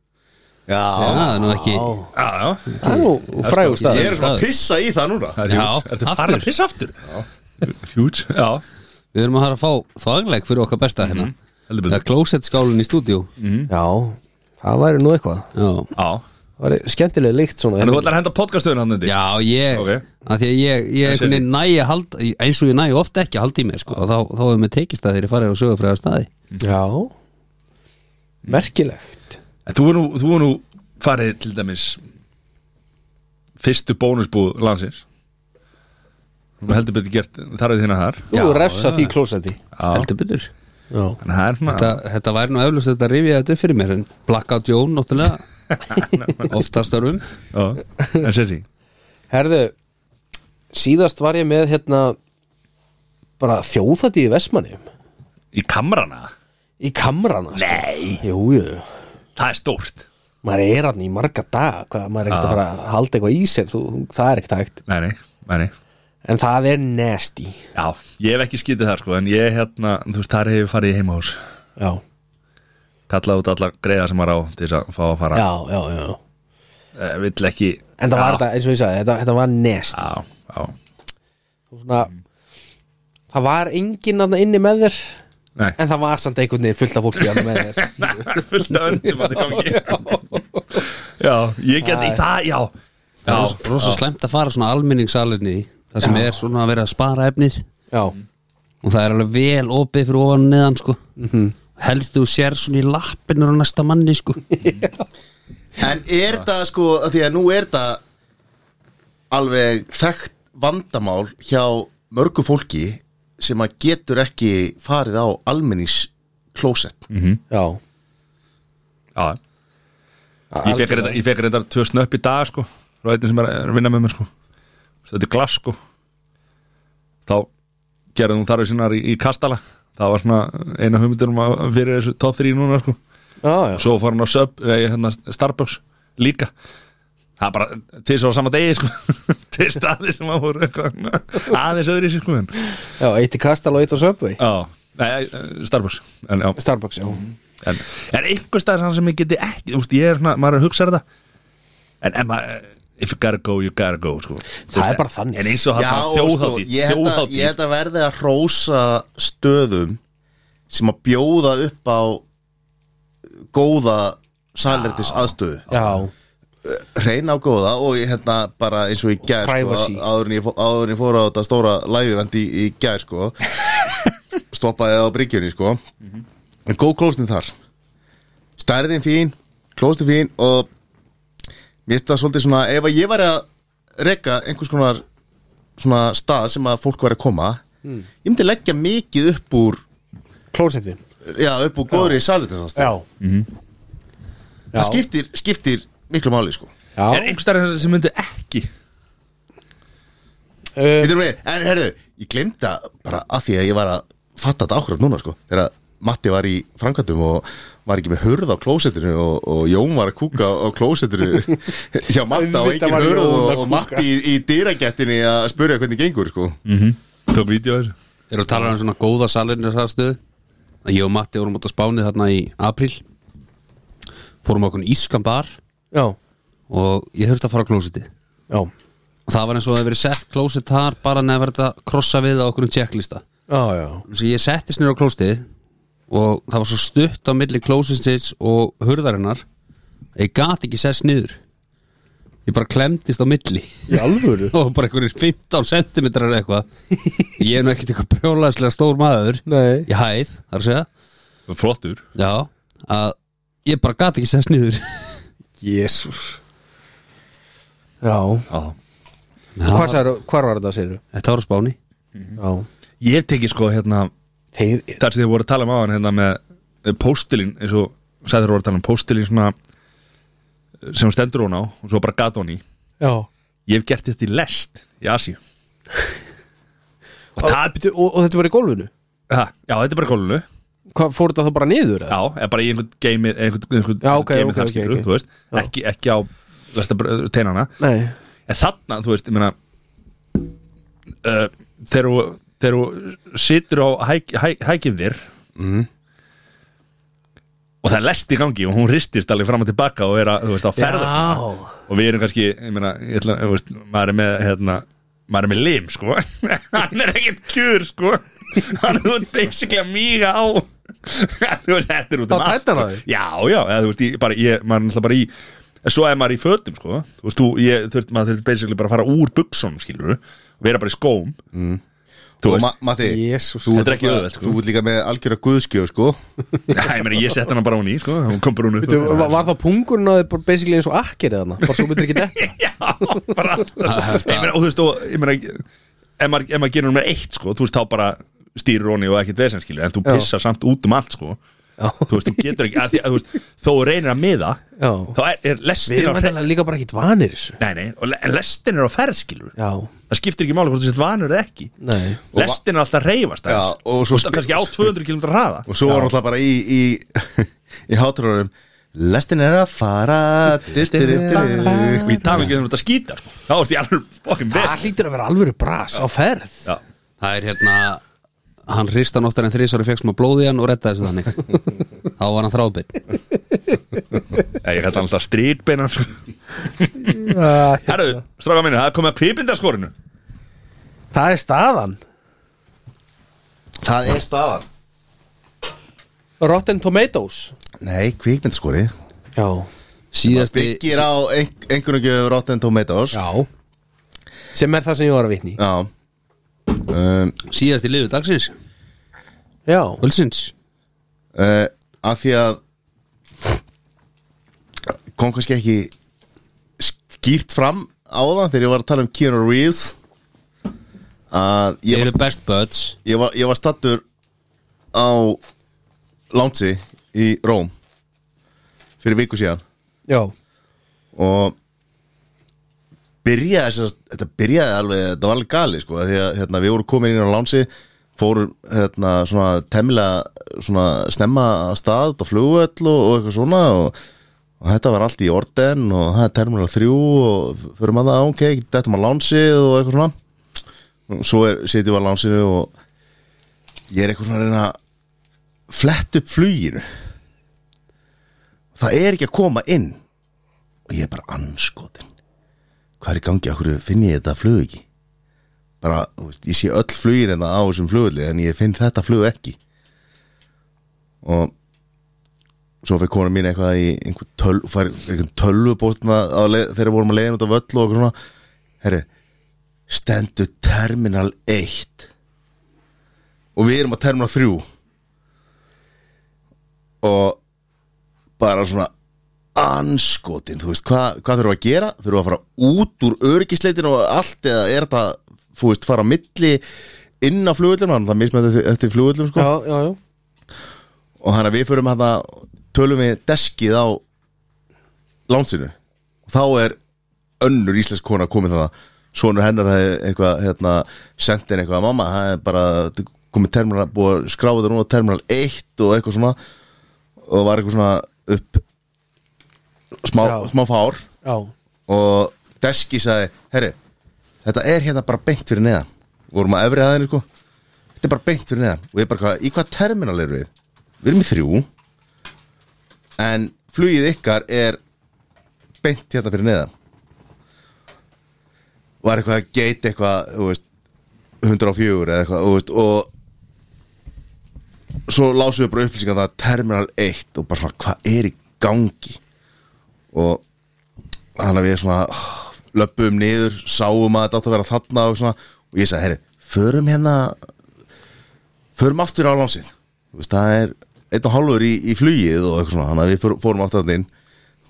Speaker 2: Já,
Speaker 1: já.
Speaker 2: það er nú ekki
Speaker 3: já, já
Speaker 4: Það er nú frægur
Speaker 1: ég
Speaker 4: staður
Speaker 1: er svona að pissa í það núna
Speaker 3: Það er
Speaker 2: Já,
Speaker 3: hjúts, ertu
Speaker 2: aftur.
Speaker 3: farin að pissa aftur? Hjúts, já
Speaker 2: Við erum að fara að fá þagleg fyrir okkar besta hérna
Speaker 3: Mhm. Heldur
Speaker 2: Það
Speaker 3: betur
Speaker 2: er klósetskálinn í stúdíu
Speaker 3: Mhm.
Speaker 4: Já, það væri nú eitthvað
Speaker 2: Já,
Speaker 3: Já,
Speaker 4: Það væri skemmtilega líkt svona hérna.
Speaker 3: þannig þú ætlar að henda podcastuðin hann þetta
Speaker 2: já ég,
Speaker 3: Ok.
Speaker 2: að því að ég, ég
Speaker 3: Þessi-
Speaker 2: einhvernig næ að halda, eins og ég næ ofta ekki að halda í mig sko, og þá, þá hefur mér tekist að þeir farið á sögufræða staði
Speaker 4: Já Merkilegt
Speaker 3: Þú er nú, þú er nú farið til dæmis Fyrstu bónusbúð landsins Þú er heldur betur gert þarfið þína þar
Speaker 4: Þú refsa því klósetti
Speaker 2: Heldur betur
Speaker 4: Já
Speaker 3: Þannig að það er svona
Speaker 2: þetta, þetta væri nú eflust þetta rifið þetta upp fyrir mér en Blackout Jón náttúrulega oftastörfum
Speaker 3: Já, En sér því
Speaker 4: Herðu, síðast var ég með hérna bara þjóðatíð í Vestmannum
Speaker 3: Í kamrana,
Speaker 4: Í kamrana Nei Jú, jú
Speaker 3: það er stórt
Speaker 4: maður er hann í marga dag hvað, maður er ekkert að fara að halda eitthvað í sér þú, það er ekkert hægt
Speaker 3: Nei, nei, nei, nei
Speaker 4: en það er nasty
Speaker 3: Já, ég hef ekki skítið það sko En ég hérna, þú veist, þar hefur farið í heimahús
Speaker 4: já,
Speaker 3: Kallað út alla greiða sem var á Til þess að fá að fara
Speaker 4: já, já, já.
Speaker 3: Eh, Vill ekki
Speaker 4: en
Speaker 3: Já,
Speaker 4: það var þetta, eins og ég sagði, þetta, þetta var nasty
Speaker 3: Já, já
Speaker 4: Þú svona, það var enginn þarna inni með þér
Speaker 3: Nei,
Speaker 4: en það var samt einhvern veginn fullt af fólki þarna með þér
Speaker 3: það er fullt af öndum að það gangi Já, ég get í það, já
Speaker 2: það er svo- rosa slæmt að fara svona almenningssalinni það sem er svona að vera að spara efnið
Speaker 4: já,
Speaker 2: og það er alveg vel opið fyrir ofan og neðan sko helst þú sér svona í lappinur á næsta manni sko
Speaker 1: en er það sko af því að nú er það alveg þekkt vandamál hjá mörgu fólki sem að getur ekki farið á almennings klósett
Speaker 4: já
Speaker 3: Já Ég fekk reyndar- Ég fekk reyndar tvö snöpp í dag sko Frá einnig sem er er að vinna með mér sko Þetta er glas sko Þá gerði hún þarfið sinnar í, í kastala Það var svona eina hugmyndunum að- fyrir þessu top 3 núna sko
Speaker 4: já, já,
Speaker 3: Svo fór hann á Sub, eða, hérna, Starbucks líka Það er bara til svo á sama degi sko Til staði sem að voru eitthvað svona Aðeins öðru í sér sko en-
Speaker 4: já, eitt í kastal og eitt á söpvi
Speaker 3: Já, nei, eh, Starbucks En, já,
Speaker 4: Starbucks, já
Speaker 3: en er einhver staðar sann sem ég geti ekki Þú veist, ég er svona, maður er að hugsa þetta En, en maður, if you gotta go, you gotta go sko. Þú
Speaker 4: Það
Speaker 3: veist,
Speaker 4: er bara þannig.
Speaker 3: En eins og hann þjóðhátti
Speaker 1: sko, ég held að- ég held að verði að hrósa stöðum sem að bjóða upp á góða salrættis aðstöðu
Speaker 4: já,
Speaker 1: hreina á góða og ég hérna bara eins og í gær
Speaker 4: Privacy.
Speaker 1: sko, áður, en ég, fó- áður en ég fór á þetta stóra læguvend í, í gær sko stoppaði það á bryggjunni sko en góð klóstin þar stærðin fín, klóstin fín og mér finnst það svolítið svona ef að ég væri að reka einhvers konar svona stað sem að fólk væri að koma ég myndi leggja mikið upp úr
Speaker 4: klósetti
Speaker 1: já, upp úr góðri salutinsastu
Speaker 4: já
Speaker 1: það skiptir, skiptir miklu máli sko
Speaker 4: já.
Speaker 3: Er einhver starf sem myndi ekki
Speaker 4: Uh,
Speaker 1: Þetta er við, en herðu, ég glemta bara að því að ég var að fatta þetta ákvörð núna sko, þegar að Matti var í framkvæmdum og var ekki með hurð á klósettinu og, og Jón var að kúka á klósettinu hjá Matta og
Speaker 4: Auðvitað
Speaker 1: engin
Speaker 4: var
Speaker 1: hurð
Speaker 4: Jón
Speaker 1: og,
Speaker 4: að
Speaker 1: og
Speaker 4: kúka.
Speaker 1: Matti í, í dýragettinni að spurja hvernig gengur sko
Speaker 3: Mhm. Tók vídeo þessu
Speaker 2: Þeir eru að tala um svona góða salinu sastöðu að ég og Matti vorum út á Spáni þarna í apríl fórum á okkur ískan bar
Speaker 4: já,
Speaker 2: og ég þurfti að fara á klósiti og
Speaker 4: já,
Speaker 2: það var eins og það hefði verið sett klósit þar bara nefnir verið að krossa við á okkur um checklista
Speaker 4: já, já.
Speaker 2: svo ég settist nýra á klóstið og það var svo stutt á milli klósitsins og hurðarinnar að ég gat ekki sest niður ég bara klemdist á milli
Speaker 4: í alvöru
Speaker 2: og bara einhverjir 15 cm eitthvað ég er nú ekkert eitthvað brjólaðslega stór maður
Speaker 4: Nei.
Speaker 2: ég hæð, þar að segja
Speaker 3: Flottur
Speaker 2: Já, að ég bara gat ekki sest niður
Speaker 4: Jésús Já,
Speaker 3: Já
Speaker 4: hvar, sagði, hvar var þetta, segirðu?
Speaker 2: Þetta var á spáni
Speaker 4: Já
Speaker 3: Ég hef tekið sko hérna
Speaker 4: Þeir,
Speaker 3: þar sem þið voru að tala um á hann hérna með póstilinn eins og sagði þér voru að tala um póstilinn svona eh, sem hún stendur hún á og svo bara gata hún í
Speaker 4: já
Speaker 3: ég hef gert þetta í lest í Asi og
Speaker 4: og,
Speaker 3: það
Speaker 4: og, og þetta var í gólfinu?
Speaker 3: ha, já þetta er bara kólunu já,
Speaker 4: Hvað, fór þetta þá bara niður? eða?
Speaker 3: eða bara í einhvern geimi einhvern, einhvern
Speaker 4: Já, ok,
Speaker 3: geimi
Speaker 4: ok, ok,
Speaker 3: skilurðu,
Speaker 4: ok.
Speaker 3: þú veist,
Speaker 4: Já.
Speaker 3: ekki, ekki á lestabr- teinana
Speaker 4: Nei
Speaker 3: en þarna, þú veist, ég meina uh, þegar þú þegar þú situr á hæk, hæk, hækjum þér
Speaker 4: Mhm.
Speaker 3: og það er lest í gangi og hún ristist alveg fram og tilbaka og er að, þú veist, á ferða og við erum kannski, ég meina, ég ætla, þú veist, maður er með, hérna maður er með lim, sko hann er ekkert kjur, sko hann er þú veist, basically að míga á þú veist, þetta er út um
Speaker 4: Á tætnar á þér?
Speaker 3: já, já, eða, þú veist, ég, bara, ég, maður er náttúrulega bara í en svo er maður í fötum, sko þú veist, þú, ég, þurft, maður þurft basically bara að fara úr buxunum, skilur og vera bara í skóm
Speaker 4: Mm.
Speaker 3: þú
Speaker 1: Og
Speaker 3: veist,
Speaker 1: Ma Matti,
Speaker 4: Jesús.
Speaker 1: þú,
Speaker 3: Þetta er ekki
Speaker 1: þú-
Speaker 3: auðvelt, sko.
Speaker 1: þú ert líka með algjöra guðskjöf sko
Speaker 3: já, ég meina, ég sett hann bara á ný, sko hún kom bara hún upp
Speaker 4: Veitu, var, var þá pungurinn að þið bara basically eins og akkir eða Bara svo myndir ekki detta
Speaker 3: Já, bara Ég meina, og þú veist, og ég meina ef maður, ef maður gerir nummer eitt, sko, þú veist, þá bara stýrir honi og ekkert vesen, skilju en þú
Speaker 4: Já.
Speaker 3: pissar samt út um allt, sko þú veist, þú getur ekki, að því að þú veist þó þú reynir að miða,
Speaker 4: Já.
Speaker 3: þá er, er
Speaker 4: Við
Speaker 3: lestin á
Speaker 4: erum
Speaker 3: ferð,
Speaker 4: þetta líka bara ekkit vanir þessu
Speaker 3: nei, nei, og le- en lestin er á ferð, skilju
Speaker 4: Já,
Speaker 3: það skiptir ekki máli hvort þú sett vanur eða ekki
Speaker 4: nei
Speaker 3: lestin er alltaf að reyfast
Speaker 1: Já,
Speaker 3: aðeins.
Speaker 1: og
Speaker 3: þú
Speaker 1: svo
Speaker 3: veist,
Speaker 1: spi-
Speaker 3: kannski á 200 km hraða
Speaker 1: og svo var náttúrulega bara í í, í hátrunum lestin er að fara
Speaker 3: og ég tala ekki um þetta skýta, sko þá ertu í alveg bókin
Speaker 4: Það hlýtur að vera alvöru bras á ferð
Speaker 3: vesen
Speaker 2: Það er hérna Hann hrist hann oftar en þrísar og fekk smá blóð í hann og reddaði þessu þannig Þá var hann þrábið
Speaker 3: Ég kallar hann alltaf strítbeinan sko.
Speaker 4: Það
Speaker 3: Herru, stráka mínu, það er komið að kvipindaskorinu
Speaker 4: er staðan
Speaker 1: það er staðan
Speaker 4: Rotten Tomatoes
Speaker 1: nei, kvikmyndskori
Speaker 4: Já
Speaker 2: Síðasti
Speaker 1: byggir á ein- einhvern veginn Rotten Tomatoes
Speaker 4: Já Sem er það sem ég var að vitni í.
Speaker 1: Já um,
Speaker 2: Síðasti liðu dagsins
Speaker 4: Já
Speaker 2: Völsins
Speaker 1: uh, Að því að kom kannski ekki skýrt fram á það þegar ég var að tala um Keanu Reeves að ég
Speaker 2: Þeir
Speaker 1: var,
Speaker 2: eru best buds
Speaker 1: ég var, ég var stattur á Lánsi í Róm fyrir viku síðan
Speaker 4: Já
Speaker 1: og byrjaði þess að þetta byrjaði alveg, þetta var alveg gali sko, af því að hérna, við vorum komin inn á lánsi fórum hérna, svona temmilega svona snemma að stað út á flugvöll og, og eitthvað svona og, og þetta var allt í orden og það er terminal 3 og förum að það, ok, þetta maður lánsi og eitthvað svona og svo er, setjum við á lánsinu og ég er eitthvað svona að reyna að flett upp fluginu það er ekki að koma inn og ég er bara anskotin hvað er í gangi, okkur finn ég þetta flug ekki bara, þú veist, ég sé öll hérna flugir en á þessum flugulli en ég finn þetta flug ekki og svo fyrir kona mín eitthvað í einhver töl, fær, einhver tölvubóstna leið, þegar við vorum að leiðin út af völl og okkur svona herri, stendur terminal 1 og við erum á terminal 3 og bara svona anskotin, þú veist, hvað, hvað þurfum við að gera þurfum við að fara út úr örgisleitinu og allt eða er þetta, þú veist, fara á milli inn á flugullinu það mismætti eftir, eftir flugullinu sko
Speaker 4: já, já, já
Speaker 1: og þannig að við förum hérna tölum við deskið á lánsinu og þá er önnur íslensk kona komin þannig sonur hennar hefði eitthvað hérna, sendin eitthvað að mamma það er bara komið terminal búið að skráða núna terminal 1 og eitthvað svona og var eitthvað svona upp smá,
Speaker 4: Já.
Speaker 1: smá fár
Speaker 4: Já,
Speaker 1: og Deski sagði herri, þetta er hérna bara beint fyrir neðan Við vorum að efri aðeins sko þetta er bara beint fyrir neðan og ég bara, hvað, í hvað terminal eru við? við erum í þrjú en flugið ykkar er beint hérna fyrir neðan var eitthvað að geit eitthvað, þú veist 104 eða eitthvað, þú veist og svo lásum við bara upplýsingar um það terminal 1 og bara svona, hvað er í gangi og þannig að við svona oh, löpum niður, sáum að þetta átt að vera þarna og svona, og ég sagði, herri, förum hérna förum aftur á lánsin veist, það er einn og hálfur í, í flugið og eitthvað svona, þannig að við fór- fórum aftur þarna inn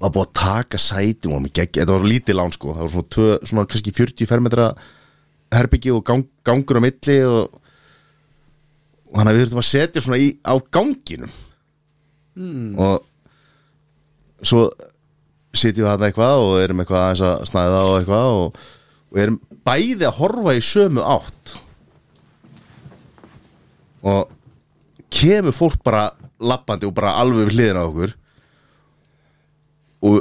Speaker 1: var búið að taka sæti og gegg, þetta var svo lítið lán sko, það var svona, tvö, svona kannski 40 fermetra herbyggi og gang, gangur á milli og, og þannig að við þurfum að setja svona í, á ganginum mm. og svo sitjum þarna eitthvað og erum eitthvað aðeins að snæða og eitthvað og, og erum bæði að horfa í sömu átt og kemur fólk bara lappandi og bara alveg við hliðina á okkur og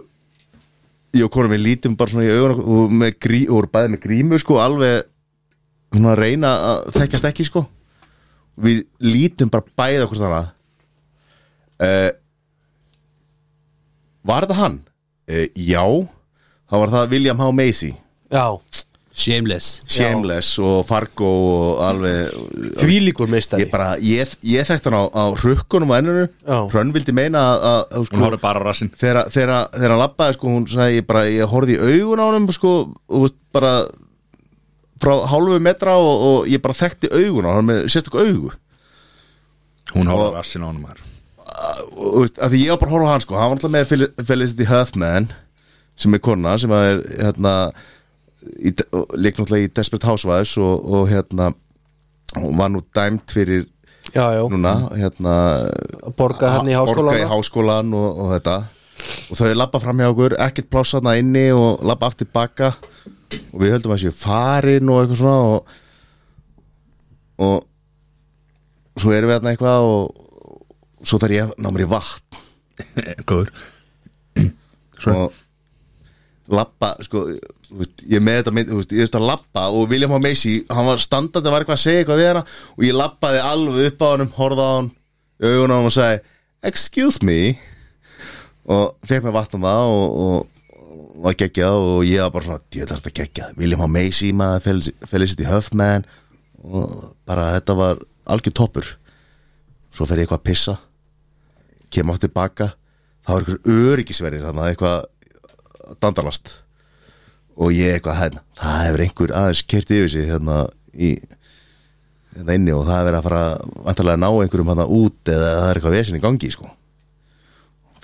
Speaker 1: ég og konum við lítum bara svona í augun okkur og með grí, og voru bæði með grímu sko alveg svona að reyna að þekkjast ekki sko við lítum bara bæði okkur þannig uh, Var þetta hann? Uh, já, það var það William H. Macy
Speaker 4: já.
Speaker 2: Shameless
Speaker 1: Shameless og Fargo og alveg
Speaker 4: Þvílíkur meistari
Speaker 1: Ég, bara, ég, ég þekkt hann á, á rökkunum og ennunu
Speaker 4: Já.
Speaker 1: Hrönn vildi meina að, að, að
Speaker 3: Hún
Speaker 1: sko,
Speaker 3: horfði bara á rassinn
Speaker 1: þegar, þegar, þegar hann labbaði sko, hún sagði ég bara, ég horfði í augun á honum sko, og veist, bara frá hálfu metra og, og ég bara þekkti augun á hann með sérstök augu
Speaker 3: Hún horfði á rassinn á honum maður
Speaker 1: og þú veist, að því ég var bara að horfa á hann sko hann var alltaf með Fel- Felicity Huffman sem er kona, sem að er hérna, í, og leik náttúrulega í Desperate Housewives og, og hérna hún var nú dæmt fyrir
Speaker 4: Já, já,
Speaker 1: núna, hérna
Speaker 4: að borga hann í háskóla
Speaker 1: borga í háskólan og, og þetta og þau labba fram hjá okkur, ekkert pláss þarna inni og labba aftur baka og við höldum að séu farin og eitthvað svona og, og svo erum við þarna eitthvað og og svo þarf ég að ná mér í vatn
Speaker 3: Góður
Speaker 1: og lappa, sko, þú veist, ég er með þetta mynd, þú veist, ég veist að lappa og William H. Macy, hann var standandi að var eitthvað að segja eitthvað við hana og ég lappaði alveg upp á honum, horfði á hann í augun á hann og sagði, excuse me og fekk mér vatn um það og, og, og var geggjað og ég var bara svona, ég þarf þetta geggjað William H. Macy, maður, Felici- Felicity Huffman og bara þetta var algjör toppur svo fer ég eitthvað að pissa kem átt tilbaka þá er ykkur öryggisverðir hann eitthvað dandalast og ég eitthvað hérna það hefur einhver aðeins kert yfir sig hérna í hérna inni og það hefur að fara vantarlega að ná einhverjum hérna út eða það er eitthvað vesen í gangi sko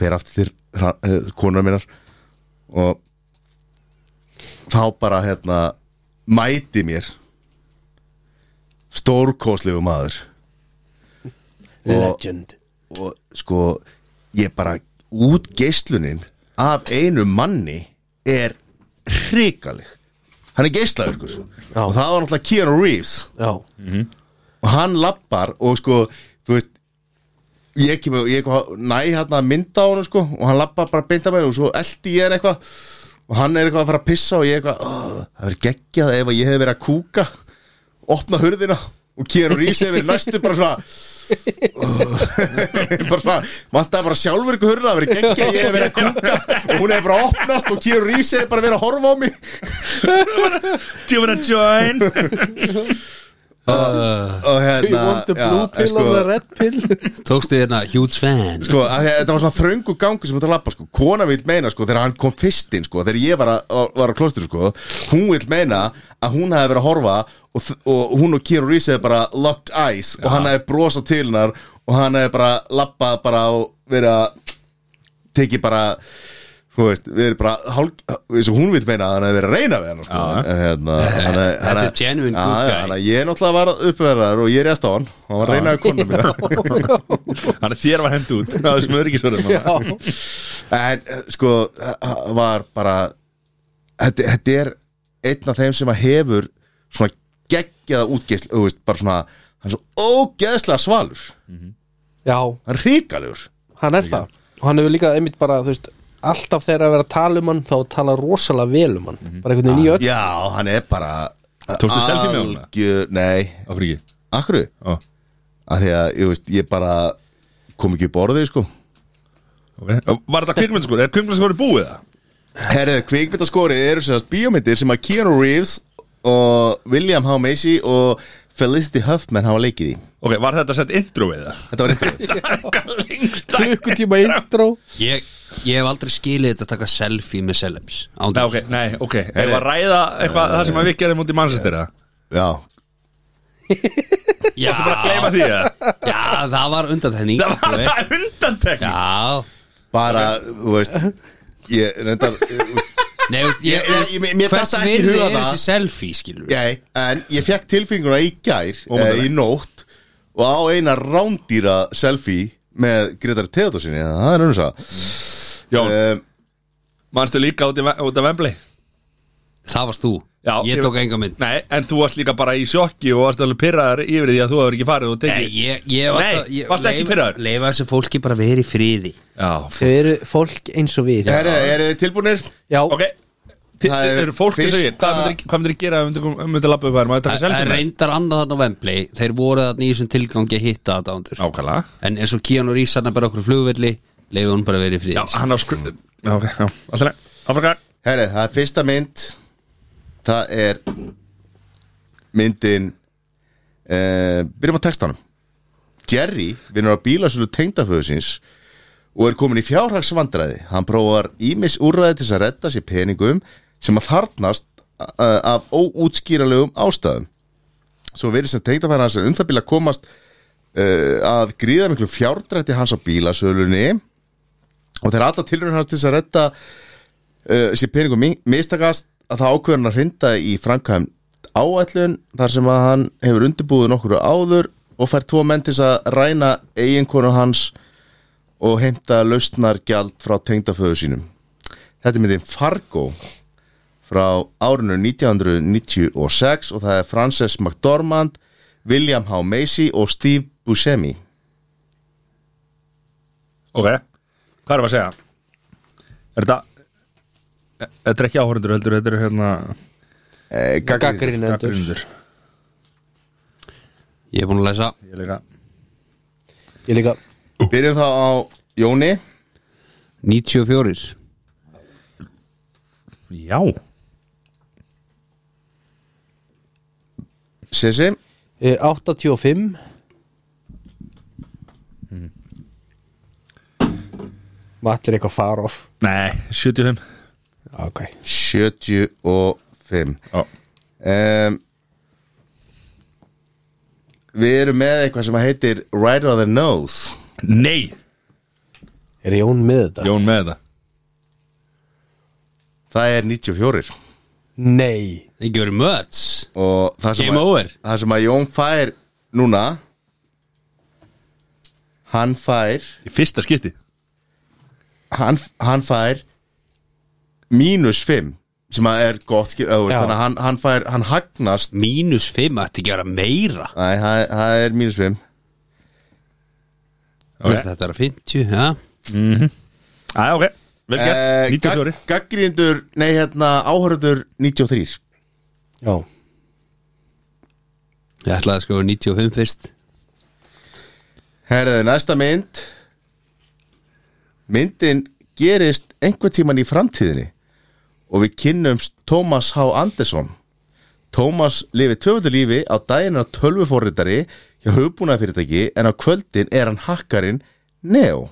Speaker 1: fer aftur til konar minnar og þá bara hérna mæti mér stórkoslegu maður
Speaker 4: Legend
Speaker 1: og sko ég bara út geislunin af einu manni er hrikaleg hann er geislaverkur
Speaker 4: Já.
Speaker 1: og það var náttúrulega Keanu Reeves
Speaker 4: Já,
Speaker 1: og hann lappar og sko þú veist ég kem, ég kem næ hérna að mynda á hann sko, og hann lappar bara að mynda mér og svo eldi ég hann eitthvað og hann er eitthvað að fara að pissa og ég eitthvað "Ugh, það verður geggjað ef að ég hef verið að kúka opna hurðina og Keanu Reeves hefur verið næstu bara svona bara svona, vantaði bara sjálfur ykkur hurða, það verið geggja, ég hef verið að kúka og hún hefur bara opnast og Keanu Reeves hefur bara verið að horfa á mig
Speaker 3: Do you wanna join?
Speaker 1: og
Speaker 4: Do you
Speaker 1: hérna
Speaker 4: want the blue
Speaker 1: já,
Speaker 4: pill
Speaker 1: sko,
Speaker 4: or the red pill?
Speaker 2: Tókstu hérna huge fan
Speaker 1: sko, af því að þetta var svona þröngu gangu sem þetta lappa sko. kona vill meina sko, þegar hann kom fyrst inn sko, þegar ég var að, að- var að klostur sko, hún vill meina að hún hefði verið að horfa og, þ- og hún og Keanu Reeves hefði bara locked eyes og hann hefði brosað til hennar og hann hefði bara lappað bara og verið að tekið bara þú veist, við erum bara hálg, eins og hún vil meina að hann hefði verið að reyna við hann sko.
Speaker 3: Já.
Speaker 1: en, hérna, hann, hefði- hann,
Speaker 2: Þetta er genuine
Speaker 1: Já, já,
Speaker 2: good guy.
Speaker 1: hann hefði- ég náttúrulega var uppverðar og ég reist á hann hann var að reyna við konuna mína
Speaker 3: Þannig að þér var hend út á þessum öryggisvörðum
Speaker 4: Já,
Speaker 1: En eh, sko, það var bara þetta, þetta er einn af þeim sem að hefur svona geggjaða útgeisl þú veist, bara svona, hann er svo ógeðslega svalur
Speaker 4: já,
Speaker 1: hann er ríkalegur
Speaker 4: hann er það Og hann hefur líka einmitt bara, þú veist Alltaf þegar að vera að tala um hann Þá tala rosalega vel um hann Bara einhvern veginn í öll
Speaker 1: Já, hann er bara
Speaker 3: Tókstu selfie með honum?
Speaker 1: Algjör- Nei,
Speaker 3: Af hverju ekki?
Speaker 1: akkur
Speaker 3: Ó,
Speaker 1: að því að, ég veist, ég bara kom ekki upp orðið, sko
Speaker 3: ok. Var þetta kvikmyndaskóri? Er kvikmyndaskóri búið það?
Speaker 1: Herðu, kvikmyndaskórið eru sem sagt bíómyndir sem að Keanu Reeves og William H. Macy og Felicity Huffman hafa leikið í
Speaker 3: Ok, var þetta sett intro við það?
Speaker 1: Þetta var eitthvað
Speaker 3: Lengst
Speaker 4: Klukkutíma intro
Speaker 2: ég, ég hef aldrei skilið þetta að taka selfie með celebs
Speaker 3: Nei,
Speaker 2: Ándjóks
Speaker 3: ok, nei, ok Ef að ræða eitthvað það sem að við gerum út í mannsastir það
Speaker 1: Já,
Speaker 2: Já,
Speaker 3: Bara gleyma því það
Speaker 2: já, það var undanþenning
Speaker 3: Það var
Speaker 2: þú veist.
Speaker 3: það undantekning
Speaker 2: Já,
Speaker 1: bara, þú veist ég reyndar þú veist,
Speaker 2: nei, veist,
Speaker 1: Ég- ég- ég- mér
Speaker 2: Hvers
Speaker 1: datt ekki í
Speaker 2: virði
Speaker 1: huga
Speaker 2: er
Speaker 1: það.
Speaker 2: þessi selfie, skilur við?
Speaker 1: ég, en ég fekk tilfinninguna í gær
Speaker 3: Ómögulega.
Speaker 1: eh, í nótt og á eina rándýra selfie með Gretar Theodorsinni það er önnur sá
Speaker 3: Jón,
Speaker 1: um,
Speaker 3: mannstu líka út, í, Ve- út af Vembli
Speaker 2: Það varst þú,
Speaker 3: Já,
Speaker 2: ég
Speaker 3: ég-
Speaker 2: tók enga mynd
Speaker 3: Nei, en þú varst líka bara í sjokki og varst alveg pyrraðar yfir því að þú hefur ekki farið og
Speaker 2: Nei,
Speaker 3: tekið
Speaker 2: ég, ég
Speaker 3: Nei,
Speaker 2: að- ég-
Speaker 3: varstu ekki
Speaker 2: leyfa-
Speaker 3: pirraður?
Speaker 2: Leyfa þessu fólki bara verið í friði
Speaker 3: Já,
Speaker 4: Þau eru fólk eins og við
Speaker 1: er, er þið tilbúinir?
Speaker 4: Já,
Speaker 3: ok
Speaker 1: Það
Speaker 3: Það
Speaker 1: er
Speaker 3: eru fólk eins og ég
Speaker 1: fyrsta-
Speaker 3: Hvað myndir- hvað myndir gera ef myndir- ef myndir lappa upp hær? Maður taka
Speaker 2: Það er
Speaker 3: selfie með
Speaker 2: reyndar annað þarna á Vembley Þeir voru þarna í þessum tilgangi að hitta þetta ándur
Speaker 3: Ákala
Speaker 2: En eins og Keanu Reeves hann er bara okkur flugvelli Leifði hún bara verið í
Speaker 3: Já,
Speaker 2: friði
Speaker 3: hann á skru Já, ok, já, alltaf leið Áfram
Speaker 1: Herri, það er fyrsta mynd það er myndin uh, byrjum á textanum Jerry vinnur á bílasölu tengdaföðu síns og er komin í fjárhagsvandræði hann prófar ímis úrræði til þess að redda sér peningum sem að þarnast uh, af óútskýralegum ástæðum svo verið sem tengdafæðan hans er um það bíl að komast uh, að gríða miklu fjárdrætti hans á bílasölunni og þegar alla tilröðin hans til þess að redda uh, sér peningum mi- mistakast að það ákveðan að hrinda í framkvæm áætlun þar sem að hann hefur undirbúið nokkru áður og fær tvo menn til þess að ræna eiginkonu hans og heimta lausnargjald frá tengdaföðu sínum Þetta er myndin Fargo frá árinu 1996 og það er Frances McDormand William H. Macy og Steve Buscemi
Speaker 3: Ok, hvað erum við að segja? Er þetta e- Þetta er ekki áhörundur heldur, þetta er hérna
Speaker 1: eh, gagnrýnendur.
Speaker 4: gaggrinendur
Speaker 3: gagnrýnendur.
Speaker 2: Ég er búin að lesa
Speaker 3: Ég líka
Speaker 4: Ég líka
Speaker 1: Byrjum þá á Jóni
Speaker 2: 94
Speaker 3: Já
Speaker 1: Sessi
Speaker 4: Eh, 85 Matti er eitthvað far off
Speaker 3: Nei, 75
Speaker 4: Ok
Speaker 1: 75
Speaker 3: Já,
Speaker 1: um, Við erum með eitthvað sem heitir Right on the Nose
Speaker 3: Nei,
Speaker 4: Er Jón með þetta?
Speaker 3: Jón með þetta
Speaker 1: Það er 94
Speaker 4: Nei
Speaker 2: Ekki verið möts
Speaker 1: Og það sem,
Speaker 2: Game
Speaker 1: að,
Speaker 2: over.
Speaker 1: það sem að Jón fær núna Hann fær
Speaker 3: Í fyrsta skipti
Speaker 1: Hann, hann fær Mínus 5 Sem að er gott skil þú veist,
Speaker 4: Já.
Speaker 1: Þannig að hann, hann fær, hann hagnast
Speaker 2: Mínus 5, ætti ekki að vera meira
Speaker 1: Æ, það það er mínus 5
Speaker 2: okay. Veist, Þetta er að 50, ja
Speaker 3: Æ, ok, vel gert, 94
Speaker 1: Gaggrindur, Eh, nei hérna áhörður 93
Speaker 4: Já
Speaker 2: Ég ætlaði að skrifa 95 fyrst
Speaker 1: Herðu, næsta mynd Myndin gerist einhvern tíman í framtíðinni og við kynnumst Thomas H. Anderson Tómas lifið tvöföldu lífi á daginn er hann tölvuforritari hjá hugbúnaðfyrirtæki en á kvöldin er hann hakkarinn Neo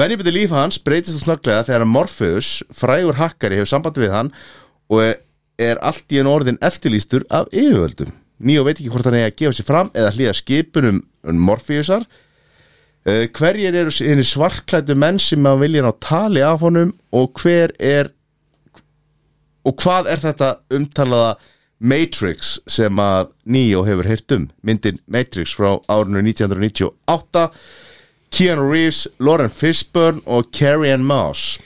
Speaker 1: Venjubiti líf hans breytist þú snögglega þegar Morpheus, frægur hakkari, hefur sambandi við hann og er- er allt í enn orðin eftirlýstur af yfirvöldum. Nýjó veit ekki hvort hann er að gefa sér fram eða hlýða skipunum um Morpheusar. Eh, Hverjir eru henni svarklætu menn sem hann vilja ná tali af honum og hver er og hvað er þetta umtalaða Matrix sem að Neo hefur heyrt um, myndin Matrix frá árinu 1998 Keanu Reeves, Lauren Fishburne og Carrie Ann Moss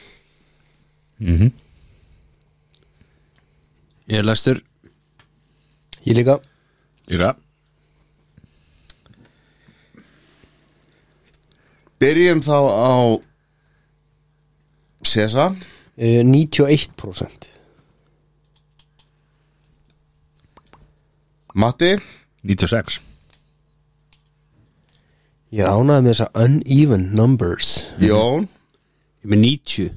Speaker 2: Ég er læstur
Speaker 4: Ég líka
Speaker 3: Líka
Speaker 1: Byrjum þá á Sessa
Speaker 4: uh, 91%
Speaker 1: Matti
Speaker 3: 96
Speaker 4: Ég ránaði með þessa uneven numbers
Speaker 1: Jón
Speaker 2: Ég er með 90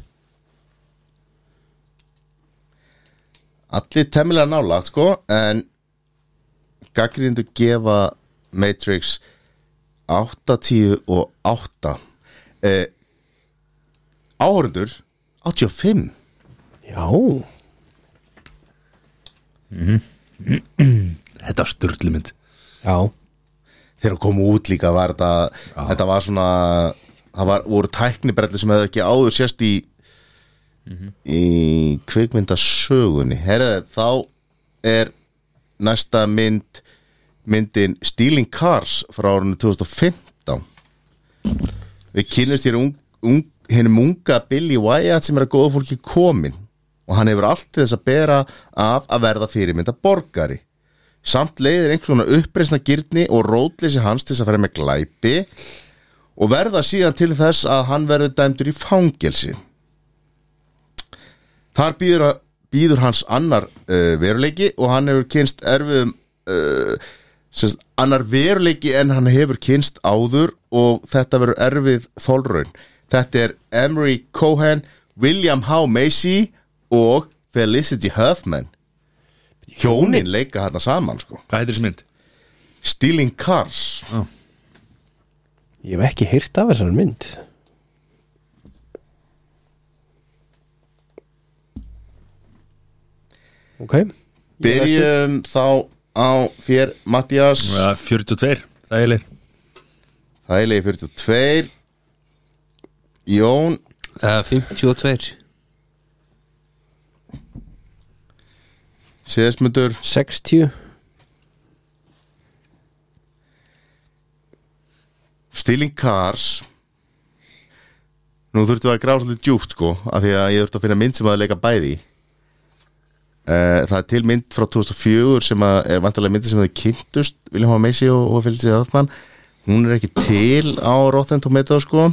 Speaker 1: Allir temmilega nálagt sko En Gaggrindu gefa Matrix 8, 10 og 8 eh, Áhörundur 85
Speaker 4: Já
Speaker 3: Þetta var störtlu mynd
Speaker 4: Já
Speaker 1: þegar að koma út líka var þetta, þetta var svona það var, voru tæknibrelli sem hefði ekki áður sérst í í kvikmyndasögunni herðu þá er næsta mynd myndin Stealing Cars frá árunni 2015 við kynnumst hér ung, ung, hennum unga Billy Wyatt sem er að góða fólki komin og hann hefur allt til þess að bera af að verða fyrirmynda borgari samt leiðir einhvers svona uppreisna gyrni og rótleysi hans til þess að fara með glæpi og verða síðan til þess að hann verður dæmdur í fangelsi Þar býður, býður hans annar uh, veruleiki og hann hefur kynst erfiðum uh, semst, annar veruleiki en hann hefur kynst áður og þetta verður erfið þólraun. Þetta er Emery Cohen, William H. Macy og Felicity Huffman. Hjónin leika hérna saman sko.
Speaker 3: Hvað heitir þessi mynd?
Speaker 1: Stealing Cars.
Speaker 4: Ég hef ekki heyrt af þessar mynd Ok Ég er næstur.
Speaker 1: Byrjum þá á þér Mattias.
Speaker 3: Ja, 42 Þægileg
Speaker 1: Þægilegi 42. Jón
Speaker 2: uh, 52
Speaker 1: Sesmundur
Speaker 4: 60
Speaker 1: Stealing Cars Nú þurftum við að gráða svolítið djúpt sko af því að ég þurfti að finna mynd sem að leika bæði í. Eh, Það er til mynd frá 2004 sem að er vantarlega myndi sem þau kynntust William H. Macy og, og Felicity Huffman Hún er ekki til á Rotten Tomatoes sko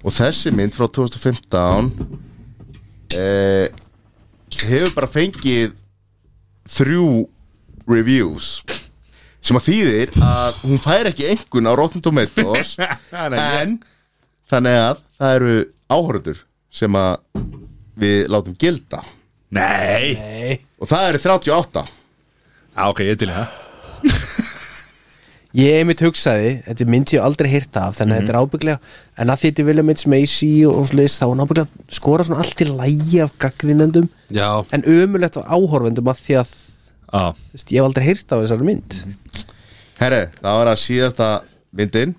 Speaker 1: og þessi mynd frá 2015 eh, hefur bara fengið þrjú reviews sem að þýðir að hún fær ekki engun á Rotten Tomatoes en þannig að það eru áhörður sem að við látum gilda
Speaker 3: Nei
Speaker 1: og það eru 38
Speaker 3: Á, ok, ég er til í það
Speaker 4: Ég einmitt hugsaði, þetta er mynd sem ég hef aldrei heyrt af þannig að þetta er ábygglega, en að því þetta vilja mynd sem AC og slis, þá er hún ábygglega að skora svona allt í lægi af gaggrinendum
Speaker 2: Já,
Speaker 4: en ömulegt af áhorfendum að því að þú
Speaker 3: Á
Speaker 4: veist, ég hef aldrei heyrt af þessari mynd
Speaker 1: Herre, það var að síðasta myndin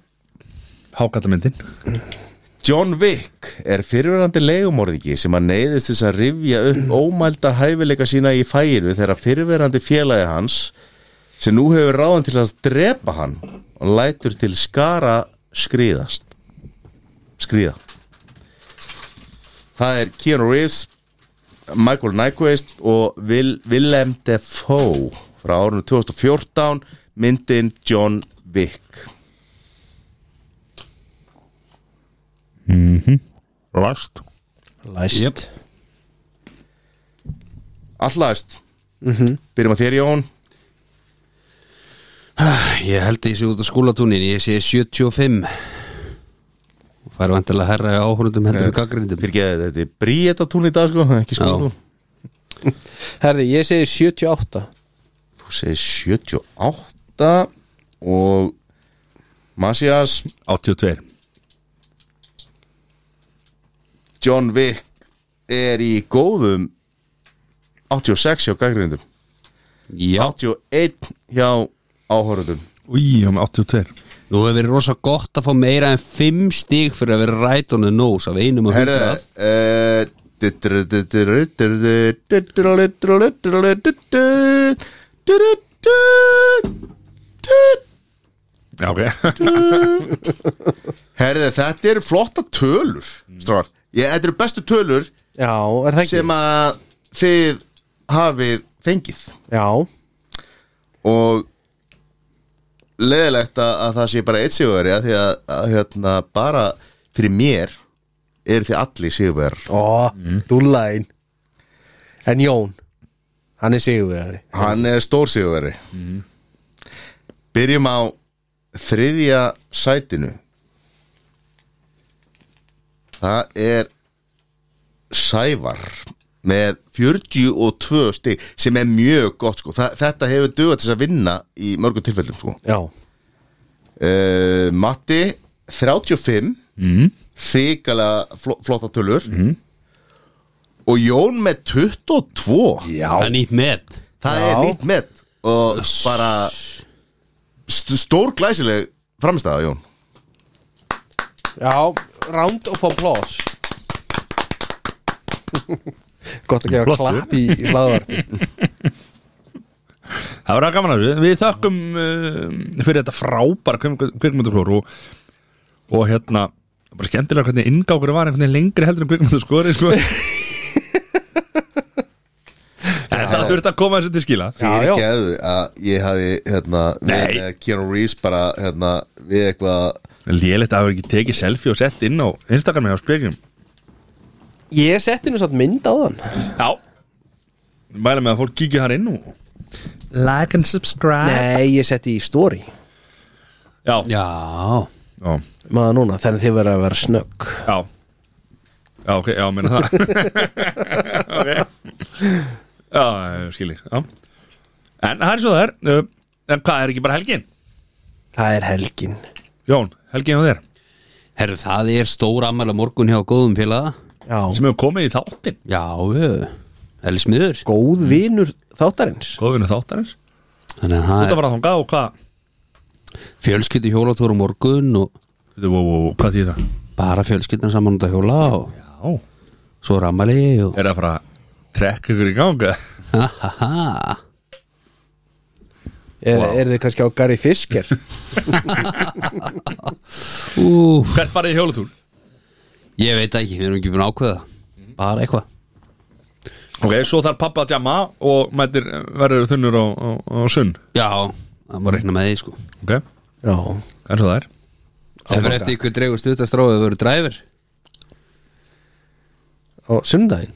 Speaker 3: Hákallamyndin
Speaker 1: John Wick er fyrirverandi legumorðiki sem að neyðist þess að rifja upp ómælda hæfileika sína í fæinu þegar fyrirverandi félagi hans sem nú hefur ráðan til að drepa hann og lætur til skara skriðast skriða það er Keanu Reeves Michael Nyquist og Will, Willem Dafoe frá árunum 2014 myndin John Wick
Speaker 3: Last
Speaker 4: Læst
Speaker 2: Jep.
Speaker 1: allaðist byrjum að þér Jón
Speaker 2: ég held að ég sé út af skólatúnin Ég sé 75 og fær
Speaker 4: Eh.
Speaker 2: vantilega herra í áhörundum heldur við gaggrindum
Speaker 1: Fyrir þetta er bríetatún í dag sko, ekki sko
Speaker 2: Já.
Speaker 1: þú
Speaker 4: Herði, ég segi 78
Speaker 1: Þú segir 78 og Masias
Speaker 3: 82
Speaker 1: John Wick er í góðum 86 hjá gaggrindum
Speaker 2: Já,
Speaker 1: 81 hjá áhorundum
Speaker 3: Í, hann er 82
Speaker 2: nú hefur verið rosa gott að fá meira en 5 stík fyrir að vera ræt on the nose af einum og
Speaker 1: Herðu
Speaker 2: hundrað
Speaker 1: eh,
Speaker 3: Já, ok
Speaker 1: Herðu þetta eru flotta tölur Stráðar, þetta eru bestu tölur
Speaker 4: Já, er það ekki?
Speaker 1: sem að þið hafið fengið
Speaker 4: Já,
Speaker 1: og leðilegt að, að það sé bara eitt sigurveri að því að, að hérna, bara fyrir mér eru þið allir sigurver
Speaker 4: ó, mm. dúllaðin En Jón, hann er sigurvegari
Speaker 1: hann er stór sigurveri byrjum á þriðja sætinu það er Sævar með 42 stig sem er mjög gott sko. Þa, þetta hefur dugað til þess að vinna í mörgum tilfellum sko.
Speaker 4: Já,
Speaker 1: uh, Matti 35 mm. hrikalega fl flotta tölur og Jón með 22
Speaker 4: já,
Speaker 2: Það er nýtt met
Speaker 1: það
Speaker 4: Já.
Speaker 1: er nýtt með og bara st stór glæsileg framstæða Jón
Speaker 4: já Round of applause Gott að gefa
Speaker 3: Flottur.
Speaker 4: klapp í, í hlaðar
Speaker 3: Það var að gaman að þessu Við þökkum uh, fyrir þetta frábæra kvikmyndaskor og, og hérna bara skemmtilega hvernig ingákur var einhvern veginn lengri heldur en kvikmyndaskori sko. En það þurfti að koma þessu til skila
Speaker 4: Já,
Speaker 1: fyrir
Speaker 4: já.
Speaker 1: geðu að ég hafi hérna,
Speaker 3: Nei.
Speaker 1: verið með Keanu Reeves bara hérna, við eitthvað
Speaker 3: Lélegt að hafa ekki tekið selfie og sett inn á Instagram eða á spekjum
Speaker 4: Ég setti nú satt mynd á þann
Speaker 3: Já Mæla með að fólk kíkja þar inn og Like and subscribe
Speaker 4: Nei, ég setti í story
Speaker 3: Já, já,
Speaker 2: Já,
Speaker 3: já,
Speaker 4: Maður núna, þannig þið verða að vera snögg
Speaker 3: já ok, já, meina það Ok Já, ég skil ég, já En það er svo það er uh, En hvað, er ekki bara helgin?
Speaker 4: Það er helgin
Speaker 3: Jón, helgin á þér
Speaker 2: herru það er stór ammæla morgun hjá góðum félaga
Speaker 4: Já,
Speaker 3: Sem hefur komið í þáttinn
Speaker 2: Já, helgi smiður
Speaker 4: góð vinur þáttarins
Speaker 3: Góðvinu þáttarins
Speaker 2: Þannig að
Speaker 3: Þetta
Speaker 2: það
Speaker 3: var að þangað og hvað
Speaker 2: er fjölskyldi hjólatúr á morgun og
Speaker 3: Þetta, wow, wow, wow, Hvað þýð það?
Speaker 2: bara fjölskyldan saman út að hjóla og
Speaker 3: Já
Speaker 2: svo er ammæli og
Speaker 3: Er það bara að trekka ykkur í ganga?
Speaker 2: ha ha ha
Speaker 4: Er, wow. þið kannski á Gary Fisker?
Speaker 2: Ú,
Speaker 3: Hvert farið í hjólutúr?
Speaker 2: ég veit það ekki, við erum ekki búin að ákveða Mhm. bara eitthvað
Speaker 3: Ok, svo þarf pappa að djama og mætir verður þunnur á, á, á sunn
Speaker 2: Já, það var reikna með því sko
Speaker 3: Ok,
Speaker 4: Já
Speaker 3: eins og það er
Speaker 2: Það fyrir eftir ykkur dreigur stutastráðu að vera dræfur
Speaker 4: Á sundaginn?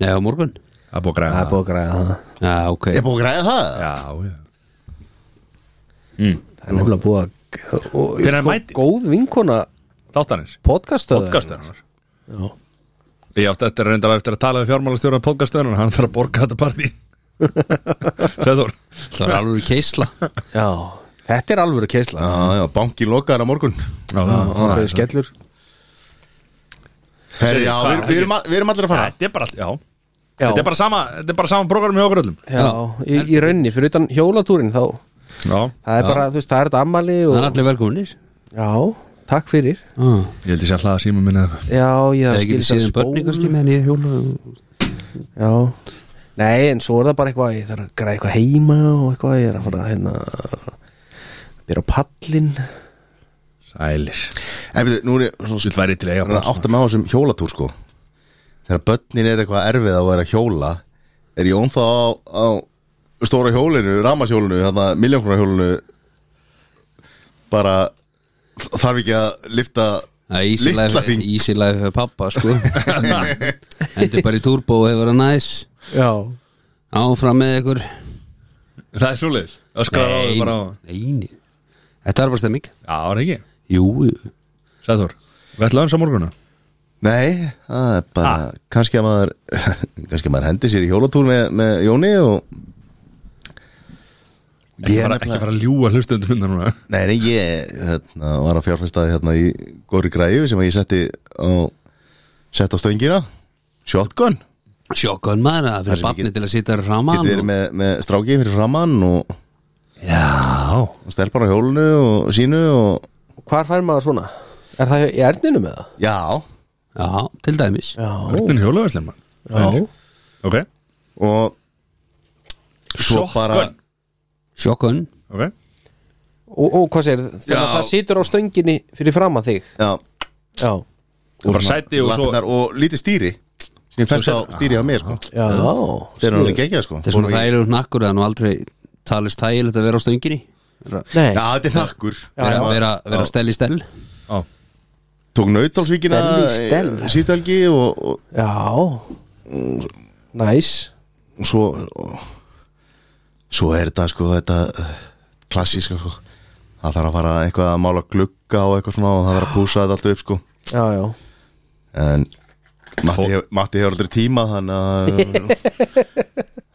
Speaker 2: Nei, á morgun
Speaker 3: Það er búið að græða
Speaker 4: Það er búið að græða það
Speaker 2: Já, ok
Speaker 1: ég er búin að græða það
Speaker 3: Já, já
Speaker 4: Það er nefnilega búið að og, sko,
Speaker 3: Hvenær mæti?
Speaker 4: Góð vinkona
Speaker 3: Þáttanir
Speaker 4: podcastöðar
Speaker 3: Podcastöðunar
Speaker 4: Já
Speaker 3: Ég átti eftir reyndar eftir að tala við fjármálastjóra podcastöðunar Hann þarf að borga þetta partí Sveður
Speaker 2: Það var alveg keisla
Speaker 4: Já Þetta er alvöru keisla
Speaker 1: Já, já, bankin lokaðar á morgun
Speaker 4: Það er skellur
Speaker 1: Herri, já, við, við, erum, að- við erum allir að fara
Speaker 3: Þetta er bara, já
Speaker 4: Já
Speaker 3: Þetta er bara sama, þetta er bara sama program hjá okkur öllum
Speaker 4: Já Í, í raunni Fyrir utan hjólatúrin þá
Speaker 3: Já
Speaker 4: Það er bara, þú veist, það er þetta ammali
Speaker 2: Það er
Speaker 4: og,
Speaker 2: allir velkominir
Speaker 4: Já Takk fyrir
Speaker 2: ah.
Speaker 3: Ég held ég sé að hlaða síma minna
Speaker 4: Já,
Speaker 2: Það
Speaker 4: ég þarf að
Speaker 2: er ekki
Speaker 4: skilja
Speaker 2: síðan börni um kannski meðan ég hjóla
Speaker 4: Já Nei, en svo er það bara eitthvað Ég þarf að græða eitthvað heima og eitthvað Ég er að fara að hérna Byrja á pallin
Speaker 3: Sælir
Speaker 1: En við, nú er ég svona
Speaker 3: Svilt væri til að
Speaker 1: Það er
Speaker 3: eiga
Speaker 1: að átta með á þessum hjólatúr sko Þegar börnin er eitthvað erfið að vera að hjóla Er Jón þá á, á stóra hjólinu, ramashjólinu Þannig að miljónkronar hjólinu Bara þarf ekki að lifta
Speaker 2: Það er easy
Speaker 1: Litla
Speaker 2: life,
Speaker 1: hring.
Speaker 2: easy life fyrir pappa sko Endur bara í turbo og hefur verið næs
Speaker 4: Já
Speaker 2: Áfram með ykkur
Speaker 3: Það er svoleiðis Öskar á þau bara á
Speaker 2: neini Þetta var bara stemming
Speaker 3: Já, það er ekki
Speaker 2: Jú, jú.
Speaker 3: Sæður Við ætlaðum sá morguna
Speaker 1: Nei, það er bara kannski að maður kannski að maður hendi sér í hjólatúr með, með Jóni og
Speaker 3: Ekki fara, ekki fara að ljúa hlustendum undan núna
Speaker 1: Nei, nei, ég hérna, var að fjárfestaði hérna í góri græju sem að ég setti á sett á stöngina shotgun,
Speaker 2: Sjókun maður, það er
Speaker 1: Það
Speaker 2: fyrir
Speaker 1: sem
Speaker 2: barni
Speaker 1: ég get-
Speaker 2: til að sitja þar framan
Speaker 1: getur verið
Speaker 2: og...
Speaker 1: með, með strákið fyrir framann og,
Speaker 2: Já,
Speaker 1: og stelpar á hjólinu og sínu og
Speaker 4: Hvar fær maður svona? Er það í erninum eða?
Speaker 1: já,
Speaker 2: já, til dæmis
Speaker 4: Já,
Speaker 3: Örnin hjólaverslema
Speaker 4: já.
Speaker 3: Ok,
Speaker 1: og svo
Speaker 3: Shotgun.
Speaker 1: bara
Speaker 2: Sjókun,
Speaker 3: ok
Speaker 4: Og, og hvað segir það?
Speaker 1: Já.
Speaker 4: Það situr á stönginni fyrir fram að þig
Speaker 1: já,
Speaker 4: Já,
Speaker 3: Og bara sæti og svo
Speaker 1: lappirnar og lítið stýri sem ég fest á stýri á mér sko.
Speaker 4: já, já.
Speaker 1: þeir eru alveg geggjað sko.
Speaker 2: þetta er svona
Speaker 1: Voru ekki-
Speaker 2: þægilegu hnakkur að nú aldrei talist þægilegt að vera á stönginni
Speaker 4: Nei,
Speaker 1: Já, þetta er nakkur
Speaker 2: vera, vera, vera stell í stell
Speaker 3: Á,
Speaker 1: Tók nautalsvíkina
Speaker 4: Stelli, Stella.
Speaker 1: síðustu helgi og, og,
Speaker 4: já Næs
Speaker 1: og svo og, svo er þetta sko þetta eh, klassíska sko það þarf að fara eitthvað að mála glugga og eitthvað svona og það þarf að púsa þetta allt upp sko
Speaker 4: Já, já
Speaker 1: en Matti, hef, Matti hefur aldrei tíma þannig að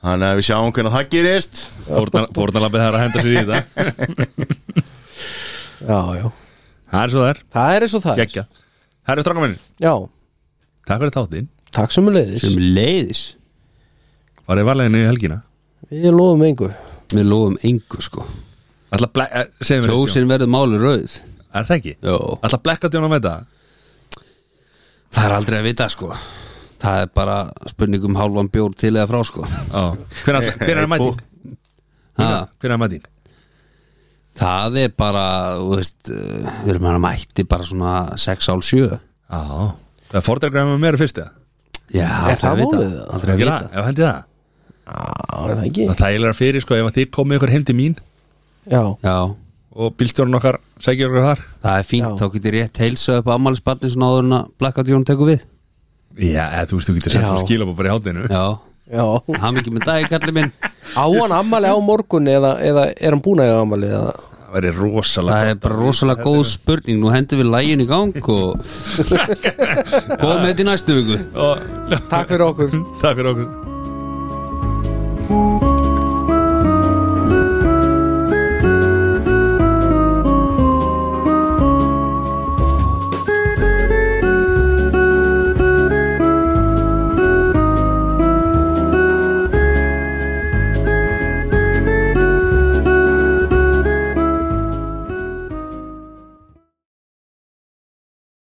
Speaker 1: þannig að við sjáum hvernig það gerist
Speaker 3: fórnar- Fórnarlambið það er að henda sér í þetta
Speaker 4: Já, já
Speaker 3: Það er svo það er,
Speaker 4: Það er eins og það er.
Speaker 3: geggja Herru stráka minn,
Speaker 4: Já,
Speaker 3: takk fyrir þáttinn
Speaker 4: takk sem leiðis
Speaker 2: sem leiðis
Speaker 3: Var ég varleginu í helgina
Speaker 4: Við lofum engu
Speaker 2: við lofum engu sko
Speaker 3: Ætla að blek- eh, segðu mér eitt,
Speaker 2: Kjósin verður máli rauð
Speaker 3: Jón. Er það ekki?
Speaker 2: Jó.
Speaker 3: Ætla að blekka djónum með það
Speaker 2: Það er aldrei að vita sko Það er bara spurning um hálfan bjór til eða frá sko
Speaker 3: Hvernig er mæting?
Speaker 2: ha,
Speaker 3: Hvernig er mæting?
Speaker 2: Það er bara, þú veist eh, Við erum hann að mætti bara svona 6 ál 7
Speaker 3: Já Það er fordelgræmi með mér fyrst eða?
Speaker 2: Já, aldrei
Speaker 4: það
Speaker 2: að vita
Speaker 4: málið, eða?
Speaker 2: Aldrei að
Speaker 3: Ekki
Speaker 2: vita
Speaker 3: það, ef hendi það
Speaker 4: Já, er það ekki
Speaker 3: Það er þægilega fyrir sko ef að þið komið ykkur heim til mín
Speaker 4: Já,
Speaker 2: Já,
Speaker 3: og bílstjórn okkar sækir okkur þar
Speaker 2: það er fínt,
Speaker 4: Já.
Speaker 2: þá getur rétt heilsa upp afmælisbarni svona áður en að Blackout Jón tekur við
Speaker 3: Já, eða, þú veist, þú getur sett
Speaker 4: Já.
Speaker 3: um skilabó bara í hátinu
Speaker 2: Já,
Speaker 4: já
Speaker 2: hann ekki með dagi kallið minn
Speaker 4: Á hann ammali á morgun eða, eða er hann búin að eiga ammali eða
Speaker 3: Það væri rosalega
Speaker 2: Það er bara rosalega góð spurning Nú hendur við lægin í gang og komum með þetta í næstu viku
Speaker 3: Og-
Speaker 4: Takk fyrir okkur
Speaker 3: Takk fyrir okkur